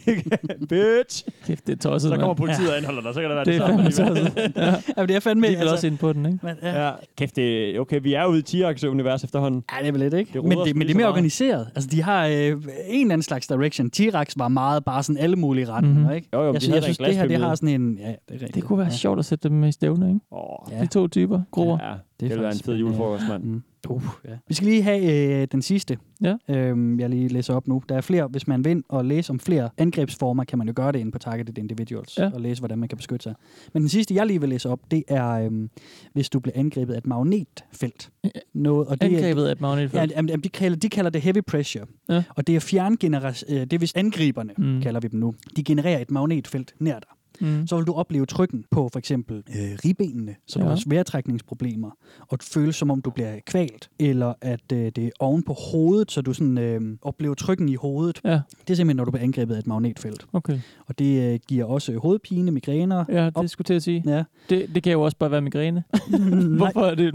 S5: Bitch!
S4: Kæft, det er tosset,
S5: Så kommer
S4: mand.
S5: politiet og anholder dig, så kan det være
S4: Det altså,
S5: det,
S4: er
S5: samme.
S4: fandme
S5: alligevel.
S4: tosset.
S3: Jamen, det er fandme... altså-
S4: De vil også ind på den, ikke?
S3: men, ja.
S5: Ja. Kæft, det, okay, vi er ude i T-Rex univers efterhånden.
S3: Ja, det er vel lidt, ikke?
S5: Det
S3: Det
S5: roder
S3: men,
S5: os
S3: det, men
S5: lige
S3: det
S5: så
S3: er mere
S5: meget.
S3: organiseret. Altså, de har øh, en eller anden slags direction. T-Rex var meget bare sådan alle mulige retninger,
S4: Mhm.
S3: mm-hmm. ikke?
S5: Jo, jo, men de
S3: jeg, synes-
S5: havde
S3: jeg
S5: da
S3: synes,
S5: en
S3: det her, det
S5: glasbillede.
S3: har sådan en... Ja, det er rigtigt.
S4: Det kunne være
S3: ja.
S4: sjovt at sætte dem i stævne, ikke?
S5: Åh,
S3: Ja.
S4: De to typer, grupper.
S5: ja.
S3: Det er
S5: Det, det vil være en
S3: faktisk
S5: fed
S3: spændende.
S5: julefrokost, mand.
S3: Mm. Uh, ja. Vi skal lige have øh, den sidste,
S4: Ja.
S3: øhm, jeg lige læser op nu. Der er flere, hvis man vil ind og læse om flere angrebsformer, kan man jo gøre det inde på Targeted Individuals,
S4: Ja.
S3: ja. og læse, hvordan man kan beskytte sig. Men den sidste, jeg lige vil læse op, det er, øhm, hvis du bliver angrebet af et magnetfelt. Noget, og det, er-
S4: Angrebet af et
S3: Ja,
S4: magnetfelt.
S3: jamen, jamen, de, kalder, de kalder det heavy pressure.
S4: Ja.
S3: Ja. Og det er fjerngeneration, det er vist angriberne,
S4: Mm.
S3: mm. kalder vi dem nu. De genererer et magnetfelt nær dig.
S4: Mm.
S3: Så vil du opleve trykken på for eksempel øh, ribbenene, så du
S4: Ja.
S3: har sværetrækningsproblemer, og det føles som om du bliver kvalt, eller at øh, det er oven på hovedet, så du sådan, øh, oplever trykken i hovedet.
S4: Ja,
S3: Det er simpelthen, når du bliver angrebet af et magnetfelt.
S4: okay.
S3: Og det øh, giver også hovedpine, migræner.
S4: Ja,
S3: Op.
S4: det skulle til at sige.
S3: Ja.
S4: Det, det kan jo også bare være migræne. Hvorfor er det et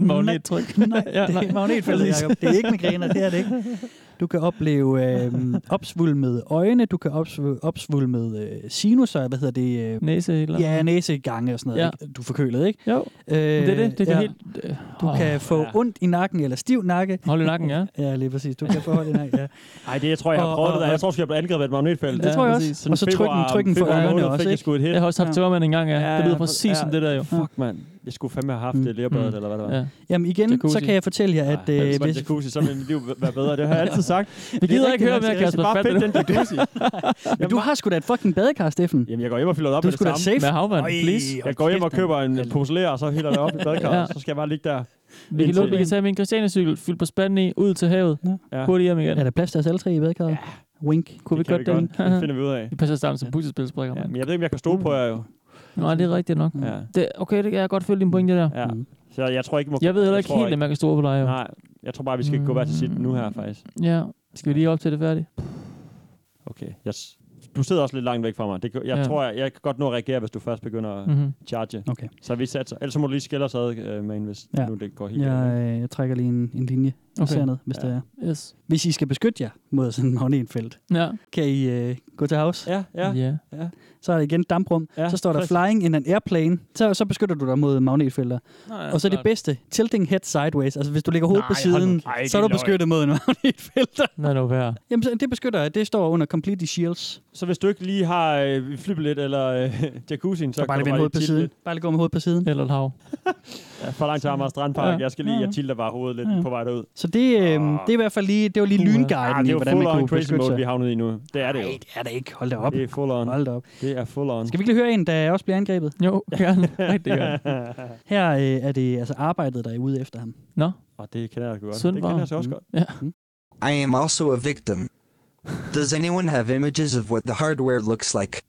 S4: magnettryk?
S3: Nej,
S4: Ja,
S3: det er
S4: nej.
S3: ikke magnetfeltet,
S4: Præcis.
S3: Jacob. Det er ikke migræner, det er det ikke. Du kan opleve øh, opsvulmede øjne, du kan opsv- opsvulmede øh, sinusser, hvad hedder det? Øh,
S4: Næse eller?
S3: ja, næsegange og sådan noget.
S4: Ja.
S3: Ja. Ikke? Du er forkølet, ikke?
S4: Jo,
S3: Øh,
S4: det er det. Det er ja. helt... Øh,
S3: Du
S4: åh,
S3: kan få
S5: ja.
S3: ja. ondt i nakken eller stiv nakke.
S4: Hold i nakken, ja.
S3: Ja, lige præcis. Du kan få hold i nakken, ja.
S5: Ej, det jeg tror jeg har
S3: Og-
S5: prøvet det der.
S3: og-
S5: Jeg tror, sgu, jeg blev angrebet af et magnetfelt.
S4: Ja,
S3: Det tror jeg
S4: præcis.
S3: også. Og så trykken, trykken for
S5: februar
S3: ørerne
S5: måned
S3: også,
S5: fik jeg
S3: ikke?
S5: sgu et hit.
S4: Jeg har også haft
S3: Ja.
S4: tørmand en gang, ja. Det lyder præcis som det der jo.
S5: Fuck, mand. Jeg skulle fandme have haft mm. lærebadet, mm. eller hvad det var.
S4: Ja.
S5: Ja.
S3: Jamen igen,
S4: Jacuzzi.
S3: så kan jeg fortælle jer, at...
S5: Ej,
S3: øh,
S5: hvis man
S3: hvis,
S5: jacuzzi, så ville mit liv være bedre. Det har jeg altid sagt.
S4: Vi gider
S5: Det er
S4: ikke høre
S5: rigtigt,
S4: mere,
S5: Mads. Jeg skal
S4: Kasper.
S5: Bare
S4: Fat
S5: fedt
S4: det
S5: den jacuzzi.
S3: men du har sgu da et fucking badekar, Steffen.
S5: Jamen, jeg går hjem og fylder det op
S3: Du
S5: med
S3: er
S5: det
S3: sgu da
S5: samme.
S3: safe.
S4: Med havvand,
S3: Øj,
S4: please.
S5: Jeg går hjem og
S3: kæft,
S5: køber en
S3: mand.
S5: pose ler, og så hælder det op i badkarret,
S4: Ja.
S5: så skal jeg bare ligge der.
S4: Vi kan,
S5: Indtil-
S4: lukke, vi kan tage min Christiania-cykel, fylde på spanden i, ud til havet.
S5: Ja,
S4: Hurtigt hjem igen.
S3: Er der plads til os alle tre i badekarret? Ja. Wink.
S4: Kunne vi
S5: kan
S4: godt den?
S5: Det finder vi ud af.
S4: Vi passer sammen som puslespilsbrikker,
S5: Ja,
S4: mand.
S5: men jeg ved ikke, om jeg kan stole på jer jo.
S4: Nej, det er rigtigt nok.
S5: Ja.
S4: Det, okay, det kan jeg godt følge din pointe der.
S3: Mm.
S5: ja. Så jeg tror ikke, I må...
S4: Jeg ved heller ikke
S5: tror
S4: helt, at man kan stå på dig. Jo.
S5: Nej, jeg tror bare, vi skal gå hver til sit nu her, faktisk.
S4: Ja. Skal vi lige op til det færdigt?
S5: Okay. Jeg, s- du sidder også lidt langt væk fra mig. Det, kan- jeg
S4: Ja.
S5: ja. tror, jeg, jeg kan godt nå at reagere, hvis du først begynder at
S4: Mm-hmm.
S5: charge.
S3: Okay.
S5: Så vi satser. Ellers så må du lige skille os ad, øh, man, hvis
S3: Ja.
S5: ja. nu det går helt
S3: Jeg,
S5: galt.
S3: øh, jeg trækker lige en, en linje
S4: Okay.
S3: okay. ned, hvis ja.
S5: Ja.
S3: det er.
S4: Yes.
S3: Hvis I skal beskytte jer mod sådan en magnetfelt,
S4: Ja.
S3: kan I øh, gå til havs. Ja.
S5: Ja, ja.
S4: ja.
S3: Så er det igen damprum. Ja.
S5: Ja,
S3: Så står der
S5: præcis.
S3: flying in an airplane. Så, så beskytter du dig mod magnetfelter.
S4: Nej,
S3: Ja, og så det bedste, tilting head sideways. Altså hvis du ligger hovedet på siden,
S5: Ej,
S3: så er du beskyttet mod en magnetfelter.
S4: Nej, nu værd.
S3: Jamen så- det beskytter, det står under completely shields.
S5: Så hvis du ikke lige har øh, flybillet eller øh, jacuzzien, så,
S3: Så bare
S5: kan
S3: lige
S5: du
S3: vende hovedet på
S5: tilte
S3: siden.
S5: lidt.
S3: Bare lige gå med hovedet på siden.
S4: Eller et hav.
S5: Ja, for langt til Amager Strandpark.
S3: Ja.
S5: Jeg skal lige,
S3: Ja, ja.
S5: jeg tilter bare hovedet lidt
S3: Ja.
S5: på vej derud.
S3: Så det, øh, det er i hvert fald lige, det var lige
S4: Puha.
S5: Ah,
S3: lynguiden
S5: det
S3: i,
S5: er jo
S3: hvordan man
S5: full-on
S3: kunne
S5: crazy
S3: beskytte
S5: mode, vi
S3: sig.
S5: er havnet i nu. Det er det jo.
S3: Nej, det er det ikke. Hold da op.
S5: Det er full-on.
S3: Hold da op.
S5: Det er full-on.
S3: Skal vi ikke lige høre en, der også bliver angrebet?
S4: Jo, gerne. Rigtig gerne.
S3: Her øh, er det altså arbejdet, der er ude efter ham.
S4: Nå,
S5: Og det kender jeg da godt.
S4: Sund
S5: det
S4: var-
S5: kender jeg så også godt.
S4: ja.
S9: I am also a victim. Does anyone have images of what the hardware looks like?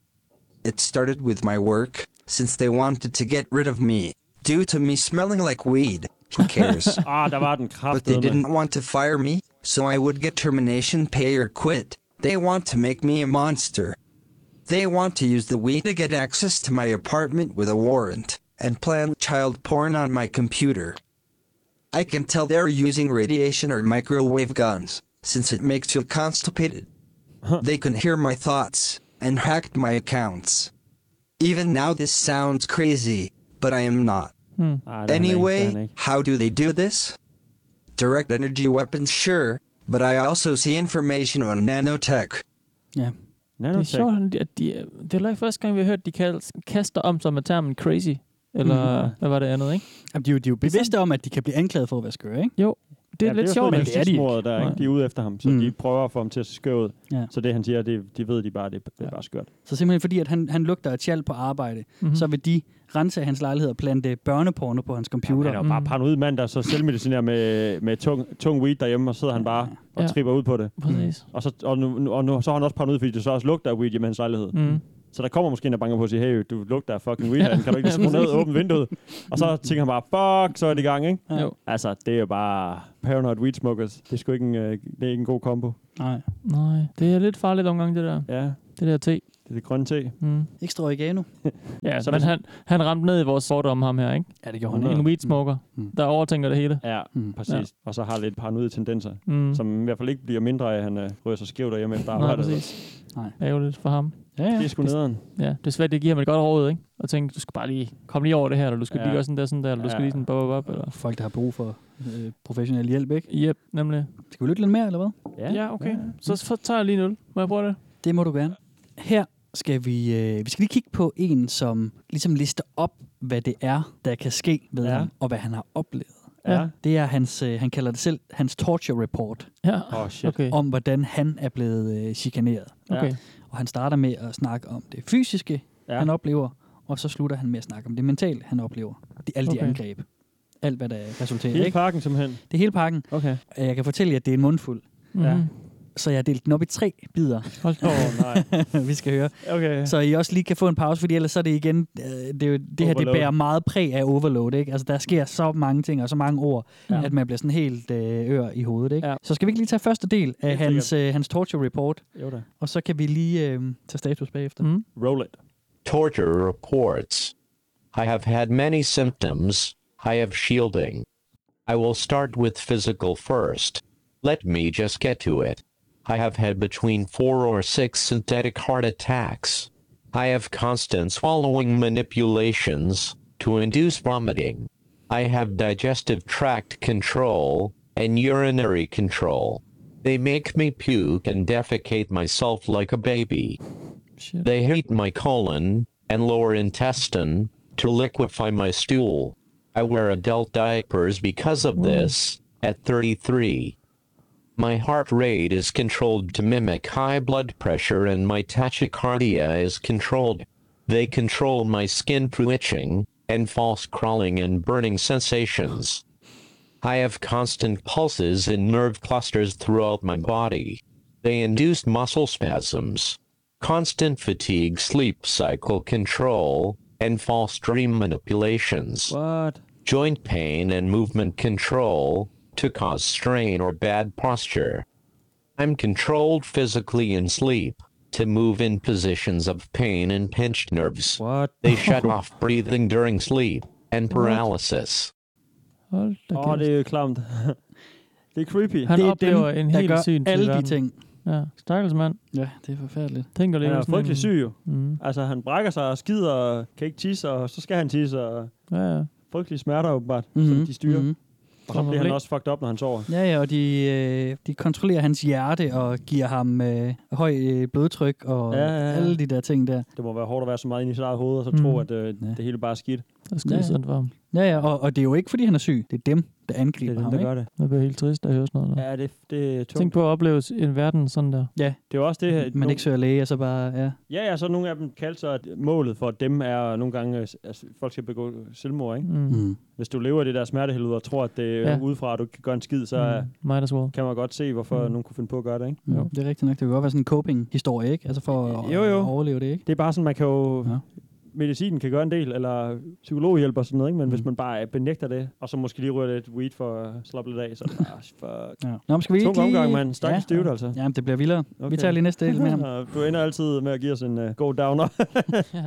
S9: It started with my work, since they wanted to get rid of me, due to me smelling like weed. Who cares?
S5: Ah, der var den
S9: but they
S5: kraftedeme.
S9: didn't want to fire me, so I would get termination pay or quit. They want to make me a monster. They want to use the weed to get access to my apartment with a warrant and plan child porn on my computer. I can tell they're using radiation or microwave guns, since it makes you constipated. They can hear my thoughts and hacked my accounts. Even now, this sounds crazy, but I am not.
S4: Mm.
S5: Ah, det er han ikke. Det er han
S9: Anyway,
S5: ikke.
S9: how do they do this? Direct energy weapons, sure, but I also see information on nanotech.
S3: Ja.
S4: Det er
S5: Nanotech.
S4: sjovt, at de, det er heller ikke første gang, vi har hørt, de kalder, kaster om sig med termen crazy. Eller mm. hvad var det andet, ikke?
S3: Jamen, de, er jo, de er jo bevidste om, at de kan blive anklaget for at være skøre, ikke?
S4: Jo, det er
S5: Ja,
S4: ja, lidt
S5: det er
S4: sjovt.
S5: Men
S4: at-
S5: det er de ikke. Der,
S4: Nej.
S5: ikke? De er ude efter ham, så
S3: Mm.
S5: mm. de prøver at få ham til at se skør ud.
S3: Ja.
S5: Ja. Så det, han siger, det, de ved de bare, det, det er bare skørt.
S3: Så simpelthen fordi, at han, han lugter af tjal på arbejde,
S4: Mhm.
S3: mm-hmm. så vil de rense hans lejlighed og plante børneporno på hans computer.
S5: Han er jo bare paranoid mand, der så selvmedicinerer med, med tung, tung weed derhjemme, og sidder han bare og
S4: Ja.
S5: ja. tripper ud på det.
S4: Præcis.
S5: Og så, og, nu, nu- og nu, så er han også paranoid, fordi det så også lugter af weed hjemme i hans lejlighed.
S4: Mm.
S5: Så der kommer måske en, der banker på og siger, hey, du lugter af fucking weed herinde, kan du ikke lige skrue ned og åbne vinduet? Og så tænker han bare, fuck, så er det i gang, ikke?
S4: Jo.
S5: Altså, det er jo bare paranoid weed smokers. Det er sgu ikke en, øh, det er ikke en god kombo.
S3: Nej.
S4: Nej, det er lidt farligt omgang, det der.
S5: Ja,
S4: Det der te.
S5: det er det grønne te.
S4: Mm.
S3: Ekstra oregano.
S4: Ja,
S5: Så
S4: så men
S5: hvis-
S4: han, han ramte ned i vores sorte om ham her, ikke?
S3: Ja, det gjorde
S5: han
S4: En weed smoker,
S3: Mm.
S4: der overtænker det hele.
S5: Ja,
S3: Mm.
S5: præcis.
S4: Ja.
S5: Og så har lidt paranoide tendenser.
S4: Mm.
S5: som i hvert fald ikke bliver mindre af, at han øh, ryger sig skævt derhjemme efter
S4: Nej,
S5: arbejdet.
S4: præcis.
S3: Nej.
S4: Ærgerligt for ham.
S3: Ja,
S5: Det
S3: ja.
S5: er sgu nederen.
S4: Ja, det er svært, det giver ham et godt råd, ikke? Og tænke, du skal bare lige komme lige over det her, eller du skal ja.
S5: Ja.
S4: lige gøre sådan der, sådan der, eller du skal
S5: Ja.
S4: lige sådan bop, bop, bop, eller...
S3: Folk, der har brug for øh, professionel hjælp, ikke?
S4: Yep, nemlig.
S3: Skal vi lytte lidt mere, eller hvad?
S4: Ja, ja okay. Ja. Så, så tager jeg lige nul. Må jeg prøve det?
S3: Det må du gerne. Her skal vi, øh, vi skal lige kigge på en, som ligesom lister op, hvad det er, der kan ske ved ja.
S5: Ja.
S3: ham, og hvad han har oplevet.
S5: Ja.
S3: Det er hans, øh, han kalder det selv, hans torture report,
S4: Ja.
S5: Åh, oh, shit.
S4: Okay.
S3: om hvordan han er blevet øh, chikaneret.
S4: Okay.
S3: Og han starter med at snakke om det fysiske, ja.
S5: Ja.
S3: han oplever, og så slutter han med at snakke om det mentale, han oplever. Det, alle okay. de
S4: Okay.
S3: angreb. Alt, hvad der resulterer.
S5: Hele
S3: Ikke?
S5: parken simpelthen.
S3: Det er hele pakken.
S5: Okay.
S3: Og Jeg kan fortælle jer, at det er en mundfuld.
S4: Ja.
S5: Ja.
S3: Så jeg har delt den op i tre bidder,
S4: Mhm. Hold da.
S5: Åh, oh, nej.
S3: vi skal høre.
S5: Okay.
S3: Så I også lige kan få en pause, fordi ellers så er det igen, øh, det, er jo, det her det
S5: Overload.
S3: bærer meget præg af overload. Ikke? Altså der sker så mange ting og så mange ord, ja.
S4: Ja.
S3: at man bliver sådan helt øh, ør i hovedet. Ikke? Ja.
S4: Ja.
S3: Så skal vi ikke lige tage første del af
S5: Helt
S3: hans, øh, hans torture report,
S5: Jo da.
S3: og så kan vi lige øh, tage status bagefter.
S4: Mm.
S5: Roll it.
S10: Torture reports. I have had many symptoms. I have shielding. I will start with physical first. Let me just get to it. I have had between four or six synthetic heart attacks. I have constant swallowing manipulations to induce vomiting. I have digestive tract control and urinary control. They make me puke and defecate myself like a baby.
S4: Shit.
S10: They heat my colon and lower intestine to liquefy my stool. I wear adult diapers because of this. At 33, my heart rate is controlled to mimic high blood pressure and my tachycardia is controlled. They control my skin through itching and false crawling and burning sensations. I have constant pulses in nerve clusters throughout my body. They induce muscle spasms, constant fatigue, sleep cycle control, and false dream manipulations.
S3: What?
S10: Joint pain and movement control to cause strain or bad posture. I'm controlled physically in sleep to move in positions of pain and pinched nerves.
S3: What?
S10: They shut off breathing during sleep and paralysis.
S4: Hold da
S5: Åh, oh, det er jo klamt. det er creepy.
S4: Han
S3: Det er
S4: oplever
S3: dem,
S4: en
S3: der
S4: helt
S3: gør
S4: syn til
S3: alle de
S4: verden.
S3: ting.
S4: Ja, stakkels mand.
S3: Ja, det er forfærdeligt.
S4: Tænker lige
S5: Han er
S4: over sådan
S5: frygtelig
S4: en-
S5: syg jo.
S4: Mm.
S5: Altså, han brækker sig og skider, og kan ikke tisse, og så skal han tisse, og
S4: Ja, ja.
S5: frygtelige smerter åbenbart, mm-hmm. som de styrer. Mm-hmm. Og så bliver han også fucked up, når han sover.
S3: Mhm, Ja, ja, og de, øh, de kontrollerer hans hjerte og giver ham øh, høj øh, blodtryk og
S5: Ja,
S3: ja,
S5: ja, ja.
S3: alle de der ting der.
S5: Det må være hårdt at være så meget inde i sit eget hoved, og så
S3: Mhm.
S5: tro, at øh,
S3: Ja.
S5: det hele bare er skidt.
S4: Der er skide
S3: Ja.
S4: sådan varm.
S3: Ja, ja, og, og det er jo ikke, fordi han er syg. Det er dem,
S5: Det
S3: der angriber
S5: er dem,
S3: ham,
S5: der
S3: ikke?
S5: gør det.
S4: Jeg bliver helt trist at høre sådan noget. Der.
S5: Ja, det, det er tungt.
S4: Tænk på at opleve en verden sådan der.
S5: Det er jo også det her.
S3: Man ikke søger læge, og så bare, ja.
S5: Ja, ja, så nogle af dem kaldte sig, at målet for dem er nogle gange, øh, at folk skal begå selvmord, ikke?
S4: Mm.
S3: Mm.
S5: Hvis du lever i det der smertehelvede og tror, at det er
S4: Ja.
S5: ja. udefra, at du ikke kan gøre en skid, så mm.
S4: Mm. Might as well.
S5: kan man godt se, hvorfor
S4: Mm.
S5: mm. nogen kunne finde på at gøre det, ikke?
S3: Jo.
S4: Jo.
S3: Det er rigtigt nok. Det kan godt være sådan en coping-historie, ikke? Altså for at
S5: Jo, jo.
S3: at overleve det, ikke?
S5: Det er bare sådan, man kan jo...
S3: Ja.
S5: Ja. Medicinen kan gøre en del, eller psykologhjælp og sådan noget, ikke? men
S3: Mm.
S5: mm. hvis man bare øh, benægter det, og så måske lige ryger lidt weed for at slappe lidt af, så er det bare, "Ah, fuck.
S3: Ja. Nå, men skal vi
S5: Tung
S3: ikke lige...
S5: omgang, mand. Stakkels ja. stivt, altså.
S3: Jamen, det bliver vildere. Okay. Vi
S5: Okay.
S3: tager lige næste del med ham.
S5: Og du ender altid med at give os en uh, god downer.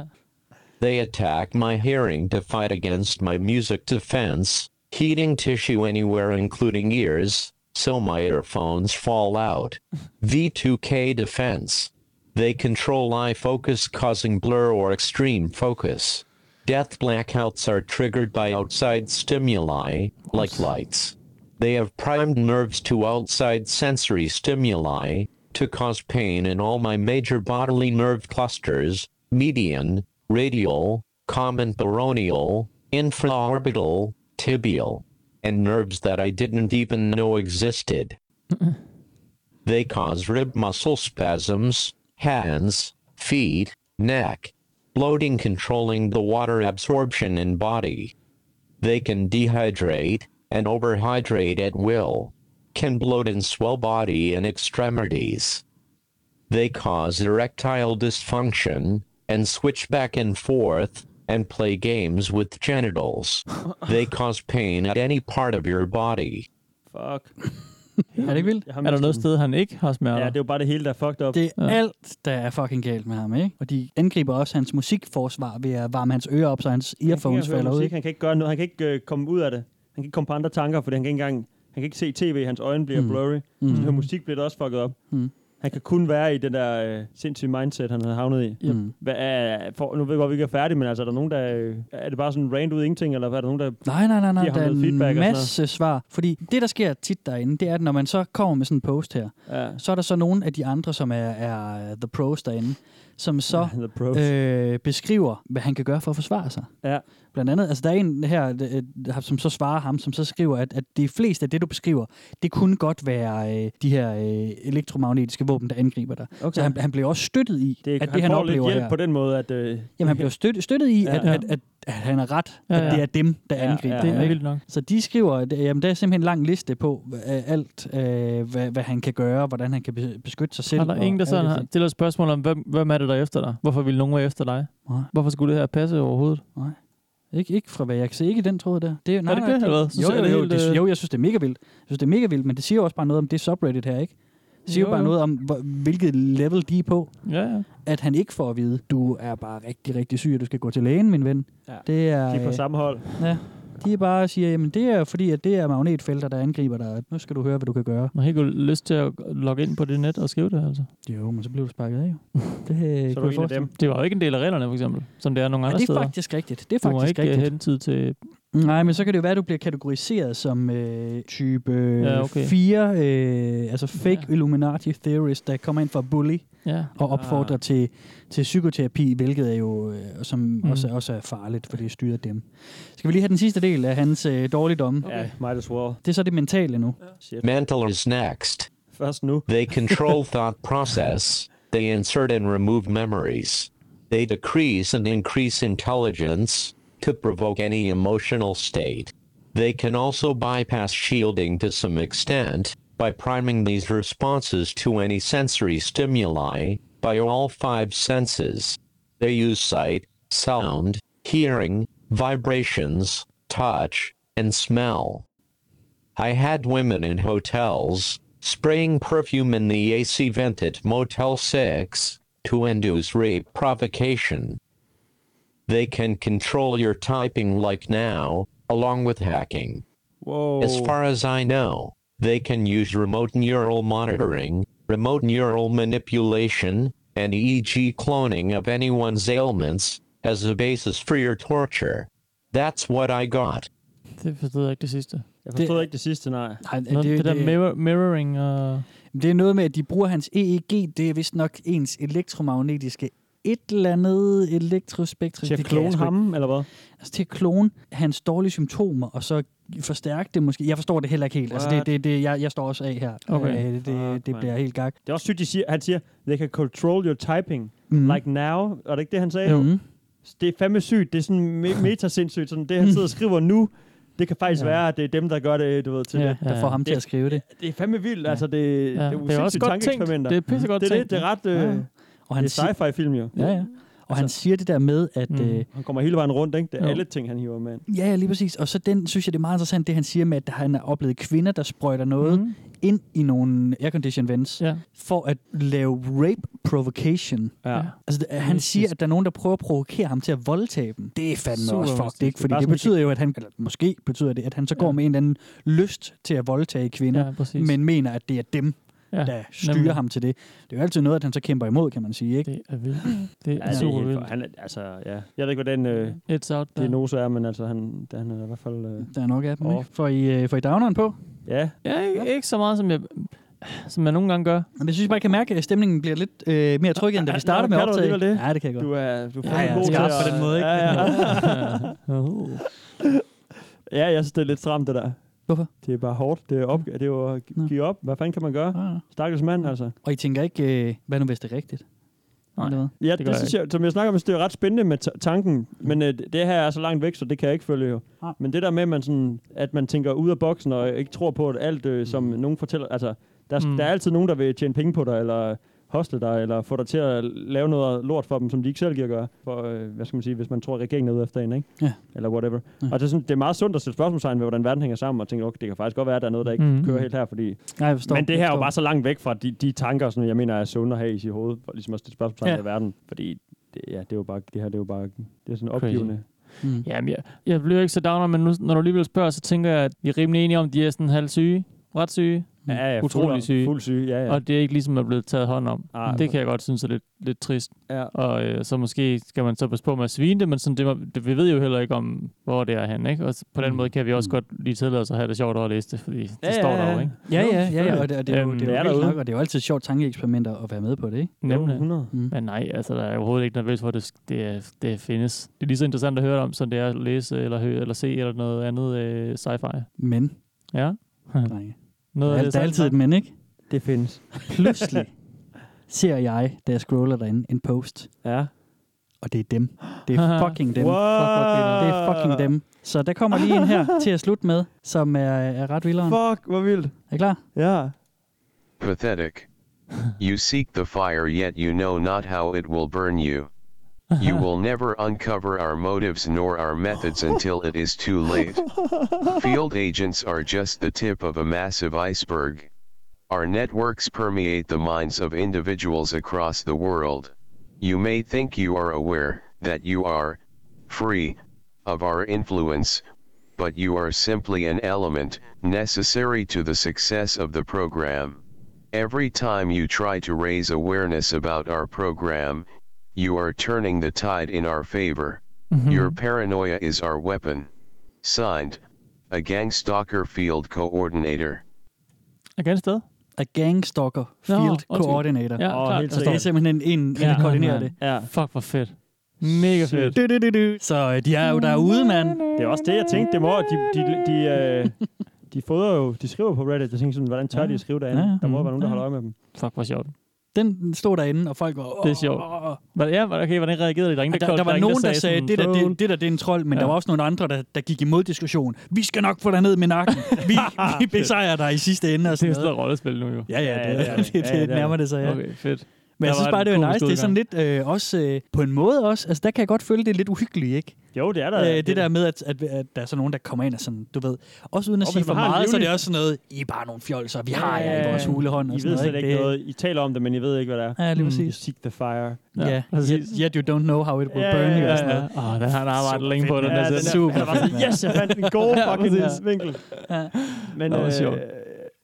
S10: They attack my hearing to fight against my music defense, heating tissue anywhere, including ears, so my earphones fall out. V2K defense. They control eye focus, causing blur or extreme focus. Death blackouts are triggered by outside stimuli, like lights. They have primed nerves to outside sensory stimuli to cause pain in all my major bodily nerve clusters median, radial, common baronial, infraorbital, tibial, and nerves that I didn't even know existed. they cause rib muscle spasms, hands, feet, neck, bloating, controlling the water absorption in body. They can dehydrate and overhydrate at will, can bloat and swell body and extremities. They cause erectile dysfunction and switch back and forth and play games with genitals. they cause pain at any part of your body.
S5: fuck.
S3: Er det ikke vildt?
S5: Jeg har
S4: Er der
S5: mistet
S4: noget
S5: den.
S4: sted, han ikke har smerter?
S5: Ja, det er jo bare det hele, der er fucked up.
S3: Det er ja. alt, der er fucking galt med ham, ikke? Og de angriber også hans musikforsvar ved at varme hans ører op, så hans
S5: han
S3: earphones
S5: kan, ikke
S3: falder
S5: høre
S3: ud.
S5: musik,
S3: Ikke?
S5: han kan ikke gøre noget, han kan ikke øh, komme ud af det. Han kan ikke komme på andre tanker, fordi han kan ikke engang, han kan ikke se tv, hans øjne bliver
S3: Mm.
S5: mm. blurry.
S3: Mm.
S5: Mm. Så hører musik bliver det også fucket op.
S3: Mm.
S5: Han kan kun være i den der øh, sindssyge mindset, han havde havnet i.
S3: Yep. Mm.
S5: Hva, er, for, nu ved jeg godt, vi ikke er færdige, men altså, er der nogen, der... øh, Er det bare sådan en rant ud af ingenting, eller hvad er der nogen, der...
S3: Nej, nej, nej, nej.
S5: Giver ham
S3: Der er
S5: noget
S3: en
S5: feedback og sådan
S3: masse svar. Fordi det, der sker tit derinde, det er, at når man så kommer med sådan en post her,
S5: Ja,
S3: så er der så nogle af de andre, som er, er the pros derinde, som så
S5: The pros. Øh,
S3: øh, beskriver, hvad han kan gøre for at forsvare sig.
S5: Ja.
S3: Blandt andet, altså der er en her, øh, som så svarer ham, som så skriver, at, at de fleste af det, du beskriver, det kunne godt være øh, de her øh, elektromagnetiske våben, der angriber dig. Okay. Så han, han blev også støttet i,
S5: det,
S3: at det
S5: han,
S3: han
S5: får lidt
S3: oplever
S5: hjælp
S3: her.
S5: på den måde, at... Øh,
S3: Jamen han blev støttet, støttet i, ja, at,
S5: ja.
S3: At, at, at han har ret, ja,
S4: Ja,
S3: ja. at det
S4: ja.
S3: er dem, der
S5: Ja,
S3: angriber
S5: ja,
S3: ham,
S4: det er
S3: ikke?
S4: vildt nok.
S3: Så de skriver, at øh, jamen, der er simpelthen en lang liste på øh, alt, øh, hvad, hvad han kan gøre, hvordan han kan be- beskytte sig selv.
S4: Er der
S3: og
S4: ingen, der
S3: alle
S4: sådan
S3: de
S4: har
S3: ting.
S4: stillet spørgsmål om, hvem, hvem er det, der er efter dig? Hvorfor vil nogen være efter dig?
S3: Nej.
S4: Hvorfor skulle det her passe overhovedet?
S3: Ikke, ikke fra hvad jeg kan se, ikke i den tråd der. Det,
S4: det ikke det, eller hvad? Så
S3: jo,
S4: ser
S3: jo,
S4: det
S3: jo,
S4: helt,
S3: det,
S4: øh,
S3: jo, jeg synes, det er mega vildt. Jeg synes, det er mega vildt, men det siger jo også bare noget om det subreddit her, ikke? Det siger jo,
S4: Jo,
S3: bare
S4: jo.
S3: noget om, hvor, hvilket level de er på,
S4: Ja, ja.
S3: at han ikke får at vide, du er bare rigtig, rigtig syg, og du skal gå til lægen, min ven.
S5: Ja.
S3: Det er,
S5: de er på
S3: øh,
S5: samme hold.
S3: Ja. De bare siger, jamen det er fordi, at det er magnetfelter, der angriber dig. og Nu skal du høre, hvad du kan gøre.
S4: Man har ikke lyst til at logge ind på det net og skrive det, altså.
S3: Jo, men så blev du sparket af, jo. Det øh,
S5: Så er du
S3: kunne
S5: en
S3: jeg
S5: af
S3: forestille
S5: dem.
S3: mig.
S4: Det var jo ikke en del af reglerne, for eksempel, som det er nogle
S3: Ja,
S4: andre
S3: det er
S4: steder.
S3: faktisk rigtigt. Det er
S4: Du må
S3: faktisk
S4: ikke øh,
S3: rigtigt.
S4: hentyde til
S3: Nej, men så kan det jo være, at du bliver kategoriseret som øh, type ja,
S4: Ja,
S3: okay.
S4: okay.
S3: 4, øh, altså fake ja. Illuminati theorist, der kommer ind fra Bully
S4: Ja.
S3: og opfordrer ah. til, til psykoterapi, hvilket er jo øh, som mm. også, også er farligt, for det styrer dem. Skal vi lige have den sidste del af hans øh, dårligdomme?
S5: Okay. Ja, might as well.
S3: Det er så det mentale nu.
S10: Mental is next.
S5: Først nu.
S10: They control thought process. They insert and remove memories. They decrease and increase intelligence to provoke any emotional state. They can also bypass shielding to some extent by priming these responses to any sensory stimuli by all five senses. They use sight, sound, hearing, vibrations, touch, and smell. I had women in hotels spraying perfume in the AC vent at Motel 6 to induce rape provocation. They can control your typing like now, along with hacking.
S5: Whoa.
S10: As far as I know, they can use remote neural monitoring, remote neural manipulation, and EEG cloning of anyone's ailments as a basis for your torture. That's what I got.
S4: Ah, Det forstod jeg ikke det sidste.
S5: Jeg forstod det... ikke det sidste, nej.
S3: Nej,
S4: Nå, det, det der mirror, mirroring og...
S3: det er noget med, at de bruger hans EEG, det er vist nok ens elektromagnetiske et eller andet elektrospektrum.
S5: Til at
S3: Det kan jeg
S5: klone
S3: sgu ikke-
S5: ham, eller hvad?
S3: Altså til at klone hans dårlige symptomer, og så forstærke det måske. Jeg forstår det heller ikke helt. Altså det,
S5: What?
S3: det, det, jeg, jeg står også af her.
S4: Okay.
S3: Øh, det, det, det
S5: man.
S3: bliver helt gak.
S5: Det er også sygt, de siger, han siger, they can control your typing,
S3: Mm.
S5: mm. like now. Er det ikke det, han sagde?
S3: Mhm.
S5: Det er fandme sygt. Det er sådan me- metasindssygt. Sådan det, han sidder og skriver nu, det kan faktisk
S3: Ja.
S5: ja. være, at det er dem, der gør det, du ved, til
S4: Ja.
S5: ja. det.
S3: der får ham til
S5: Det-
S3: at skrive det.
S5: Det er fandme vildt. Altså, det, det er
S4: Ja. Det er også
S5: usindssygt
S4: godt tænkt.
S5: tankeeksperimenter.
S4: Det er pissegodt
S5: det er
S4: tænkt.
S5: det, det er ret... Øh,
S3: Ja. Og han,
S5: Det er altså. sci-fi
S3: siger,
S5: film jo.
S3: ja, ja. og han siger det der med, at...
S4: Mm.
S3: Øh,
S5: Han kommer hele vejen rundt, ikke? Det er
S4: Jo.
S5: alle ting, han hiver med. ind.
S3: ja, ja, lige præcis. Og så den, synes jeg, det er meget interessant, det han siger med, at han har oplevet kvinder, der sprøjter noget mm.
S4: Mhm.
S3: ind i nogle aircondition vents,
S4: Ja.
S3: for at lave rape provocation.
S5: Ja.
S3: Altså, det- han
S4: Mystisk.
S3: siger, at der er nogen, der prøver at provokere ham til at voldtage dem. Det er fandme
S4: Super
S3: også fucked,
S4: mystisk.
S3: ikke? Fordi
S5: Bare
S3: det
S5: sådan-
S3: betyder jo, at han, eller måske betyder det, at han så går
S4: Ja.
S3: med en eller anden lyst til at voldtage kvinder,
S4: Ja, præcis.
S3: men mener, at det er dem,
S4: ja.
S3: der styrer
S4: nemlig.
S3: ham til det. Det er jo altid noget, at han så kæmper imod, kan man sige, ikke?
S4: Det er vildt. Det er
S5: Ja, det er
S4: super
S5: helt,
S4: vildt.
S5: for- han, er- altså, ja. Jeg ved ikke, hvordan øh,
S4: It's out
S5: det
S4: there.
S5: er nogen er, men altså, han, det- han er i hvert fald... Øh,
S3: Der er nok af dem,
S5: Åh.
S3: ikke? Får I, øh, får I downeren på?
S5: ja,
S4: Ja, ikke, ikke så meget, som jeg, som jeg nogle gange gør.
S3: Men jeg synes bare, jeg kan mærke, at stemningen bliver lidt øh, mere trykket, end da vi
S5: Nå,
S3: startede med
S5: kan du
S3: optaget.
S5: alligevel det?
S3: Ja, det kan jeg godt.
S5: du er, du er
S3: Ja,
S5: fandme
S3: ja,
S5: god til
S3: skarp
S5: at-
S3: på den måde, ikke?
S5: Ja, ja.
S4: Oh.
S5: ja, jeg synes, det er lidt stramt, det der.
S3: Hvorfor?
S5: Det er bare hårdt. Det er, op, det er jo at
S3: Nå.
S5: gi- give op. Hvad fanden kan man gøre?
S3: Ah.
S5: Stakkels mand, altså.
S3: Og I tænker ikke, øh, hvad nu hvis det er rigtigt?
S4: Nej.
S3: Eller hvad?
S5: Ja,
S4: gør
S5: det,
S4: jeg
S5: det synes jeg, som jeg snakker om, så det er ret spændende med ta- tanken, men øh, det her er så langt væk, så det kan jeg ikke følge jo.
S3: Nej.
S5: Men det der med, at man, sådan, at man tænker ud af boksen og ikke tror på, at alt, øh, som nogen fortæller, altså, der,
S4: Mm.
S5: mm. der er altid nogen, der vil tjene penge på dig, eller hostle dig, eller få dig til at lave noget lort for dem, som de ikke selv giver at gøre, for, øh, hvad skal man sige, hvis man tror, at regeringen er ude efter en, ikke?
S3: Ja.
S5: Eller whatever.
S3: Ja.
S5: Ja. Og det er, sådan, det er meget sundt at stille spørgsmålstegn ved, hvordan verden hænger sammen, og tænke, okay, det kan faktisk godt være, at der er noget, der ikke
S4: Mm.
S5: mm. kører helt her, fordi...
S3: Nej, jeg forstår.
S5: Men det her
S3: jeg
S5: er jo
S3: forstår.
S5: bare så langt væk fra de, de tanker, som jeg mener er sunde at have i sit hoved, for ligesom at stille spørgsmålstegn
S3: Ja.
S5: ja. ved verden. Fordi det, ja, det er jo bare, det her det er jo bare, det er sådan
S4: Crazy.
S5: opgivende.
S3: Mm.
S4: Jamen, jeg, jeg bliver ikke så downer, men nu, når du alligevel spørger, så tænker jeg, at vi er rimelig enige om, at de er sådan halv syge, ret syge,
S3: Mm.
S5: Ja, ja,
S4: Utrolig
S5: fuld,
S4: syge.
S5: Fuld syge, ja,
S4: ja.
S5: ja.
S4: og det er ikke ligesom er blevet taget hånd om.
S5: Ah,
S4: det kan jeg godt synes er lidt, lidt trist.
S5: ja.
S4: Og øh, så måske skal man så passe på med at svine det, men sådan, det, må- det, vi ved jo heller ikke om, hvor det er han, ikke? Og s- på den
S3: Mm.
S4: måde kan vi også
S3: Mm.
S4: godt lige tillade os at have det sjovt over at læse det, fordi det
S5: Ja,
S4: står
S5: ja,
S4: der jo,
S5: ja.
S4: ikke?
S3: Ja,
S5: Jo,
S3: ja, ja, ja,
S5: selvfølgelig.
S3: og det, og det, er jo-
S4: Øhm,
S3: det,
S5: det
S3: er
S5: er
S3: jo vildt
S5: derude.
S3: nok, og det er jo altid et sjovt tankeeksperimenter at være med på det, ikke?
S4: Nemlig.
S5: 100.
S3: Mm.
S4: Men nej, altså, der er jeg overhovedet ikke nervøs for, at det, det, er- det findes. Det er lige så interessant at høre om, som det er at læse, eller høre, eller se, eller noget andet øh, sci-fi.
S3: Men,
S4: Ja.
S3: drenge,
S4: Noget
S3: der
S4: af
S3: er,
S4: det
S3: der er
S4: samme
S3: altid
S4: snak.
S3: et men, ikke?
S5: Det findes.
S3: Pludselig ser jeg, da jeg scroller derinde, en post,
S5: Ja.
S3: og det er dem. Det er fucking dem. Det er fucking dem. Så der kommer lige en her til at slutte med, som er, er ret vilderen.
S5: Fuck, hvor vildt.
S3: Er I klar?
S5: Ja.
S11: Pathetic. you seek the fire, yet you know not how it will burn you. You will never uncover our motives nor our methods until it is too late. Field agents are just the tip of a massive iceberg. Our networks permeate the minds of individuals across the world. You may think you are aware that you are free of our influence, but you are simply an element necessary to the success of the program. Every time you try to raise awareness about our program, you are turning the tide in our favor. Your paranoia is our weapon. Signed, a gang stalker field coordinator.
S4: Again sted?
S3: A gang stalker field
S4: undskyld.
S3: coordinator.
S4: Ja,
S3: Åh,
S4: klart.
S3: helt
S4: Der
S3: sikkert.
S4: står-
S3: det er simpelthen en, der
S4: Ja.
S3: koordinerer det.
S4: Ja. Fuck, hvor fedt. Mega fedt.
S3: Du, du, du, du. Så øh, de er jo derude, mand.
S5: Det er også det, jeg tænkte. Det må, de, de, de, øh, de fodrer jo, de skriver på Reddit. Jeg tænkte sådan, hvordan tør de at skrive derinde?
S3: Ja, ja.
S5: Der må være nogen, der
S3: Ja.
S5: holder øje med dem.
S4: Fuck, hvor sjovt.
S3: Den stod derinde, og folk var... Åh,
S4: Det er sjovt. Hvad, ja, hva- okay, hvordan reagerede de? Der, er ingen,
S3: Der, der var
S4: ingen,
S3: nogen, der sagde,
S4: sådan,
S3: det der,
S4: "Troll."
S3: det, det der det er en trold, men
S4: Ja.
S3: ja. der var også nogle andre, der, der gik imod diskussionen. Vi skal nok få dig ned med nakken. Vi, vi besejrer dig i sidste ende. Og
S4: Det er
S3: sådan
S4: jo sådan
S3: noget.
S4: noget rollespil nu, jo.
S3: Ja, ja, det,
S5: Ja, ja, det er
S3: ja,
S5: det.
S3: det, det,
S5: Ja, ja, det
S3: det
S5: er
S3: nærmer det sig, ja.
S4: Okay, fedt.
S3: Men jeg
S4: Der
S3: synes
S4: var
S3: bare,
S4: en
S3: det var
S4: komisk
S3: nice. Det er sådan
S4: udgang.
S3: lidt, øh, også øh, på en måde også, altså der kan jeg godt føle, det er lidt uhyggeligt, ikke?
S5: Jo, det er der.
S3: Øh, det der med, at, at, at der er så nogen, der kommer ind og sådan, du ved, også uden at
S5: Og
S3: sige
S5: hvis
S3: for
S5: man har en
S3: meget, så er det
S5: livlig-
S3: også sådan noget, I er bare nogle fjolser, vi har jer i
S5: Ja,
S3: vores hulehånd og
S5: I
S3: sådan
S5: ved
S3: noget.
S5: slet ikke
S3: Det-
S5: noget. I taler om det, men I ved ikke, hvad det er.
S3: Ja, lige
S4: Mm.
S3: præcis.
S5: Seek the fire.
S3: Ja, yeah.
S4: præcis.
S3: Yet, yet you don't know how it will
S5: Ja,
S3: burn you.
S5: ja,
S3: og sådan
S5: ja.
S3: noget.
S4: Åh, den har han arbejdet
S3: Super
S4: længe på,
S3: fedt,
S4: den
S3: mand.
S4: der
S3: Ja,
S4: sæt.
S3: den er- super
S5: Jeg var sådan,
S3: fedt, mand.
S5: yes, jeg fandt den gode
S3: Ja,
S5: fucking
S3: præcis.
S5: vinkel.
S3: Ja.
S5: Men,
S4: Det var
S5: øh,
S4: sjovt.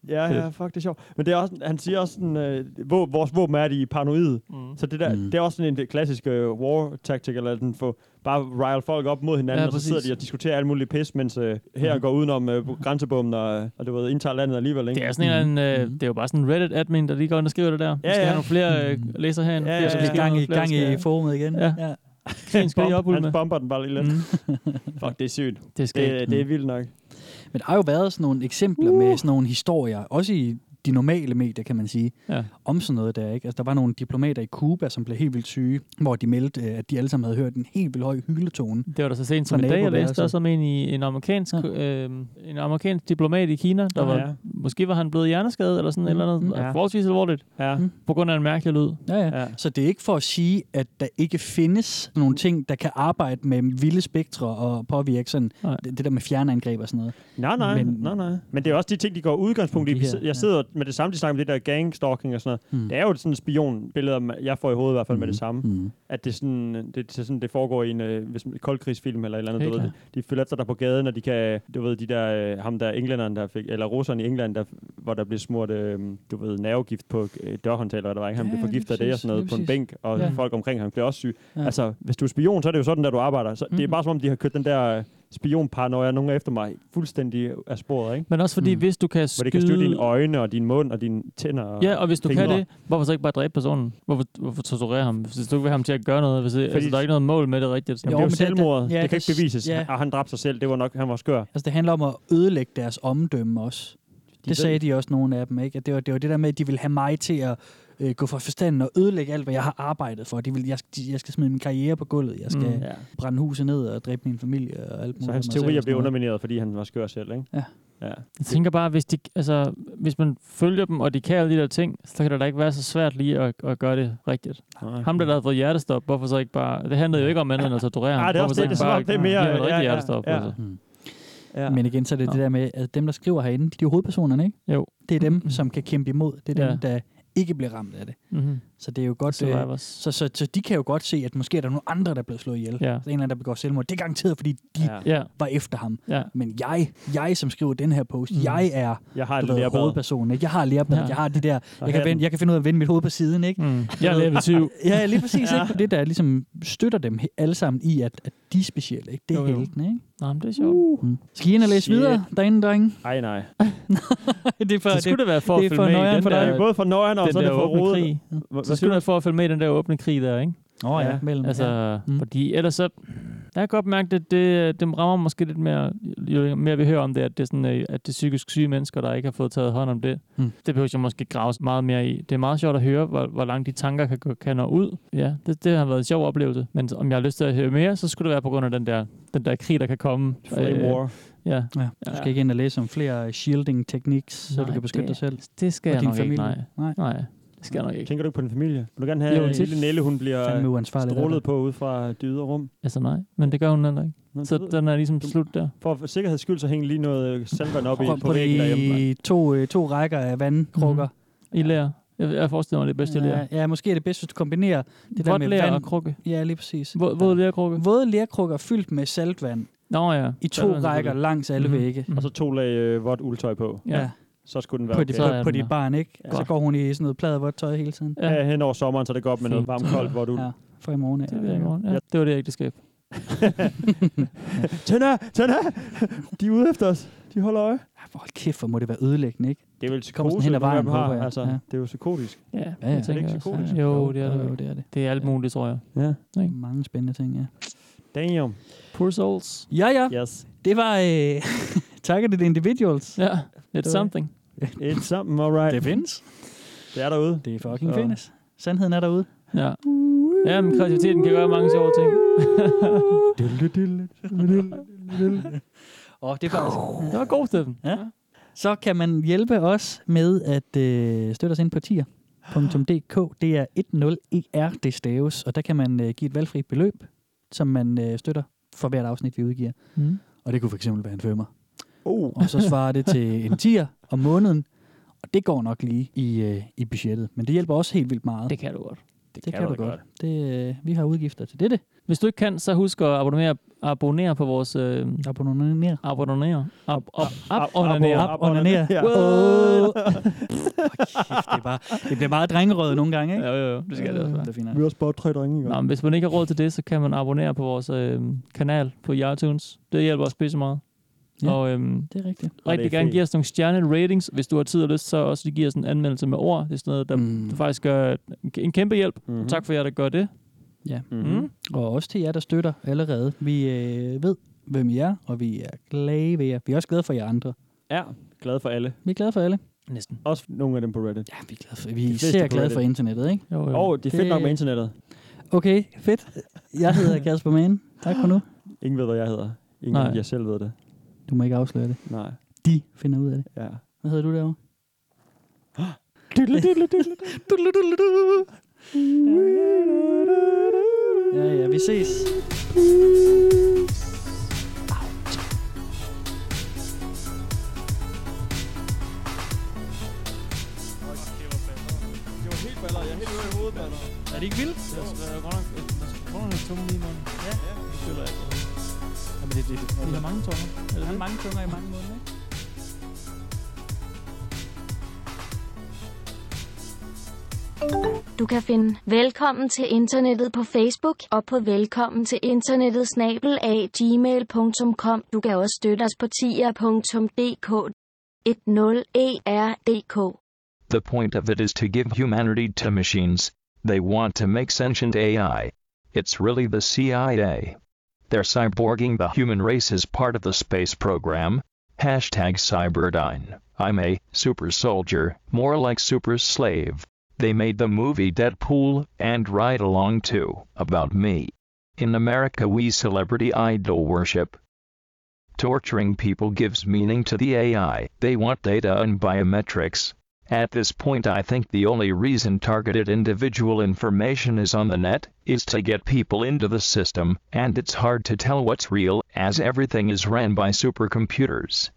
S5: Ja, ja, fuck, det er sjovt. Men det er også, han siger også sådan, øh, hvor, vores våben er de paranoide.
S4: Mm.
S5: Så det, der,
S3: Mm.
S5: mm. det er også sådan en det klassisk øh, war tactic, eller den får bare rile folk op mod hinanden,
S4: Ja,
S5: ja, og så
S4: præcis.
S5: sidder de og diskuterer alt muligt pis, mens øh, her
S4: Mhm.
S5: går udenom øh, grænsebommen og, og det ved, indtager landet alligevel. Ikke? Mm-hmm.
S4: Det er sådan en eller anden, øh, det er jo bare sådan en Reddit-admin, der lige går ind og skriver det der. Ja, vi skal
S5: ja.
S4: have nogle flere øh, læsere herinde.
S5: Ja,
S4: flere,
S5: ja,
S4: som
S5: ja.
S4: skriver,
S3: Gang i,
S4: flere,
S3: gang
S4: der
S3: i
S4: skal-
S3: forumet igen.
S4: Ja.
S3: ja.
S4: Krigen skal lige
S5: Bomb,
S4: oprulle
S5: han
S4: med.
S5: bomber den bare lige lidt.
S3: Mm.
S5: Fuck, det er sygt.
S4: Det skal
S5: Det, det er vildt nok.
S3: Men der har jo været sådan nogle eksempler uh. med sådan nogle historier, også i de normale medier, kan man sige,
S4: Ja.
S3: om sådan noget der, ikke? Altså, der var nogle diplomater i Cuba, som blev helt vildt syge, hvor de meldte, øh, at de alle sammen havde hørt en helt vildt høj hyletone.
S4: Det var da så sent som
S3: Fra
S4: i dag, jeg
S3: naboværelset.
S4: læste også om en, i, en, amerikansk,
S3: Ja.
S4: ja. øh, en amerikansk diplomat i Kina, der
S5: Ja,
S4: ja, var,
S5: ja. Mm-hmm.
S4: måske var han blevet hjerneskadet eller sådan mm, et eller
S3: Mm,
S4: andet,
S5: ja.
S4: ja. forholdsvis alvorligt,
S5: Ja.
S3: Mm.
S4: på grund af en mærkelig lyd.
S3: Ja, ja.
S5: Ja.
S3: Så det er ikke for at sige, at der ikke findes nogle ting, der kan arbejde med vilde spektre og påvirke sådan
S4: Nej.
S3: det, det der med fjernangreb og sådan noget.
S5: Nej, nej,
S3: Men-
S5: men, nej, nej. Men det er også de ting, de går udgangspunkt i.
S3: De
S5: Vi
S3: her,
S5: si-
S3: ja.
S5: Jeg sidder med det samme, de snakker om det der gangstalking og sådan noget.
S3: Mm.
S5: Mm. Det er jo sådan et spionbillede, man- jeg får i hovedet i hvert fald mm. med det samme.
S3: Mm.
S5: At det, er sådan, det, det, er sådan, det foregår i en øh, hvis, en koldkrigsfilm eller et eller andet.
S4: Helt
S5: Du ved, det. de følger efter dig på gaden, og de kan, du ved, de der, øh, ham der englænderen, der fik, eller russeren i England, der, hvor der blev smurt, øh, du ved, nervegift på øh, dørhåndtag, eller hvad der var, ikke? Han
S3: Ja,
S5: ja, blev
S3: ja, lige
S5: forgiftet af det og
S3: præcis,
S5: sådan noget
S3: lige
S5: på en
S3: præcis.
S5: bænk, og
S3: Ja.
S5: ja. folk omkring ham blev også syge.
S3: Ja.
S5: Ja. Altså, hvis du er spion, så er det jo sådan, der du arbejder. Så mm. det er
S4: Mhm.
S5: bare som om, de har kørt den der øh, spionparanoia, nogen efter mig, fuldstændig af sporet, ikke?
S4: Men også fordi,
S3: Mm.
S4: mm. hvis du kan
S5: Hvor
S4: skyde...
S5: det kan styre dine øjne og din mund og dine tænder. Og
S4: Ja, og hvis du kan
S5: fingre.
S4: det, hvorfor så ikke bare dræbe personen? Hvorfor, hvorfor torturere ham? Hvis du ikke vil have ham til at gøre noget, hvis, Fordi... altså, der er ikke noget mål med det rigtigt.
S5: Jamen,
S3: Jo,
S5: det er jo
S3: men det-
S5: selvmord. Det,
S3: det-
S5: det,
S3: ja,
S5: ja, det kan
S3: det-
S5: ikke bevises.
S3: ja.
S5: Ja. Og han dræbte sig selv. Det var nok, han var skør.
S3: Altså, det handler om at ødelægge deres omdømme også.
S5: ved-
S3: Det sagde de også, nogle af dem, ikke? At det var det, var det der med, at de ville have mig til at øh, gå fra forstanden og ødelægge alt, hvad jeg har arbejdet for. De vil, jeg, de, jeg skal smide min karriere på gulvet, jeg skal mm,
S5: Ja.
S3: brænde huset ned og dræbe min familie og alt muligt.
S5: Så
S3: af
S5: hans
S3: mig selv
S5: teorier
S3: og sådan
S5: blev
S3: noget.
S5: undermineret, fordi han var skør selv, ikke?
S3: Ja.
S5: ja.
S4: Jeg tænker bare, hvis, de, altså, hvis man følger dem, og de kan alle de der ting, så kan det da ikke være så svært lige at, at gøre det rigtigt.
S5: Nej.
S4: Ham, der havde fået hjertestop, hvorfor så ikke bare... Det handlede jo ikke om andet end at torturere ham.
S5: Ah, det er
S4: Hvorfor
S5: også
S4: så
S5: det,
S4: ikke
S5: det er som
S4: bare
S5: om, det er
S4: give
S5: mere-
S4: ham et
S5: ja,
S4: rigtigt
S5: ja,
S4: hjertestop,
S5: ja.
S4: altså.
S3: Mm.
S5: Ja.
S3: Men igen, så er det det
S4: Nå.
S3: der med, at dem, der skriver herinde, de er jo hovedpersonerne, ikke?
S4: Jo.
S3: Det er dem, som kan kæmpe imod. Det er dem,
S4: Ja.
S3: der ikke bliver ramt af det.
S4: Mm-hmm.
S3: Så det er jo godt... Øh,
S4: Survivors.
S3: så, så, så de kan jo godt se, at måske er der nogle andre, der er blevet slået ihjel. Så
S4: Ja.
S3: en eller anden, der begår selvmord. Det er garanteret, fordi de ja.
S5: Ja.
S4: Ja,
S3: var efter ham.
S4: ja.
S3: Men jeg, jeg som skriver den her post, mm.
S4: Mm.
S3: jeg er
S5: Jeg har
S3: du
S5: et
S3: ved,
S5: lærbad.
S3: hovedpersonen. Ikke? Jeg har lærbad,
S4: Ja.
S3: jeg har de der... Jeg kan,
S5: hatten.
S3: vende, jeg kan finde ud af at vende mit hoved på siden, ikke?
S4: Mm. Jeg er level 20.
S3: Ja, lige præcis. ja. Ikke? Det, der ligesom støtter dem he- alle sammen i, at, at de er specielle, ikke? Det er
S4: Jo, jo.
S3: heltene, ikke?
S4: Nå, men det er
S5: Uh.
S4: sjovt.
S3: Mm. Skal I ind og læse
S5: Shit.
S3: videre derinde, drenge?
S5: Ej, nej.
S3: det er for,
S4: Så skulle det være for at
S3: det er
S4: følge
S3: for
S4: med i
S3: nøjeren
S4: den
S3: for
S5: Der
S3: dig.
S4: der,
S5: er jo både for nøjerne og
S4: den
S5: så er det
S4: der
S5: for
S4: åbne
S5: rodet.
S4: krig.
S5: Hvad-
S4: Så
S5: hvad du-
S4: skulle det være for at følge med i den der åbne krig der, ikke?
S3: Åh oh, ja,
S5: Ja.
S3: mellem.
S4: Altså,
S3: ja.
S4: ja.
S3: Mm.
S4: fordi ellers så... Jeg kan godt mærke, at det, dem rammer måske lidt mere, jo mere vi hører om det, at det er, sådan, øh, at det er psykisk syge mennesker, der ikke har fået taget hånd om det.
S3: Mm.
S4: Det behøver jeg måske grave meget mere i. Det er meget sjovt at høre, hvor, hvor langt de tanker kan, gå- kan nå ud. Ja, det, det har været en sjov oplevelse. Men om jeg har lyst til at høre mere, så skulle det være på grund af den der, den der krig, der kan komme. Øh,
S5: Flame war.
S4: ja,
S3: Ja, du skal ikke ind og læse om flere shielding techniques, så du
S4: Nej,
S3: kan beskytte
S4: det-
S3: dig selv
S4: det skal
S3: og
S4: jeg
S3: din
S4: nok
S3: familie.
S4: ikke.
S3: Nej.
S4: Nej, nej, det skal jeg nok ikke.
S5: Tænker du ikke på din familie? Vil du gerne have
S4: Jo,
S5: en
S4: tit.
S5: lille Nelle, hun bliver
S4: Øh,
S3: Fandme uansvarligt.
S5: strålet på ud fra det ydre rum?
S4: Altså nej, men det gør hun heller ikke.
S5: Nå,
S4: Så
S5: du ved-
S4: den er ligesom slut der.
S5: For for sikkerheds skyld, så hæng lige noget øh, saltvand op i,
S3: Prøv
S5: på
S3: på
S5: væggen derhjemme. mand.
S3: de to, øh, to rækker af vandkrukker.
S4: I lærer. Jeg, jeg forestiller mig, det er Mhm. bedst, jeg lærer.
S3: ja, ja, måske er det bedst, hvis du kombinerer det der
S4: Vådt
S3: med
S4: ler og
S3: vand.
S4: krukke.
S3: Ja, lige præcis.
S4: Våd, våd lærkrukke.
S3: Våde lerkrukker fyldt med saltvand
S4: Nå ja.
S3: i
S4: Så
S3: to
S4: er det
S3: rækker
S4: selvfølgelig.
S3: langs alle
S4: Mhm.
S3: vægge.
S4: Mhm.
S5: Og så to lag øh, vådt uldtøj på.
S4: Ja.
S3: Ja,
S5: Så skulle den være
S3: på, dit,
S5: okay.
S4: Så er
S3: på, på
S4: den
S3: dit
S4: der.
S3: barn, ikke? Og så
S4: Godt.
S3: går hun i sådan noget plader vådt tøj hele tiden.
S4: Ja.
S5: Ja, hen over sommeren, så det går op med noget
S4: Fint.
S5: varmt koldt, hvor du...
S3: Ja. For i morgen af.
S4: Det, er det, i morgen. ja.
S5: Ja.
S4: det var det ægteskab.
S5: Tønder! Tønder! De er ude efter os. De holder øje.
S3: Hold kæft, hvor må det være ødlæggende, ikke?
S5: Det er vel
S3: Så kommer
S5: psykose,
S3: sådan hen ad
S5: nogle af
S3: vejen,
S5: dem har.
S3: håber jeg.
S5: Altså,
S3: Ja.
S5: Det er jo psykotisk.
S4: Ja,
S3: ja.
S4: jeg
S5: Det er
S4: tænker
S5: ikke
S4: også.
S5: psykotisk.
S4: Ja. Jo, det er det.
S3: Jo, det er det.
S4: Det er alt muligt, tror jeg.
S5: Ja.
S4: Ikke?
S3: Mange spændende ting, ja.
S5: Damn.
S4: Poor souls.
S3: Ja, ja.
S5: Yes.
S3: Det var øh, Targeted Individuals.
S4: Ja, it's something.
S5: It's something, all right.
S3: Det findes.
S5: Det er derude.
S3: Det er fucking
S5: Så-
S3: findes. Sandheden er derude.
S4: Ja. ja, men kreativiteten kan gøre mange sjove ting.
S3: Og det er faktisk...
S4: Det var god, Steffen.
S3: Ja. Så kan man hjælpe os med at øh, støtte os ind på tier.dk. Det er 10er, det staves, og der kan man øh, give et valgfrit beløb, som man øh, støtter for hvert afsnit, vi udgiver.
S4: Mm.
S3: Og det kunne fx være en femmer.
S5: Oh.
S3: Og så svarer det til en tier om måneden, og det går nok lige i, øh, i budgettet. Men det hjælper også helt vildt meget.
S4: Det kan du godt.
S3: det kan, du godt. Det, øh, vi har udgifter til dette.
S4: Hvis du ikke kan, så husk at abonnere, abonnere på vores... Øh,
S3: Abonnere.
S4: abonnere. Ab, ab, ab, ab,
S5: abonnere.
S4: abonnere.
S3: Op og ned.
S5: Ja.
S3: Wow. Kæft, det, er bare, det bliver meget drengerød nogle gange, ikke?
S4: Ja, jo, jo. Det skal det også være.
S3: Det er fint. nok.
S5: Vi er også bare tre drenge i
S4: Nå,
S5: gang.
S4: men hvis man ikke har råd til det, så kan man abonnere på vores øh, kanal på iTunes. Det hjælper os pisse meget.
S3: Ja.
S4: Ja. Og øhm,
S3: Det er rigtigt.
S4: rigtig
S5: er
S4: gerne
S5: fint.
S4: give os nogle stjerne ratings. Hvis du har tid og lyst, så også giv os en anmeldelse med ord. Det er sådan noget, der
S3: Mm.
S4: mm. faktisk gør en kæmpe hjælp.
S5: Mhm.
S4: Mm-hmm. Tak for jer, der gør det.
S3: Ja.
S4: Mm-hmm.
S3: Og også til jer, der støtter allerede. Vi øh, ved, hvem I er, og vi er glade ved jer. Vi er også glade for jer andre.
S5: Ja, glad for alle.
S3: Vi er glade for alle.
S4: Næsten.
S5: Også nogle af dem på Reddit.
S3: Ja, vi er glade for, vi er
S5: De fleste
S3: især
S5: på
S3: glade
S5: Reddit.
S3: for internettet, ikke?
S4: Jo, jo.
S5: Og det er fedt
S3: Det-
S5: nok med internettet.
S3: Okay, fedt. Jeg hedder Kasper Mann. Tak for nu.
S5: Ingen ved, hvad jeg hedder. Ingen
S4: Nej.
S5: Nej. jeg selv ved det.
S3: Du må ikke afsløre det.
S5: Nej.
S3: De finder ud af det.
S5: Ja.
S3: Hvad hedder du derovre? Ja, ja, vi ses.
S4: Er det ikke vildt? Det er godt nok... Hvor er det tunge lige munden? Ja. Det føler jeg ikke. Jamen, det, det, det, det er mange tunger.
S3: Der er mange tunger i mange måneder, ikke?
S2: Du kan finde Velkommen til internettet på Facebook og på velkommen til internettet snabel af gmail.com. Du kan også støtte os på tier.dk E 10er.dk.
S6: The point of it is to give humanity to machines. They want to make sentient AI. It's really the CIA. They're cyborging the human race as part of the space program. Hashtag Cyberdyne. I'm a super soldier, more like super slave. They made the movie Deadpool and Ride Along too about me. In America, we celebrity idol worship. Torturing people gives meaning to the AI. They want data and biometrics. At this point, I think the only reason targeted individual information is on the net is to get people into the system, and it's hard to tell what's real, as everything is ran by supercomputers.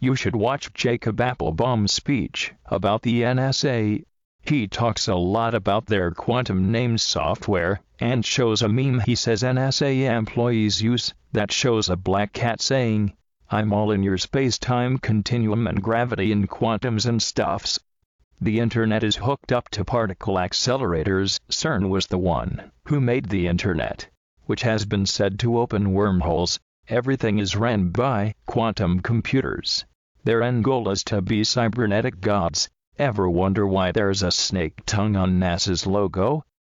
S6: You should watch Jacob Applebaum's speech about the NSA. He talks a lot about their quantum names software, and shows a meme he says NSA employees use that shows a black cat saying, I'm all in your space time continuum and gravity and quantums and stuffs. The internet is hooked up to particle accelerators. CERN was the one who made the internet, which has been said to open wormholes. Everything is ran by quantum computers. Their end goal is to be cybernetic gods. Ever wonder why there's a snake tongue on NASA's logo?